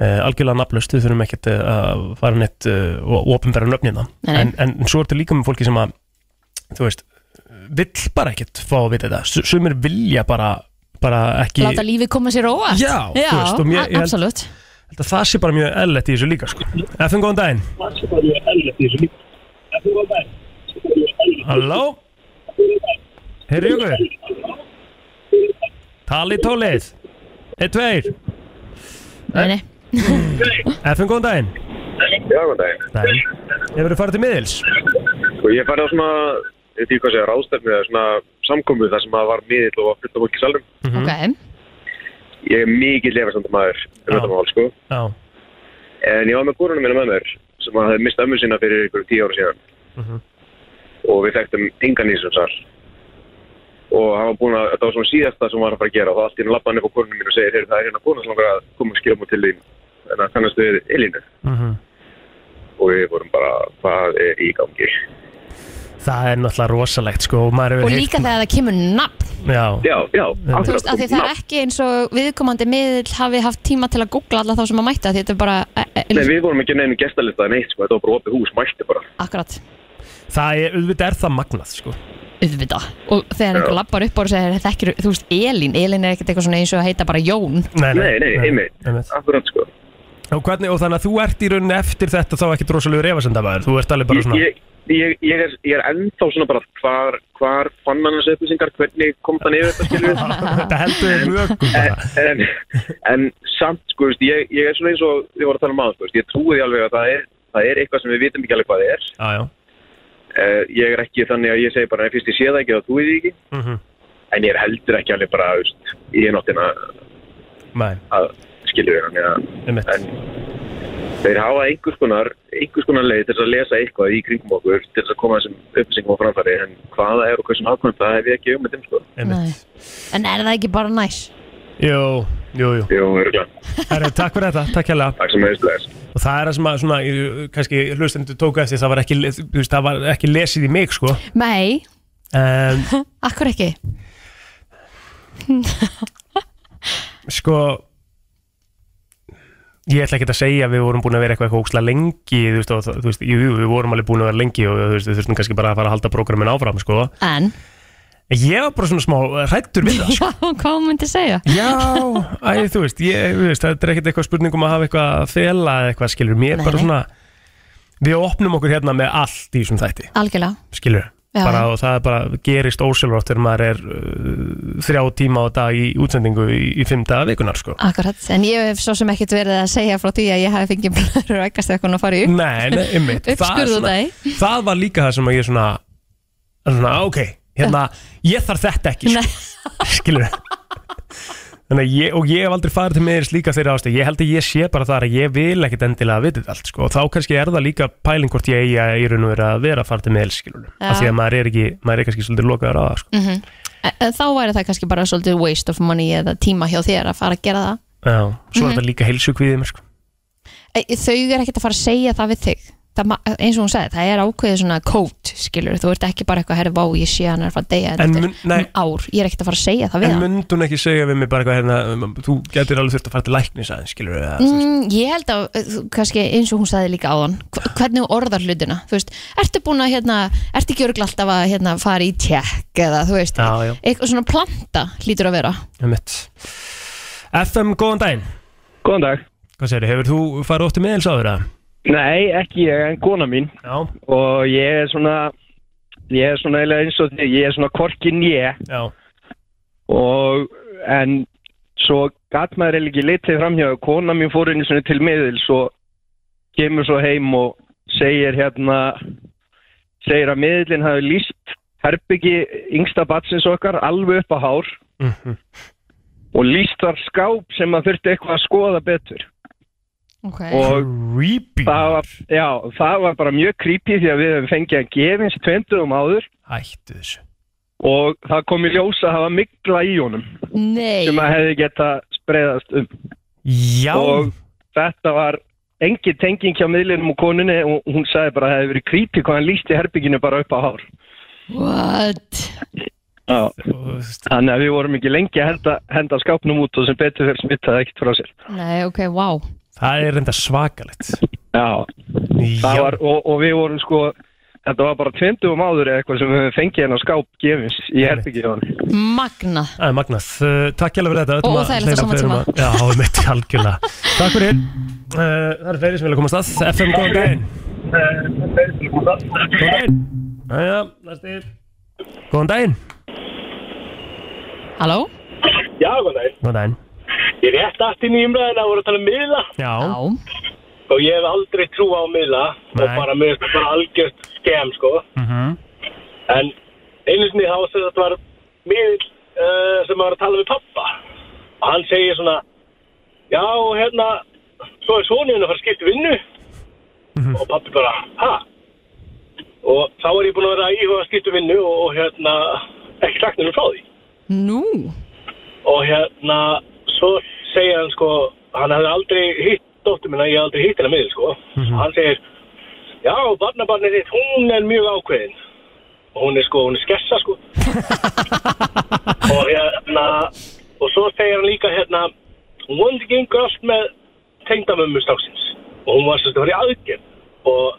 Speaker 2: uh, algjörlega nafnlaust, við þurfum ekkert eh, að fara neitt uh, og ofinbæra nöfnina
Speaker 3: Nei, nei.
Speaker 2: en, en svo ertu líka með fólki sem að þú veist, vill bara ekkert fá að vita þetta, S- sumir vilja bara bara ekki
Speaker 3: láta lífið koma sér óvart
Speaker 2: Já, þú
Speaker 3: já
Speaker 2: veist, og mér- ég held-
Speaker 3: absolutt
Speaker 2: held að það sé bara mjög eðlert í þessu líka sko. FN góðan daginn Halló Heyrðu ykkur Tali tólið Eitt, tveir
Speaker 3: Nei, nei.
Speaker 2: FN góðan daginn
Speaker 7: Já, góðan daginn.
Speaker 2: Daginn Hefurðu farið til miðils?
Speaker 7: Sko ég færði á svona, ég veit ekki hvað segja, ráðstefnu eða svona samkomu þar sem að var miðill og var fullt af fólki í salnum.
Speaker 2: Mhm.
Speaker 3: Ok,
Speaker 7: Ég er mikill lefasandamæður um
Speaker 2: Já.
Speaker 7: þetta mál, sko.
Speaker 2: Já
Speaker 7: En ég var með kúrunum minna með mér sem að hafði mistað ömmu sína fyrir ykkur tíu ára síðan.
Speaker 3: Mhm.
Speaker 7: Og við þekktum engan í þessum sal. Og hann var búin að, þetta var svona síðasta sem hann var að fara að gera og þá allt í hennu lappa hann upp á kúrunum mín og segir, heyrðu það er hérna kúrunum sem langar að koma og skilja múið til þín. En það kannast við Elínu.
Speaker 2: Mhm.
Speaker 7: Og við vorum bara, hvað er í gangi?
Speaker 2: Það er náttúrulega rosalegt sko og maður
Speaker 3: og
Speaker 2: hefur
Speaker 3: líka þegar það kemur nafn
Speaker 2: Já,
Speaker 7: Já, já.
Speaker 3: þú veist, af því það er ekki eins og viðkomandi miðl hafi haft tíma til að googla alla þá sem að mæta því þetta er bara, e- e-
Speaker 7: Nei, við vorum ekki á neinum gestalista en eitt, sko, þetta var bara opið hús, mætti bara.
Speaker 3: akkurat
Speaker 2: það er, auðvitað er það magnað sko
Speaker 3: auðvitað og þegar einhver lappar upp og segir þekkir, þú veist, Elín, Elín er ekkert eitthvað svona eins og að heita bara Jón
Speaker 7: Nei, nei, einmitt.
Speaker 2: einmitt.
Speaker 7: Akkurat, sko.
Speaker 2: Og, hvernig, og þannig að þú ert í rauninni eftir þetta þá ekkert rosalegur efasendamæður Þú ert alveg bara
Speaker 7: Ég,
Speaker 2: svona
Speaker 7: ég, ég, ég, er, ég er ennþá svona bara hvar, hvar fann hann þessu upplýsingar, hvernig kom það niður þetta, skilur við?
Speaker 2: Þetta heldur þér mögum bara
Speaker 7: En, en samt, sko, veist, ég, ég er svona eins og við vorum að tala um aðeins, sko, veist, ég trúi því alveg að það er, það er eitthvað sem við vitum ekki alveg hvað það er.
Speaker 2: Já, já
Speaker 7: Uh, ég er ekki þannig að ég segi bara, "Nei, fyrst ég sé það ekki, þá trúi ég því ekki.
Speaker 2: Mhm.
Speaker 7: En ég er heldur ekki alveg bara, veist, í eináttina
Speaker 2: Nei,
Speaker 7: að skilur við hann, eða...
Speaker 2: einmitt
Speaker 7: en þeir hafa einhvers konar, einhvers konar leið til þess að lesa eitthvað í kringum okkur til þess að koma þessum upplýsingum á framfæri en hvað það er og hversum hafkvæmum það hef ég ekki um með þeim sko.
Speaker 2: Einmitt.
Speaker 3: en er það ekki bara næs?
Speaker 2: Jú, jú, jú.
Speaker 7: Jú, örgulega,
Speaker 2: Herru, takk fyrir þetta, takk hérlega.
Speaker 7: takk sem hefðist leðis.
Speaker 2: Og það er það sem að svona, ég- kannski hlustendur tóku eftir, það var ekki, þú veist, það var ekki lesið í mig, sko.
Speaker 3: Nei,
Speaker 2: En,
Speaker 3: akkur ekki
Speaker 2: sko, ég ætla ekki að segja að við vorum búin að vera eitthvað eitthvað óksla lengi, þú veist, og, það- þú veist, jú, jú, við vorum alveg búin að vera lengi og þú veist, við þurftum kannski bara að fara að halda prógramin áfram, sko.
Speaker 3: en,
Speaker 2: En ég var bara svona smá hrættur við það, sko.
Speaker 3: já, hvað myndi segja?
Speaker 2: Já, æ, þú veist, ég, þú veist, þetta er ekkert eitthvað spurningum að hafa eitthvað að fela eða eitthvað, skilur, mér
Speaker 3: Nei.
Speaker 2: bara svona, við opnum okkur hérna með allt í þessum þætti,
Speaker 3: algjörlega,
Speaker 2: skilur,
Speaker 3: Já,
Speaker 2: bara
Speaker 3: já.
Speaker 2: og það er bara gerist ósjálfrátt þegar maður er uh, þrjá tíma á dag í útsendingu í, í fimm daga vikunar, sko.
Speaker 3: akkurat en ég hef svo sem ekkert verið að segja frá því að ég hafi fengið blöður og ekkert eitthvað að fara í upp
Speaker 2: Nei, nei, ymmit, það, er
Speaker 3: uppskurðu
Speaker 2: svona,
Speaker 3: það
Speaker 2: það var líka það sem að ég svona, svona, ok, hérna, ég þarf þetta ekki, sko.
Speaker 3: Nei,
Speaker 2: skilur Þannig að ég, og ég hef aldrei farið til meðins líka þeirra ástæð ég held að ég sé bara þar að ég vil ekkit endilega að vitið allt sko og þá kannski er það líka pæling hvort ég eigi að í raun og vera að vera að fara til meðils skilur
Speaker 3: Já.
Speaker 2: af því að maður er ekki, maður er kannski svolítið lokaður á það sko
Speaker 3: En- Mhm. en þá væri það kannski bara svolítið waste of money eða tíma hjá þér að fara að gera það
Speaker 2: Já, svo
Speaker 3: Mhm.
Speaker 2: er þetta líka heilsugvíðið mér sko
Speaker 3: E, þau er ekkert að fara að segja það við þig það, ma- eins og hún sagði, það er ákveðið svona kót skilur, þú ert ekki bara eitthvað herri vá, ég sé hann er að fara að deyja
Speaker 2: En
Speaker 3: þetta er
Speaker 2: mun- nei.
Speaker 3: um ár, ég er ekkert að fara að segja það við
Speaker 2: En
Speaker 3: hann
Speaker 2: myndi hún ekki segja við mig bara eitthvað hérna um, þú getur alveg þurft að fara til læknis aðeins skilur eða, mm.
Speaker 3: mm, ég held að, eh, þú- kannski eins og hún sagði líka áðan hv- hvernig þú orðar hlutina, þú veist ertu búin að, hérna, ertu ekki örgl alltaf að hérna, fara í tjekk eða, þú veist
Speaker 2: Já, já.
Speaker 3: eitthvað svona planta hlýtur að vera
Speaker 2: FM, góðan daginn
Speaker 8: Góðan dag.
Speaker 2: Hvað segir, hefur þú farið ótt til meðils áður að?
Speaker 8: Nei, ekki ég, en kona mín.
Speaker 2: Já,
Speaker 8: Og ég er svona, ég er svona eiginlega eins og þig, ég er svona korkin ég.
Speaker 2: já,
Speaker 8: Og, en svo gat maður eiginlega ekki litið framhjá. Kona mín fór inn svona til miðil, svo kemur svo heim og segir hérna, segir að miðilinn hafi líst herbyggi yngsta batsins okkar alveg upp á hár
Speaker 2: Mhm.
Speaker 8: og líst þar skáp sem maður þurfti eitthvað að skoða betur.
Speaker 3: okay.
Speaker 8: Og
Speaker 2: Creepy
Speaker 8: Það var, já, það var bara mjög creepy því að við hefum fengið að gefins 20 um áður
Speaker 2: Hættu þessu
Speaker 8: og það kom í ljós að hafa mikla í honum
Speaker 3: nei,
Speaker 8: sem að hefði geta spreiðast um.
Speaker 2: Já,
Speaker 8: Og þetta var engin tenging hjá miðlinum og konunni og hún sagði bara að það hefði verið creepy hvað hann lísti herbygginu bara upp á hár.
Speaker 3: what
Speaker 8: Já,
Speaker 2: og,
Speaker 8: þannig að við vorum ekki lengi að henda, henda skápnum út og sem betur fyrir smittaði ekkert frá sér.
Speaker 3: nei, ok, wow
Speaker 2: það er reynda svakalegt
Speaker 8: Já,
Speaker 2: Já,
Speaker 8: það var, og, og við vorum sko þetta var bara 20 um áður eða eitthvað sem við höfum fengið hennar skáp gefins í
Speaker 2: Einmitt.
Speaker 8: herbyggið á hann
Speaker 3: Magna
Speaker 2: Það er magnað, Uh, takk hjálpa fyrir þetta
Speaker 3: Og óþægilegt á sama tíma.
Speaker 2: tíma Já, við mitt algjörlega Takk fyrir Uh, Það er fleiri sem vilja koma að stað FM, góðan daginn Góðan daginn Jæja, næsti Góðan daginn
Speaker 3: Halló?
Speaker 9: Já, góð daginn.
Speaker 2: Góðan daginn
Speaker 9: Ég er rétt aftur í umræðina að voru að tala um miðla
Speaker 2: Já,
Speaker 3: Já
Speaker 9: og ég hef aldrei trú á miðla og
Speaker 2: Nei.
Speaker 9: bara mér finnst það bara algjört skem, sko.
Speaker 2: Mhm.
Speaker 9: En einu sinni þá sem þetta var miðl uh, sem var að tala við pappa og hann segir svona Já, hérna, svo er soninu að fara að skipta í vinnu og pappi bara, ha? Og þá er ég búin að vera að íhuga að skipta í vinnu og hérna, ekki sagt nefnum frá því.
Speaker 3: Nú
Speaker 9: og hérna svo segja hann sko hann hefði aldrei hitt dóttur minna ég hef aldrei hitt hennar miður sko hann segir já barnabarnið þitt hún er mjög ákveðin og hún er sko hún er skessa sko og hérna og svo segir hann líka hérna hún vonandi gengur allt með tengdamömmu stráksins og hún var svolítið að fara í aðgerð og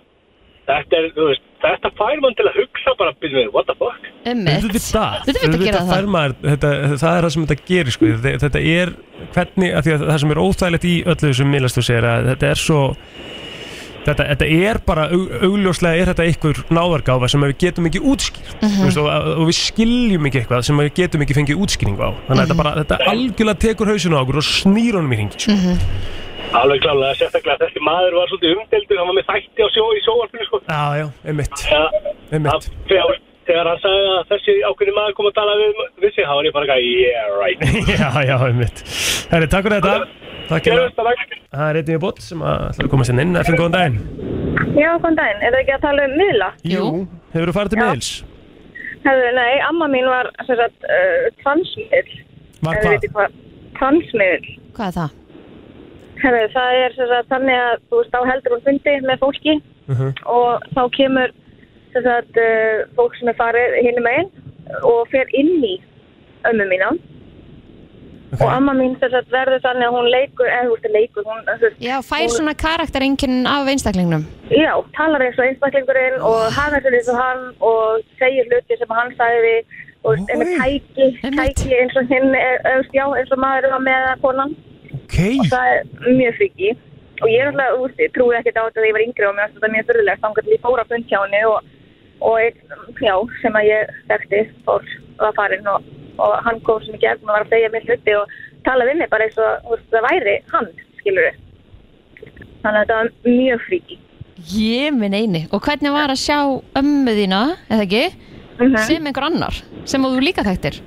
Speaker 9: þetta er þú veist þetta fær mann til að hugsa bara byrjum við what the fuck
Speaker 3: Emmett
Speaker 2: Auðvitað.
Speaker 3: Auðvitað gera
Speaker 2: Auðvitað
Speaker 3: það.
Speaker 2: fær maður- Þetta það er það sem þetta gerir sko. Þetta- Þetta er hvernig að því að Það sem er óþægilegt í öllu þessum miðlastu segir að þetta er svo Þetta, þetta er bara, aug- augljóslega er þetta einhver náðargáfa sem við getum ekki útskýrt
Speaker 3: Mhm.
Speaker 2: mm veist, og, og við skiljum ekki eitthvað sem við getum ekki fengið útskýringu á þannig að
Speaker 3: Mhm.
Speaker 2: þetta, bara, þetta algjörlega tekur hausinu á okkur og snýr honum í hringi sko.
Speaker 3: Mhm.
Speaker 9: Alveg klálega, sérstaklega þessi maður var svolítið umdeldur, hann var með þætti á sjó í sjóvarpinu sko.
Speaker 2: Já, já, einmitt,
Speaker 9: Ja,
Speaker 2: einmitt
Speaker 9: að, þegar, þegar hann sagði að þessi ákveðni maður kom að tala við, við sig, þá var ég bara ekki, yeah right.
Speaker 2: Já, já, einmitt Herri, takk fyrir þetta Takk hérna. fyrir
Speaker 9: Gerðist það ekki?
Speaker 2: Það er einnig í bótt sem að ætlar að koma sér inn FN, góðan daginn
Speaker 10: Já, góðan daginn. Er það ekki að tala um miðla?
Speaker 3: Jú.
Speaker 2: Hefur þú farið til miðils?
Speaker 10: Hefðu, nei, amma mín var sem sagt uh, transmiðl.
Speaker 2: Var
Speaker 10: Ef þið
Speaker 2: hvað?
Speaker 10: vitið hvað? Transmiðl.
Speaker 3: Hvað er það?
Speaker 10: Hefðu, það er sem sagt þannig að þú veist á heldur hún fundi með fólki
Speaker 2: Mhm.
Speaker 10: og þá kemur sem sagt uh, fólk sem er farið hinum einn og fer inn í ömmu mína
Speaker 2: Ok.
Speaker 10: og amma mín sem sagt verður þannig að hún leikur, eða þú veist leikur, hún, þú veist,
Speaker 3: Já, fær svona karakterinkinn af einstaklingnum
Speaker 10: já, talar eins og einstaklingurinn og hagar sér eins og hann og segir hluti sem hann sagði og
Speaker 2: Oj.
Speaker 10: er með tæki,
Speaker 3: Einmitt.
Speaker 10: tæki eins og hinn, er- eða, þú veist, já, eins og maður var með eða konan
Speaker 2: Ok,
Speaker 10: það er mjög friki og ég er alltaf, úst, trúi ekkert á þetta þegar ég var yngri og mér fannst þetta mjög fyrirlegt þannig að ég fór að fund hjá henni og, og einn, já, sem að ég þekkti fór var farinn og, og hann kom sem ekki eftir og var að segja mér hluti og tala við mig bara eins og úst, það væri hann, skilur við þannig að þetta var mjög friki
Speaker 3: Ég minn eini Og hvernig var að sjá ömmu þína, eða ekki,
Speaker 10: mm
Speaker 3: sem einhver annar sem að þú líka þekktir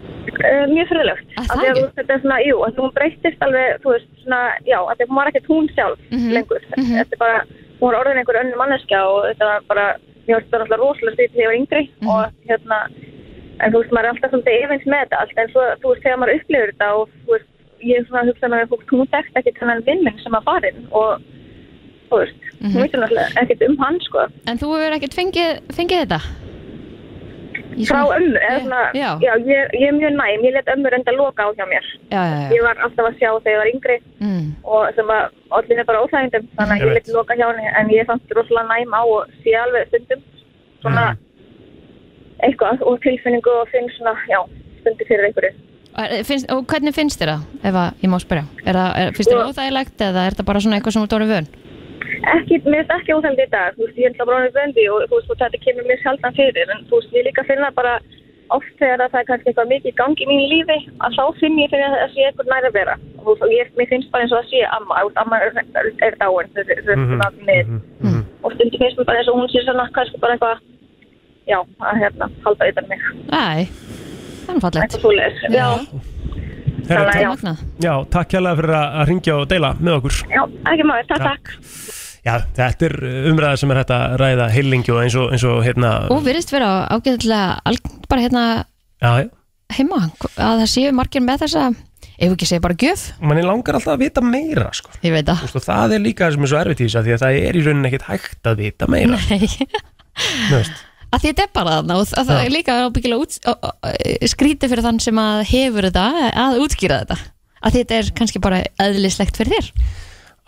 Speaker 10: uh, mjög fyrirlegt
Speaker 3: Að
Speaker 10: Af
Speaker 3: það
Speaker 10: því að
Speaker 3: ekki?
Speaker 10: þú- þetta er svona, jú, að hún breyttist alveg, þú veist, svona, já, að því að hún var ekkert hún sjálf
Speaker 3: Mhm.
Speaker 10: lengur
Speaker 3: Mhm.
Speaker 10: þetta er bara, hún var orðin einhver önnur manneskja og þetta var bara, mér finnst þetta alltaf rosalega stýtt þegar ég var yngri
Speaker 3: Mhm.
Speaker 10: og hérna en þú veist, maður er alltaf svona efins með þetta allt, en svo, þú veist, þegar maður upplifir þetta og þú veist, ég er svona að hugsa með fólk hún þekkt ekkert hennan vinn minn sem að farin og, þú veist,
Speaker 3: Mhm.
Speaker 10: hún veitur náttúrulega ekkert um hann, sko,
Speaker 3: En þú hefur ekkert fengið, fengið þetta? Í
Speaker 10: frá
Speaker 3: svona-
Speaker 10: ömmu, eða
Speaker 3: Já,
Speaker 10: svona,
Speaker 3: já.
Speaker 10: já, ég, ég er mjög næm, ég let ömmu reynda loka á hjá mér
Speaker 3: Já, já, já
Speaker 10: ég var alltaf að sjá þegar ég var yngri
Speaker 3: mm.
Speaker 10: og sem að allir er bara óþægindum þannig að
Speaker 2: Ég
Speaker 10: ég
Speaker 2: veit.
Speaker 10: leti loka hjá henni en ég fannst rosalega næm á og sé alveg stundum svona eitthvað og tilfinningu og finn svona, já, stundu fyrir einhverju
Speaker 3: Og er- eh, finnst, Og hvernig finnst þér það, ef að ég má spyrja? Er það, er, finnst þér
Speaker 10: Sko-
Speaker 3: það óþægilegt eða er það bara svona eitthvað sem þú dórið vön?
Speaker 10: ekki, mér finnst ekki óþægindi í dag, þú veist, ég er alltaf bróðin vöndi og þú veist, og þetta kemur mér sjaldan fyrir en þú veist, ég líka finna bara oft þegar að það er kannski eitthvað mikið í gangi í mínu lífi að þá finn ég fyrir að það sé eitthvað nær að vera og þú veist, og ég, mér finnst bara eins og það sé amma, þú veist, amma er, er, er dáin þú veist, þú veist, svona með og stundum finnst mér bara eins og hún sé svona kannski bara eitthvað, já, að hérna halda utan um mig,
Speaker 3: Æ, þannig fallegt
Speaker 10: eitthvað svoleiðis já,
Speaker 2: herri,
Speaker 10: þannig að já,
Speaker 2: takk,
Speaker 3: Magnað.
Speaker 2: já, takk hérlega fyrir að að hringja og deila með okkur
Speaker 10: já, ekki maður, takk, takk
Speaker 2: Já, þetta er uh, umræða sem er hægt að ræða heilingi og eins og, eins og hérna
Speaker 3: Og virðist vera ágæðilega algengt bara hérna
Speaker 2: Já, já,
Speaker 3: heima að það séu margir með þessa ef við ekki segja bara gjöf
Speaker 2: manni langar alltaf að vita meira sko.
Speaker 3: ég veit það
Speaker 2: Þú veist, og það er líka það sem er svo erfitt í þessu af því að það er í rauninni ekkit hægt að vita meira
Speaker 3: að
Speaker 2: Þú veist.
Speaker 3: því þetta er bara þarna og það það
Speaker 2: Já.
Speaker 3: er líka ábyggilega út, ó- ó- ó- skrítið fyrir þann sem að hefur þetta að útskýra þetta að þetta er kannski bara eðlislegt fyrir þér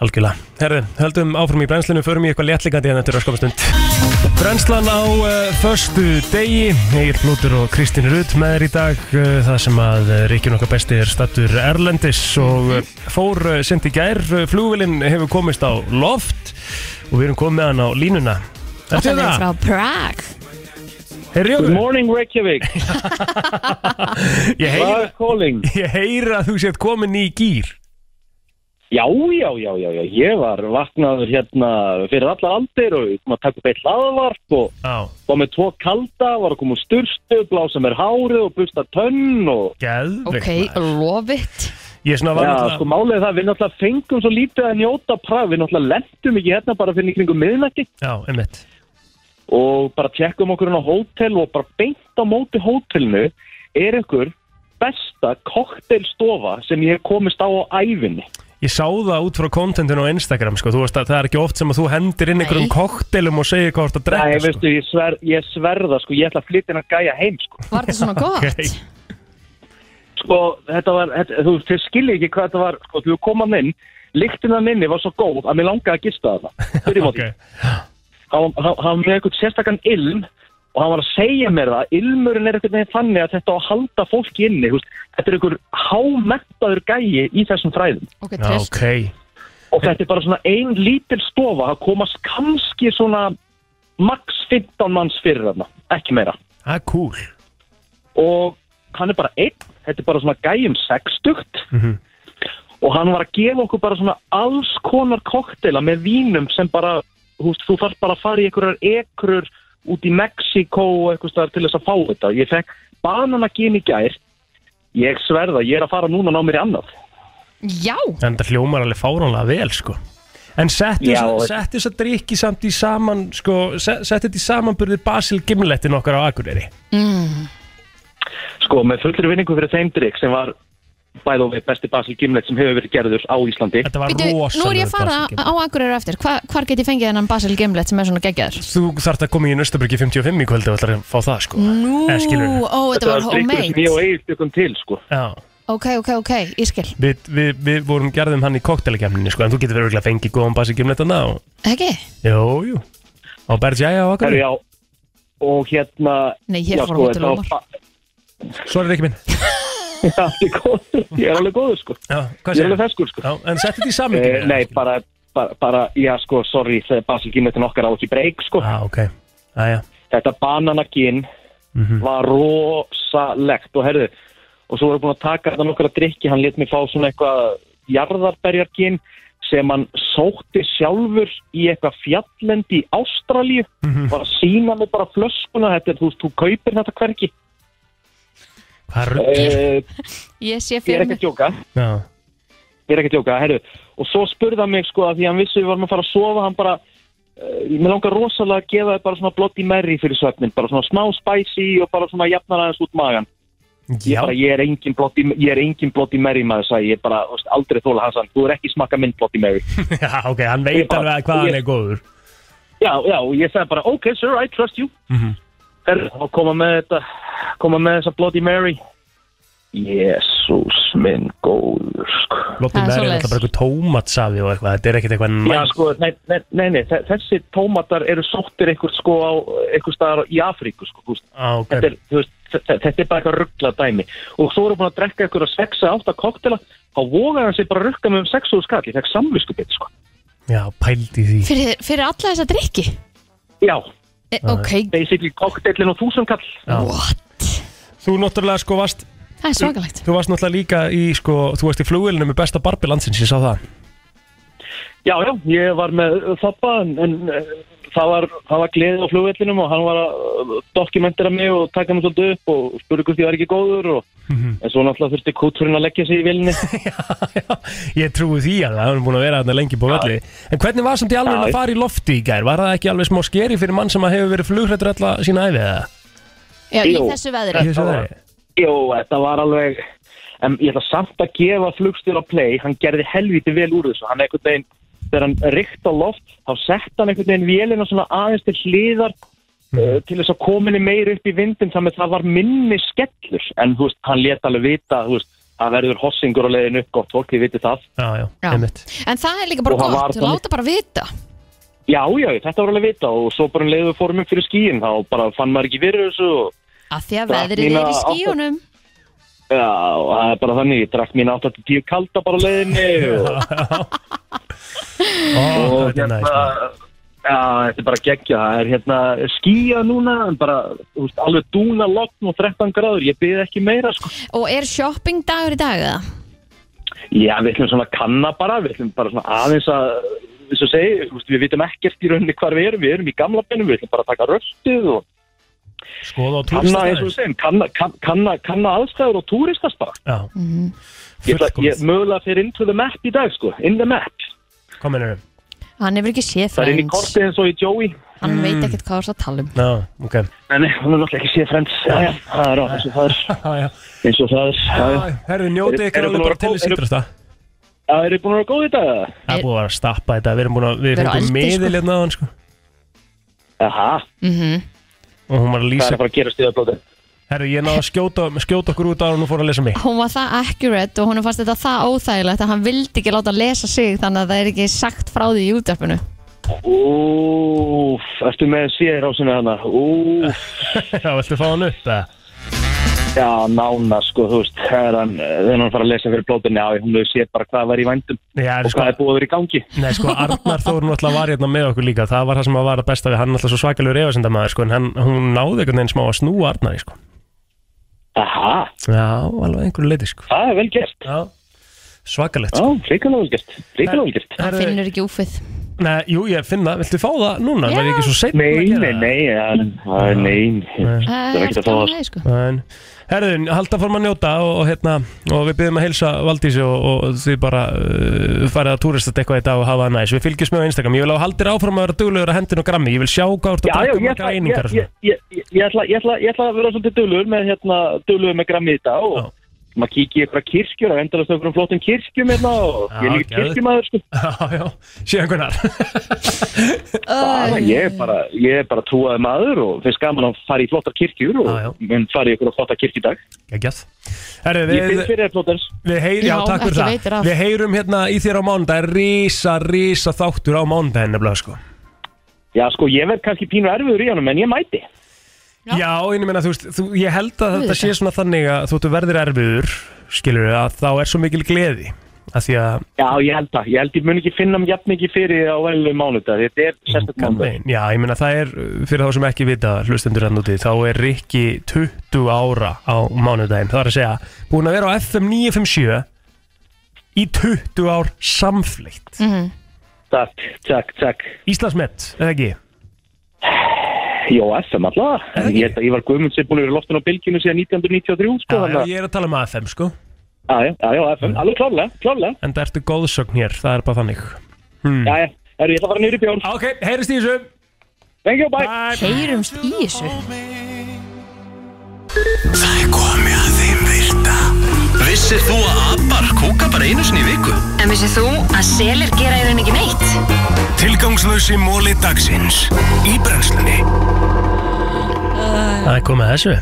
Speaker 2: Algjörlega. Herðu, höldum áfram í brennslinu, förum í eitthvað hérna léttlikandi en þetta er öskamastund. Brennslan á uh, förstu degi, Egil Blótur og Kristín Rutt með þér í dag, uh, það sem að uh, ríkjun okkar besti er stattur Erlendis og uh, fór uh, sent í gær, uh, flugvillin hefur komist á loft og við erum komið með hann á línuna.
Speaker 3: Og
Speaker 2: Ertu hérna?
Speaker 3: það er
Speaker 2: það?
Speaker 3: frá Prag
Speaker 2: Heyri,
Speaker 11: Good morning Reykjavík
Speaker 2: Ég
Speaker 11: Love calling
Speaker 2: Ég heyra að þú sétt komin í gýr
Speaker 11: Já, já, já, já, já Ég var vaknaður hérna fyrir allar aldir og kom að taka upp eitt hlaðvarp og
Speaker 2: Já.
Speaker 11: var með tvo kalda, var að koma úr styrstu blása mér hárið og busta tönn og
Speaker 2: Geðveikt,
Speaker 3: Ok, love it
Speaker 2: Ég svona
Speaker 11: Já,
Speaker 2: var náttúrulega-
Speaker 11: sko málið er það, að við náttúrulega fengum svo lítið að njóta praf, við náttúrulega lentum ekki hérna bara fyrir í kringum miðnætti
Speaker 2: Já, einmitt
Speaker 11: og bara tjekkum okkur inn á hótel og bara beint á móti hótelinu er einhver besta koktelstofa sem ég hef komist á á æfinni.
Speaker 2: Ég sá það út frá kontentinu á Instagram sko. Þú veist að það er ekki oft sem að þú hendir inn einhverjum koktelum og segir hvað þú ert
Speaker 11: Nei,
Speaker 2: að drekka sko.
Speaker 11: veistu, ég, sver, ég sverða, sko, ég ætla að flytja hennar gæja heim, sko.
Speaker 3: Var þetta svona gott?
Speaker 11: Sko, þetta var, þetta, þú þið skiljið ekki hvað þetta var, sko, þú komaðan inn, lyktin hann inni var svo góð að mér langaði að gista það. Fyrir móti. Hann hann- hann var með eitthvað sérstakann ilm og hann var að segja mér það, ilmurinn er eitthvað neginn þannig að þetta á að halda fólki inni, þú veist, þetta er einhver hámektaður gæji í þessum fræðum.
Speaker 3: Ok,
Speaker 2: Já, ok
Speaker 11: Og þetta er bara svona ein lítil stofa, það komast kannski svona max 15 manns fyrir þarna, ekki meira.
Speaker 2: Það er cool.
Speaker 11: Og hann er bara einn, þetta er bara svona gæjum sextugt
Speaker 2: Mhm.
Speaker 11: og hann var að gefa okkur bara svona alls konar koktela með vínum sem bara, þú veist, þú þarf bara að fara í einhverjar ekrur út í Mexiko og eitthvað staðar til þess að fá þetta. Ég fekk bananagin í gær, ég sverða, ég er að fara núna og ná mér í annað.
Speaker 3: Já
Speaker 2: En þetta hljómar alveg fáránlega vel sko. En settu
Speaker 11: Já,
Speaker 2: þess-
Speaker 11: og-
Speaker 2: settu þess að drikki samt í saman sko, se- Settu þetta í samanburði Basil Gimlettin okkar á Akureyri
Speaker 3: mm.
Speaker 11: Sko, með fullri vinningu fyrir þeim drikk sem var bæð og við besti Basil Gimlet sem hefur verið gerður á Íslandi.
Speaker 2: Þetta var
Speaker 3: Býtu, nú er ég að fara á Akureyri á eftir Hva, Hvar get ég fengið þennan Basil Gimlet sem er svona geggjaður?
Speaker 2: Þú þarft að koma í Nöstabryggi 55 í kvöld og ætlar að fá það sko
Speaker 3: Nú,
Speaker 2: Eh, skilurðu.
Speaker 3: ó, þetta var
Speaker 11: sem
Speaker 3: homemade
Speaker 11: ég og eigið stykkum til, sko.
Speaker 2: Já,
Speaker 3: Ok, ok, ok, ég skil
Speaker 2: við, við, við vorum gerðum hann í koktelekemninni sko, en þú getur verið að fengi góðan Basil Gimlettin á
Speaker 3: Ekki?
Speaker 2: Jú, jú Á Bergjæja á
Speaker 11: Herru,
Speaker 2: Akureyri
Speaker 11: já, og hérna...
Speaker 3: Nei, hér
Speaker 11: já,
Speaker 3: fór
Speaker 11: sko, þetta
Speaker 3: Hótel
Speaker 11: var
Speaker 3: Ómar.
Speaker 11: fa-
Speaker 2: Svo er þetta ekki minn
Speaker 11: Já, ég er góður, ég er alveg góður sko
Speaker 2: Já, hvað
Speaker 11: Ég er
Speaker 2: segirðu?
Speaker 11: alveg feskur sko
Speaker 2: Já, En settu þetta í samingi
Speaker 11: Eh, Nei, bara, bara, bara, já sko, sorry, það er Basil Gimletin okkar á ekki breyk sko
Speaker 2: Já, Ah, ok Æja
Speaker 11: Þetta bananaginn
Speaker 2: Mhm.
Speaker 11: var rosalegt og herðu Og svo erum búin að taka þetta nokkra drikki, hann let mig fá svona eitthvað jarðarberjarginn sem hann sótti sjálfur í eitthvað fjallendi í Ástralíu
Speaker 2: Mhm.
Speaker 11: var að sína mig bara flöskuna þetta, er, þú veist, þú kaupir þetta hvergi
Speaker 2: Hvað er
Speaker 11: uh,
Speaker 3: Ég sé
Speaker 11: Ég er
Speaker 3: fyrir
Speaker 11: ekki að
Speaker 3: mig
Speaker 11: djóka
Speaker 2: Já
Speaker 11: ég er ekki að djóka, herru og svo spurði hann mig sko að því hann vissi við varum að fara að sofa hann bara, uh, mér langar rosalega að gefa þér bara svona blotti merri fyrir svefnin bara svona smá spicy og bara svona jafnar aðeins út magan, ég,
Speaker 2: Já,
Speaker 11: bara, ég er engin blotti, ég er engin blotti merri maður sagði, ég bara þú veist, aldrei þóla hans hann, þú er ekki smakka minn blotti merri
Speaker 2: já, ok, hann veit
Speaker 11: Ég bara-
Speaker 2: alveg hvað hann
Speaker 11: ég-
Speaker 2: er góður
Speaker 11: já, já, og ég sagði bara, ok sir, I trust you
Speaker 2: Mhm.
Speaker 11: herru, og koma með þetta koma með þessa blotti merri Jésús minn góður sko
Speaker 2: Lottu
Speaker 3: Það
Speaker 2: með
Speaker 3: er
Speaker 2: er
Speaker 3: svoleiðis.
Speaker 2: alltaf bara eitthvað tómatsafi og eitthvað Þetta er ekkert eitthvað næ
Speaker 11: Já, sko, nei, nei, nei, nei, þe- þessi tómatar eru sóttir einhver sko á einhver staðar í Afríku, sko, þú veist.
Speaker 2: Á, ok
Speaker 11: Þetta er, þú veist, þe- þe- þetta er bara eitthvað ruggla dæmi. Og svo erum búin að drekka einhverja 6-8 koktela, þá vogaði hann sig bara að rugga með um 6 skall, ég fekk samviskupið, sko.
Speaker 2: Já, pældi því
Speaker 3: Fyrir, fyrir alla þessa drikki?
Speaker 11: Já,
Speaker 3: E, ok,
Speaker 11: basically koktellin og þúsundkall.
Speaker 3: what?
Speaker 2: Þú náttúrulega sko varst
Speaker 3: Það er svakalegt
Speaker 2: Þú varst náttúrulega líka í sko Þú varst í flugvélinu með besta barbi landsins, ég sá það
Speaker 11: Já, já, ég var með þoppa, en, en eh, það var, það var gleðið á flugvellinum og hann var að eh, dokumentera mig og taka mig svolítið upp og spurði hvort ég var ekki góður og en svo náttúrulega þurfti kúturinn að leggja sig í vilni.
Speaker 2: Ég trúi því að það hann búin að vera þarna lengi búið öllu En hvernig var samt í alveg
Speaker 11: Já,
Speaker 2: að
Speaker 11: ég-
Speaker 2: fara í lofti í gær? Var það ekki alveg smá skeri fyrir mann sem að hefur verið flugrættur alla sína æfi eða?
Speaker 3: Já, í
Speaker 11: Jú.
Speaker 3: þessu veðri
Speaker 2: Ég sé það.
Speaker 11: Jó, þetta var alveg en ég ætla samt að gefa flugstjóra play hann gerði helviti vel úr þessu hann einhvern veginn, þegar hann ríkt á loft þá sett hann einhvern veginn vélina svona aðeins til hliðar uh, til þess að kominni meir upp í vindin þannig að það var minni skellur en þú veist, hann let alveg vita þú veist, það verður hossingur á leiðinu, gott fólk, þið vitið það
Speaker 2: Já, já,
Speaker 3: Já.
Speaker 2: einmitt
Speaker 3: En það er líka bara
Speaker 11: Og það
Speaker 3: gott,
Speaker 11: var þannig-
Speaker 3: láta bara vita
Speaker 11: Já, já, þetta var alveg vita og svo bara um leiðu fórum upp fyrir skíin þá bara fann maður ekki fyrir þessu og
Speaker 3: að því að
Speaker 11: Drakk
Speaker 3: veðrið
Speaker 11: mína
Speaker 3: er í
Speaker 11: átta-
Speaker 3: skíunum
Speaker 11: já, og það er bara þannig, ég drakk mín 8-10 kalda bara á leiðinni og,
Speaker 2: Ó,
Speaker 11: og hérna-
Speaker 2: þetta er næst
Speaker 11: já, þetta er bara geggja, það er hérna skíja núna, en bara þú veist, alveg dúna logn og 13 gráður, ég byrði ekki meira sko.
Speaker 3: Og er shopping dagur í dag eða?
Speaker 11: Já, við ætlum svona að kanna bara, við ætlum bara svona aðeins að, þess að segja, þú veist, við vitum ekkert í rauninni hvar við erum, við erum í gamla bennum, við ætlum bara að taka röstið og
Speaker 2: Skoða á
Speaker 11: kanna, eins og við
Speaker 2: túrstæðis
Speaker 11: segjum, kanna, kann- kanna, kanna aðstæður og túristast bara.
Speaker 2: Já,
Speaker 3: Mhm.
Speaker 11: Ég, ætla, ég mögulega fyrir into the map í dag, sko, in the map.
Speaker 2: hvað mennur þau?
Speaker 3: Hann hefur ekki séð
Speaker 11: Það er inn í
Speaker 3: Friends
Speaker 11: kortið eins og í Joey.
Speaker 3: Hann
Speaker 11: Mm.
Speaker 3: veit ekkert hvað það tala um
Speaker 2: Já, Mm, ok
Speaker 11: Nei, nei, hún er náttúrulega ekki séð Friends. Já, já, það er á, eins og það er,
Speaker 2: Já, já
Speaker 11: eins og það er, já, já.
Speaker 2: Herðu, njótið
Speaker 11: Eru-
Speaker 2: ykkur
Speaker 11: eru búin
Speaker 2: alveg
Speaker 11: að
Speaker 2: bara
Speaker 11: vera
Speaker 2: til
Speaker 11: góð-
Speaker 2: þess
Speaker 11: eru-
Speaker 2: ítrasta
Speaker 11: Já, eru búin að vera góð í dag? eða?
Speaker 2: Það er búið að vera að stappa þetta Við erum búin að, við
Speaker 3: Við erum
Speaker 2: fengum
Speaker 3: aldrei, sko. Mhm.
Speaker 2: meðil hérna á hann sko
Speaker 11: Aha,
Speaker 2: Og hún var að
Speaker 11: það er
Speaker 2: lýsa
Speaker 11: bara að gera stíðablóti.
Speaker 2: Herðu, ég náði að skjóta, skjóta okkur út á hann og fór að lesa mig
Speaker 3: Hún var það accurate og hún fannst þetta það óþægilegt að hann vildi ekki láta lesa sig þannig að það er ekki sagt frá því í útdarpinu
Speaker 11: Úf, ertu með sér ásina hana? Úf,
Speaker 2: Já, viltu fá hann upp? eða?
Speaker 11: já, nána, sko, þú veist, þegar hann, eh, þegar hann fara að lesa fyrir blótinni, já, hún hefur séð bara hvað var í vændum
Speaker 2: Já, en
Speaker 11: og
Speaker 2: sko,
Speaker 11: hvað er búið að vera í gangi.
Speaker 2: Nei, sko, Arnar Þór náttúrulega var hérna með okkur líka Það var það sem að var að besta við Hann er náttúrulega svo svakalur efasendamaður, sko En hann, hún náði einhvern veginn smá að snúa Arnari, sko
Speaker 11: Aha,
Speaker 2: Já, alveg einhverju leiti, sko
Speaker 11: það er vel gert.
Speaker 2: Já, svakalegt,
Speaker 11: Já,
Speaker 2: sko
Speaker 11: ríkulega vel gert, ríkulega vel gert.
Speaker 3: Hann
Speaker 2: Herðu,
Speaker 3: finnur ekki úfið
Speaker 2: Nei, jú, ég finn það, viltu fá það núna?
Speaker 3: Já.
Speaker 2: Verði ekki svo seinn
Speaker 11: Nei, nei, nei, já, nei, nei, nei, það er
Speaker 3: Eh,
Speaker 11: ekkert að fá það.
Speaker 3: gaman að því, sko.
Speaker 2: En, herðu, halda fór maður njóta og, og hérna, og við byrjum að heilsa Valdísi og, og þið bara uh, farið að túristast eitthvað í dag og hafa það næs Við fylgjumst með á Instagram, ég vil á haldir áfram að vera duglegur að hendin og grammi, ég vil sjá hvað þú ert
Speaker 11: Já,
Speaker 2: að
Speaker 11: já,
Speaker 2: drakka
Speaker 11: ég
Speaker 2: margar
Speaker 11: ætla, ég,
Speaker 2: einingar og
Speaker 11: ég,
Speaker 2: svona.
Speaker 11: ég, ég, ég, ætla, ég, ætla, ég ætla að vera svolítið dölur með, hérna, dölur með grammi í dag og
Speaker 2: Já.
Speaker 11: maður kíkja í eitthvað kirkjur og endalast okkur um flottum kirkjum hérna og ég
Speaker 2: Já,
Speaker 11: er líka
Speaker 2: geðveikt.
Speaker 11: kirkjumæður, sko.
Speaker 2: Já, já, síðan hvernar
Speaker 11: bara, ég er bara, ég er bara trúaði maður og finnst gaman að fara í flottar kirkjur og
Speaker 2: Já, já.
Speaker 11: mun fara í ykkur flotta kirkjudag.
Speaker 2: Gægjað Herru,
Speaker 11: Ég
Speaker 2: við,
Speaker 11: finn fyrir þér flottars.
Speaker 2: við heyrum, já,
Speaker 3: Já,
Speaker 2: takk fyrir
Speaker 3: ekki
Speaker 2: það
Speaker 3: veitir af.
Speaker 2: Við heyrum hérna í þér á mánudag Rísa, rísa þáttur á mánudaginn nefnilega sko
Speaker 11: Já, sko, ég verð kannski pínu erfiður í honum en ég mæti.
Speaker 2: Já, en ég meina, þú veist, þú, ég held að þetta
Speaker 3: Auðvitað.
Speaker 2: sé svona þannig að þú þú verðir erfiður skilur við, að þá er svo mikil gleði að því að,
Speaker 11: Já, ég held það. Ég held ég mun ekki finna mér jafn mikið fyrir á velum mánudag. Þetta er sérstök mánudag.
Speaker 2: Nei, já, ég meina það er fyrir þá sem ekki vita hlustendur hann úti, þá er Rikki 20 ára á mánudaginn, það er að segja búin að vera á FM 957 í 20 ár samfleitt
Speaker 11: Takk, takk, takk.
Speaker 2: Íslandsmet, eða ekki?
Speaker 11: Jó, FM allavega. Ég held að ég var guðmund sem búin að vera loftin á bylginu síðan 1993,
Speaker 2: Já,
Speaker 11: sko.
Speaker 2: já,
Speaker 11: þannig að-
Speaker 2: ég er að tala um AFM sko
Speaker 11: Já, já, já, já, FM. Alveg klálega, klálega.
Speaker 2: En það ertu góðsögn hér, það er bara þannig Hmm.
Speaker 11: Já, já. Herru, ég ætla að fara niður í bjórn.
Speaker 2: Ok, heyrist í þessu
Speaker 11: Thank you, bye.
Speaker 3: Heyrumst í þessu
Speaker 1: Það er komið að þeim virta Vissir þú að abar kúka bara einu sinni í viku?
Speaker 12: En vissið þú að selir gera í rauninni ekki neitt?
Speaker 1: Tilgangslösi móli dagsins Í brennslunni
Speaker 2: Það er komið að þessu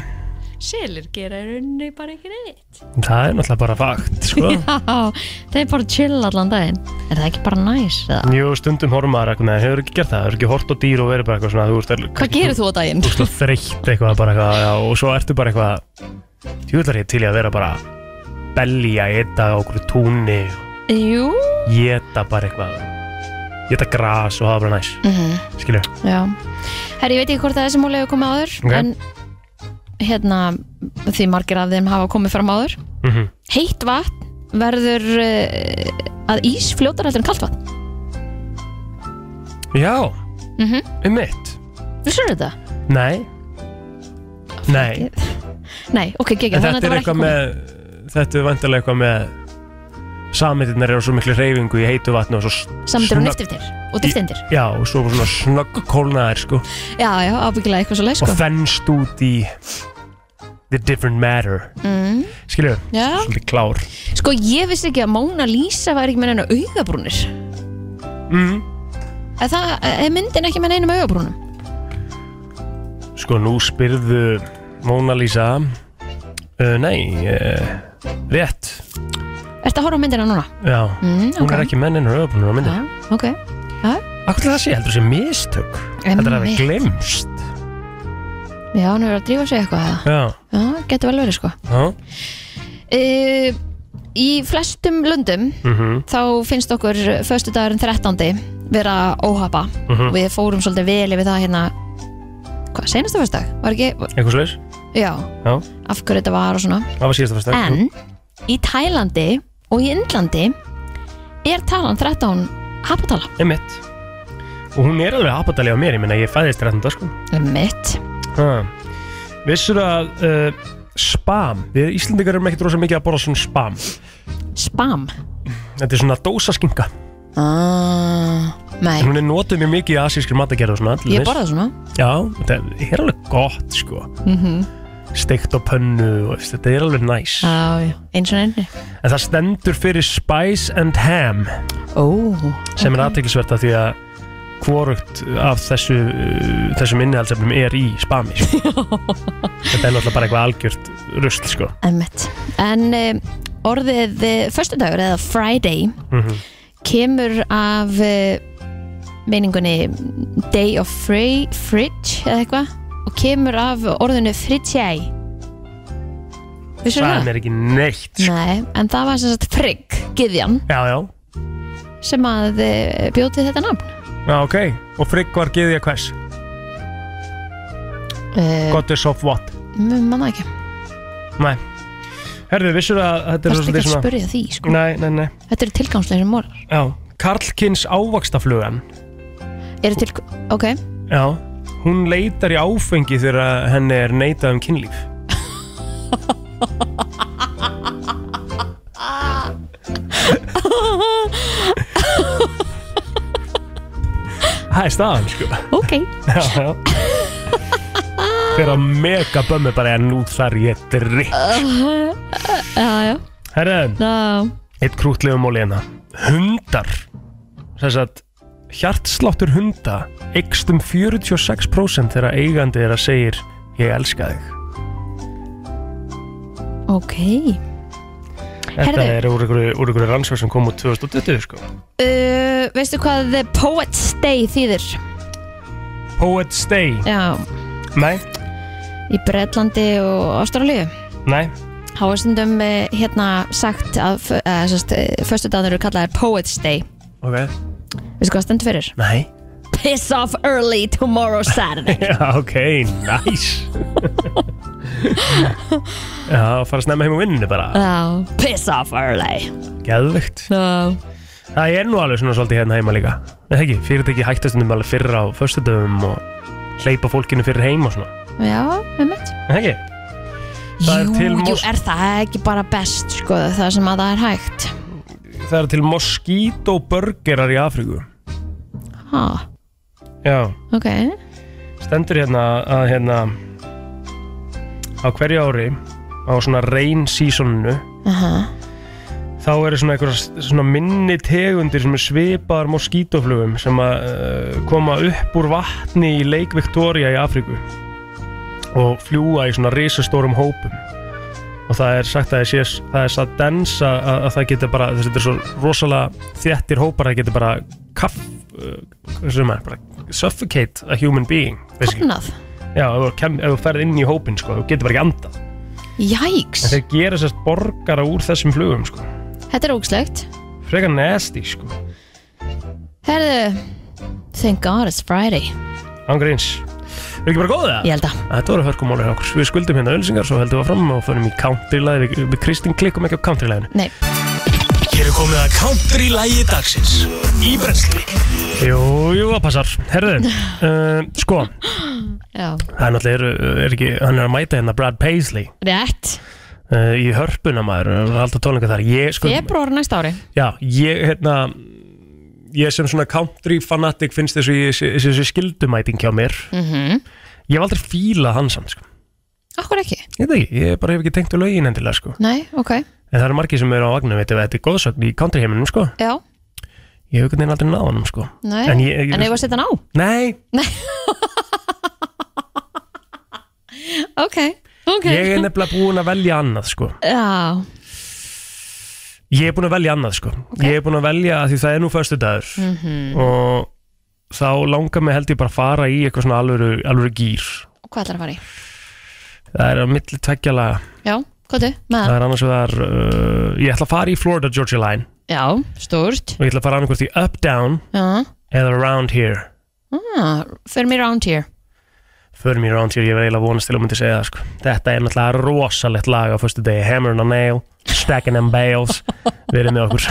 Speaker 3: Uh, Selir gera í rauninni bara ekki neitt
Speaker 2: Það er náttúrulega bara fakt, sko
Speaker 3: Já, þeir bara chill allan daginn Er það ekki bara næs? eða?
Speaker 2: Jú, stundum horfum maður eitthvað, nei, hefur ekki gert það, hefur ekki hort á dýr og verið bara eitthvað svona, þú veist, er-
Speaker 3: Hvað gerir þú á daginn?
Speaker 2: Þú veist, þreytt eitthvað, bara eitthvað, já, og svo ertu bara eitthvað, tjúðlar ég til í að vera bara belja, etta á okkur túnni,
Speaker 3: Jú,
Speaker 2: geta bara eitthvað, geta gras og hafa bara næs,
Speaker 3: mm
Speaker 2: skilju.
Speaker 3: já Herri, ég veit ekki hvort að þessi múli hefur komið áður
Speaker 2: Ok.
Speaker 3: En hérna, því margir af þeim hafa komið fram áður
Speaker 2: Mm
Speaker 3: heitt vatn verður uh, að ís fljótar heldur en kallt vatn
Speaker 2: Já,
Speaker 3: mm
Speaker 2: um mitt.
Speaker 3: Þú sér þetta?
Speaker 2: Nei. Nei,
Speaker 3: Nei, ok, ekki,
Speaker 2: en
Speaker 3: þannig að
Speaker 2: þetta
Speaker 3: þetta
Speaker 2: er
Speaker 3: var ekki
Speaker 2: eitthvað
Speaker 3: komið
Speaker 2: með, þetta er vantarlega eitthvað með, sametinnar eru á svo miklu reyfingu í heitu vatni og svo...
Speaker 3: samandir
Speaker 2: snögg-
Speaker 3: og nýftiftir um og driftindir
Speaker 2: Já, og svo svona snögg kólnaðar, sko.
Speaker 3: Já, já, ábyggilega eitthvað svo leið sko
Speaker 2: og fennst út í the different matter
Speaker 3: mm,
Speaker 2: skilju,
Speaker 3: Já,
Speaker 2: svolítið klár
Speaker 3: sko ég vissi ekki að Mona Lisa var ekki með neina augabrúnir
Speaker 2: mm.
Speaker 3: Er það, er myndin ekki með neinum augabrúnum?
Speaker 2: sko nú spyrðu Mona Lisa uh, nei uh, Rétt,
Speaker 3: Ertu að horfa á myndina núna?
Speaker 2: já
Speaker 3: Mm,
Speaker 2: Hún er
Speaker 3: ok.
Speaker 2: ekki menninur öðbúinur á myndi
Speaker 3: Já, ok Já,
Speaker 2: Akkur til það sé, heldur þessi mistök Þetta er að það
Speaker 3: Einmitt.
Speaker 2: glemst
Speaker 3: já hann er að drífa sig eitthvað eða?
Speaker 2: Já,
Speaker 3: Já, getur vel verið sko
Speaker 2: já
Speaker 3: uh, Í flestum löndum
Speaker 2: mhm,
Speaker 3: þá finnst okkur föstudagurinn 13. vera óhapa
Speaker 2: Mhm.
Speaker 3: Við fórum svolítið vel yfir það hérna Hvað, senasta föstudag? Var ekki,
Speaker 2: Eitthvað slags
Speaker 3: já,
Speaker 2: Já,
Speaker 3: af hverju þetta var og svona
Speaker 2: það var síðasta fyrsta
Speaker 3: En í Tælandi og í Indlandi er talan 13 hapatala
Speaker 2: Einmitt Og hún er alveg apatali á mér, ég minna ég fæðist rættum sko
Speaker 3: Mitt
Speaker 2: Ha. Vissur að uh, spam, við Íslendingar erum ekkert rosa mikið að borða svona spam
Speaker 3: Spam?
Speaker 2: Þetta er svona dósaskinka
Speaker 3: ah, Nei,
Speaker 2: Hún er notuð mjög mikið í asískri matagerð og svona til
Speaker 3: ég
Speaker 2: dæmis.
Speaker 3: borða svona
Speaker 2: Já, þetta er alveg gott sko
Speaker 3: mm
Speaker 2: Steikt á pönnu, og, veist, þetta er alveg næs
Speaker 3: Já, já, eins og einni
Speaker 2: En það stendur fyrir Spice and Ham
Speaker 3: Ó,
Speaker 2: Sem er aðteklisvert af því að hvorugt af þessu, uh, þessum innihaldsefnum er í spami sko. Þetta er náttúrulega bara eitthvað algjört rusl sko.
Speaker 3: Emmett En um, orðið uh, föstudagur eða Friday
Speaker 2: Mhm.
Speaker 3: kemur af uh, meiningunni Day of Free, Fridge eða eitthvað og kemur af orðinu Fridgei Vissir það?
Speaker 2: Það er ekki neitt
Speaker 3: Nei, en það var sem sagt Frigg, Githjan
Speaker 2: Já, já,
Speaker 3: sem að eh, bjó til þetta nafn
Speaker 2: já ok Og Frigg var geðja hvers
Speaker 3: uh,
Speaker 2: Goddess of what?
Speaker 3: Manna ekki,
Speaker 2: Nei Herðu, vissur að þetta er
Speaker 3: varst
Speaker 2: svolítið
Speaker 3: ekki að spurja því sko.
Speaker 2: Nei, nei, nei
Speaker 3: Þetta eru tilgangslegir morgar
Speaker 2: Já, Karlkins ávaxtaflugan
Speaker 3: Eru til, ok,
Speaker 2: Já, hún leitar í áfengi þegar henni er neitað um kynlíf Það er staðan, sko
Speaker 3: ok
Speaker 2: Já, já Þeirra mega bömmu bara en nú þar ég drikk
Speaker 3: Uh, Já, já,
Speaker 2: Herðan,
Speaker 3: já
Speaker 2: eitt krútlegum móli hérna Hundar Þess að hjartsláttur hunda Eikst um 46% þegar eigandi þeirra segir Ég elska þig
Speaker 3: Ok
Speaker 2: Þetta
Speaker 3: Herðu.
Speaker 2: er úr einhverju, úr einhverju rannsók sem kom út 2020 sko.
Speaker 3: uh, Veistu hvað The Poet's Day þýðir?
Speaker 2: Poet's Day
Speaker 3: Já,
Speaker 2: Nei,
Speaker 3: í Bretlandi og Ástralíu
Speaker 2: nei,
Speaker 3: Há er stundum eh, hérna sagt að uh, föstudagur eru kallaðir Poet's Day
Speaker 2: ok
Speaker 3: Veistu hvað það stendur fyrir?
Speaker 2: Nei
Speaker 3: Piss off early tomorrow Saturday
Speaker 2: Já, ok, nice Já, fara að snemma heim á vinninu bara
Speaker 3: Já, piss off early
Speaker 2: Geðvikt
Speaker 3: Já
Speaker 2: Það er nú alveg svona svolítið hérna heima líka Nei, ekki, fyrirtæki hægtastunum alveg fyrir á föstudöfum og hleypa fólkinu fyrir heim og svona
Speaker 3: Já, einmitt
Speaker 2: Nei, ekki Það er
Speaker 3: Jú,
Speaker 2: til
Speaker 3: jú,
Speaker 2: mos-
Speaker 3: er það ekki bara best sko, það sem að það er hægt
Speaker 2: Það er til moskítóburgerar í Afríku
Speaker 3: Ha,
Speaker 2: Já,
Speaker 3: ok
Speaker 2: stendur hérna að hérna á hverju ári á svona rain seasoninu
Speaker 3: Aha.
Speaker 2: þá eru svona einhverja svona minni tegundir sem er svipaðar moskítoflugum sem að uh, koma upp úr vatni í Lake Victoria í Afríku og fljúa í svona risastórum hópum og það er sagt að það sé það er satt dens að, að að það getur bara þessi þetta er svo rosalega þjættir hópar að það getur bara kaff uh, hvað sem er, bara suffocate a human being basically.
Speaker 3: Hafnað
Speaker 2: Já, ef þú kem- ef þú ferð inn í hópin sko, þú getur bara ekki andað
Speaker 3: Jæks,
Speaker 2: en þeir gera sérst borgara úr þessum flugum sko.
Speaker 3: þetta er ógslögt
Speaker 2: frekar nasty sko.
Speaker 3: Herðu, thank god it's Friday
Speaker 2: Ángríns Við ekki bara góðið það?
Speaker 3: Ég held að.
Speaker 2: Þetta voru hörkumálið hjá okkur Við skuldum hérna ölsingar Svo heldum við fram og fórum í countrylæði Við, við Kristín klikkum ekki á countrylæðinu
Speaker 3: Nei
Speaker 1: Hér er komið að country-lægi dagsins Í brensli
Speaker 2: Jú, jú, það passar Herðu, uh, sko
Speaker 3: Já,
Speaker 2: Það er náttúrulega, er, er ekki, hann er að mæta hérna Brad Paisley
Speaker 3: rétt
Speaker 2: uh, Í hörpuna maður Það er alltaf tónleika þar Ég, sko,
Speaker 3: Februar næsta ári
Speaker 2: já, ég, hérna Ég sem svona country fanatik finnst þessu, þessu, þessu skildumæting hjá mér
Speaker 3: mm -hmm.
Speaker 2: Ég hef aldrei fílað hann samt, sko
Speaker 3: Akkur ekki?
Speaker 2: Ég veit ekki, ég bara hef ekki tengt úr lögin endilega, sko
Speaker 3: Nei, ok
Speaker 2: En það eru margir sem eru á vagnum, veitum við, þetta er góðsögn í countryheiminum, sko.
Speaker 3: Já,
Speaker 2: Ég hef einhvern veginn aldrei náð honum, sko.
Speaker 3: nei
Speaker 2: En ég- ég-
Speaker 3: ef að setja hann á?
Speaker 2: Nei,
Speaker 3: Ok, ok
Speaker 2: ég er nefnilega búinn að velja annað, sko.
Speaker 3: Já,
Speaker 2: Ég er búin að velja annað sko Ég er búin að velja að því það er nú föstu dagur
Speaker 3: Mhm.
Speaker 2: og þá langar mig held ég bara að fara í eitthvað svona alvöru, alvöru gýr
Speaker 3: Og hvað ætlar að fara í?
Speaker 2: Það er á milli tveggjala
Speaker 3: Já, hvað þau? Með
Speaker 2: Það
Speaker 3: það?
Speaker 2: er annars vegar uh, Ég ætla að fara í Florida Georgia Line
Speaker 3: Já, stórt
Speaker 2: Og ég ætla að fara annarkvort í Up Down
Speaker 3: Já,
Speaker 2: eða Around Here
Speaker 3: ah, fyrir mér round here
Speaker 2: Förum í Around Here, ég var eiginlega vonast til að myndi segja það sko. Þetta er náttúrulega rosalegt lag á fyrstu degi Hammer and a Nail, Stacking and Bales Verið með okkur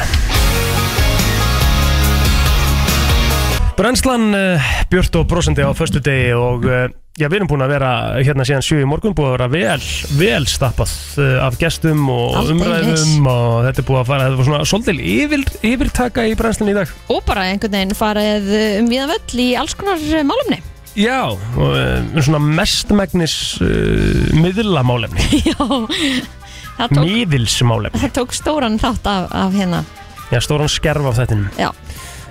Speaker 2: Brennslan uh, björt og brosandi á fyrstu degi og uh, já, við erum búin að vera hérna síðan 7 í morgun búin að vera vel, vel stappað uh, af gestum og
Speaker 3: Aldeilis.
Speaker 2: umræðum og þetta er búið að fara, þetta var svona svolítil yfir, yfirtaka í brennslan í dag
Speaker 3: Og bara einhvern veginn farið um viðan völl í alls konar eh, málumni
Speaker 2: Já, og uh, svona mestmægnis uh, miðlamálefni
Speaker 3: Já, það tók,
Speaker 2: Miðilsmálefni
Speaker 3: það tók stóran þátt af, af hérna
Speaker 2: Já, stóran skerf af þettinum
Speaker 3: Já,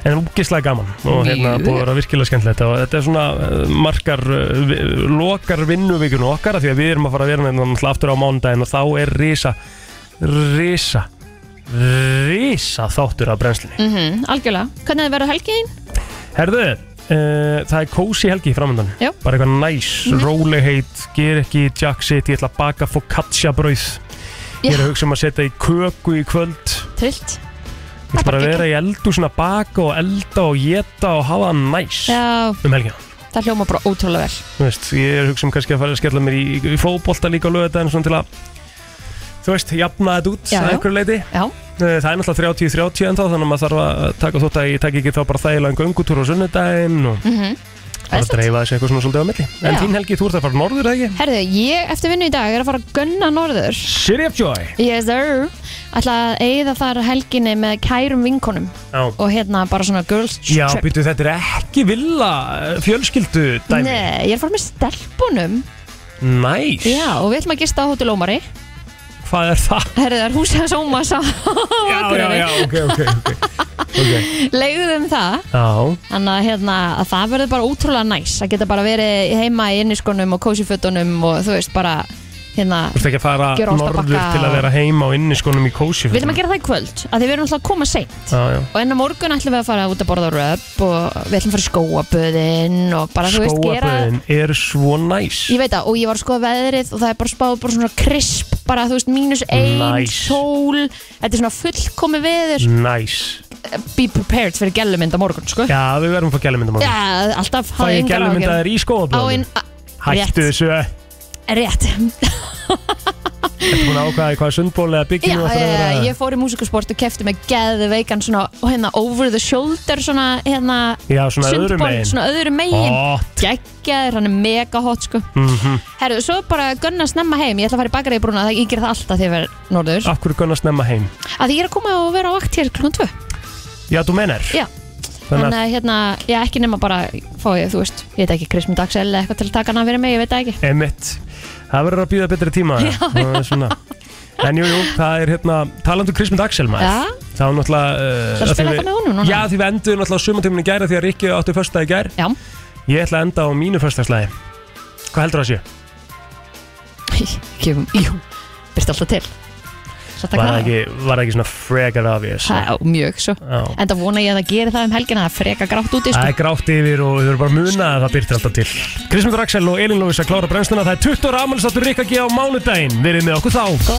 Speaker 2: En úkislega gaman og hérna
Speaker 3: Mjög.
Speaker 2: búið að vera virkilega skemmtilegt og þetta er svona eh, markar eh, vi- lokar vinnuvíkunu okkar af því að við erum að fara að vera með þannig aftur á mánudaginn og þá er risa risa risa þáttur af brennslinni
Speaker 3: mm algjörlega Hvernig hefði verið helgiðin?
Speaker 2: Herðu, uh, það er kósi helgi framöndan
Speaker 3: Já. Mhm.
Speaker 2: Bara eitthvað næs, mm rólegheit Ger ekki jack shit, ég ætla að baka focaccia brauð Ég er
Speaker 3: Já.
Speaker 2: að hugsa um að setja í köku í kvöld
Speaker 3: Trillt
Speaker 2: Ég ætla bara að vera í eldu svona baka og elda og geta og hafa það næs
Speaker 3: Já,
Speaker 2: Um helgina
Speaker 3: það hljóma bara ótrúlega vel
Speaker 2: Þú veist, Ég er að hugsa um kannski að fara að skella mér í, í fótbolta líka á lögudaginn svona til að Þú veist, jafna þetta út
Speaker 3: Já,
Speaker 2: að
Speaker 3: já.
Speaker 2: einhverju leiti
Speaker 3: Já
Speaker 2: Eh, Það er náttúrulega 30-30 en þá þannig að maður þarf að taka þótt að ég taki ekki þá bara þægilega en göngutúr á sunnudaginn og
Speaker 3: mm
Speaker 2: bara að dreifa þessu eitthvað svona svolítið á milli En
Speaker 3: Já.
Speaker 2: þín helgi, þú ert að fara norður, eða ekki?
Speaker 3: Herðu, ég eftir vinnu í dag er að fara að gunna norður
Speaker 2: City of Joy
Speaker 3: Yes sir Ætla að eigða þar helginni með kærum vinkonum
Speaker 2: Já.
Speaker 3: Og hérna bara svona girls
Speaker 2: Já,
Speaker 3: trip
Speaker 2: býtu, þetta er ekki villa eh, fjölskyldu dæmi
Speaker 3: Nei, ég er að fara með stelpunum
Speaker 2: Næs,
Speaker 3: Já, og við ætlum að gista á Hotel Ómari
Speaker 2: hvað er það?
Speaker 3: Herðu, það er húsið hans Ómas á Akureyri.
Speaker 2: ok, ok, ok, okay.
Speaker 3: Leigðum það
Speaker 2: Já,
Speaker 3: Þannig að, hérna, að það verður bara útrúlega næs að geta bara verið heima í inniskonum og kósifötunum og þú veist bara hérna,
Speaker 2: þú ert ekki að fara
Speaker 3: Gera
Speaker 2: norður
Speaker 3: ostabakka
Speaker 2: til að
Speaker 3: og-
Speaker 2: vera heima og inni skonum í kósi
Speaker 3: við ætlum að gera það í kvöld að því við erum alltaf að koma seint
Speaker 2: Já, já
Speaker 3: og enn á morgun ætlum við að fara út að borða röp og við ætlum að fara í skóaböðin og bara þú veist gera
Speaker 2: Skóaböðin er svo næs
Speaker 3: ég veit það og ég var að skoða veðrið og það er bara spáð bara svona krisp bara þú veist mínus ein,
Speaker 2: Næs.
Speaker 3: sól þetta er svona fullkomi veður
Speaker 2: Næs
Speaker 3: be prepared fyrir gælumind á morgun sko
Speaker 2: Já, við verðum að fá gælumynda
Speaker 3: Já,
Speaker 2: morgun
Speaker 3: alltaf
Speaker 2: Fæ ég gælumyndaðir í skóaböðin? Hættu
Speaker 3: rétt,
Speaker 2: þessu
Speaker 3: rétt.
Speaker 2: Ertu búin að ákvæða í hvaða sundból eða
Speaker 3: Já,
Speaker 2: byggjum
Speaker 3: ég, ég fór í músikusport og kefti með geðu veikan svona og hérna over the shoulder svona hérna
Speaker 2: Já, svona öðrum
Speaker 3: sundbol,
Speaker 2: megin.
Speaker 3: svona öðru megin
Speaker 2: Hot.
Speaker 3: geggjaður, hann er mega hot sko
Speaker 2: Mhm.
Speaker 3: herru, svo bara gunna snemma heim ég ætla að fara í bakariði brúna, það ég ger það alltaf þegar ég verð norður
Speaker 2: Af hverju gunna snemma heim?
Speaker 3: að því ég er að koma og vera á vakt hér klukkan 2
Speaker 2: Já, þú menar
Speaker 3: já, þannig að hérna já, ekki nema bara fá ég, þú veist ég veit ekki, Krismi Dagsel eða eitthvað til að taka hana fyrir mig, ég veit það ekki
Speaker 2: Emitt Það verður að býða betri tíma
Speaker 3: Já,
Speaker 2: það er svona. En jú, jú, það er hérna Talandu Krismund Axel maður
Speaker 3: Já.
Speaker 2: Það var náttúrulega uh,
Speaker 3: Það
Speaker 2: að því
Speaker 3: spila
Speaker 2: við-
Speaker 3: eitthvað með honum núna.
Speaker 2: Já, því við endur náttúrulega sumantíminu í gæri Því að Rikki áttu fyrsta í gær
Speaker 3: Já.
Speaker 2: Ég ætla að enda á mínu fyrstagslæði Hvað heldur það sé?
Speaker 3: gefum, jú, byrst alltaf til Svo taka
Speaker 2: Var það
Speaker 3: hana.
Speaker 2: ekki, var það ekki svona frekar obvious?
Speaker 3: Já, mjög svo
Speaker 2: Já.
Speaker 3: En það vona ég að það geri það um helgina Það er freka grátt út í
Speaker 2: Það
Speaker 3: sko
Speaker 2: er grátt yfir og þau eru bara að muna að það byrtir alltaf til Krismundur Axel og Elin Lóvis að klára brennsluna Það er 20 ára afmælisáttur Rikki á mánudaginn Verið með okkur þá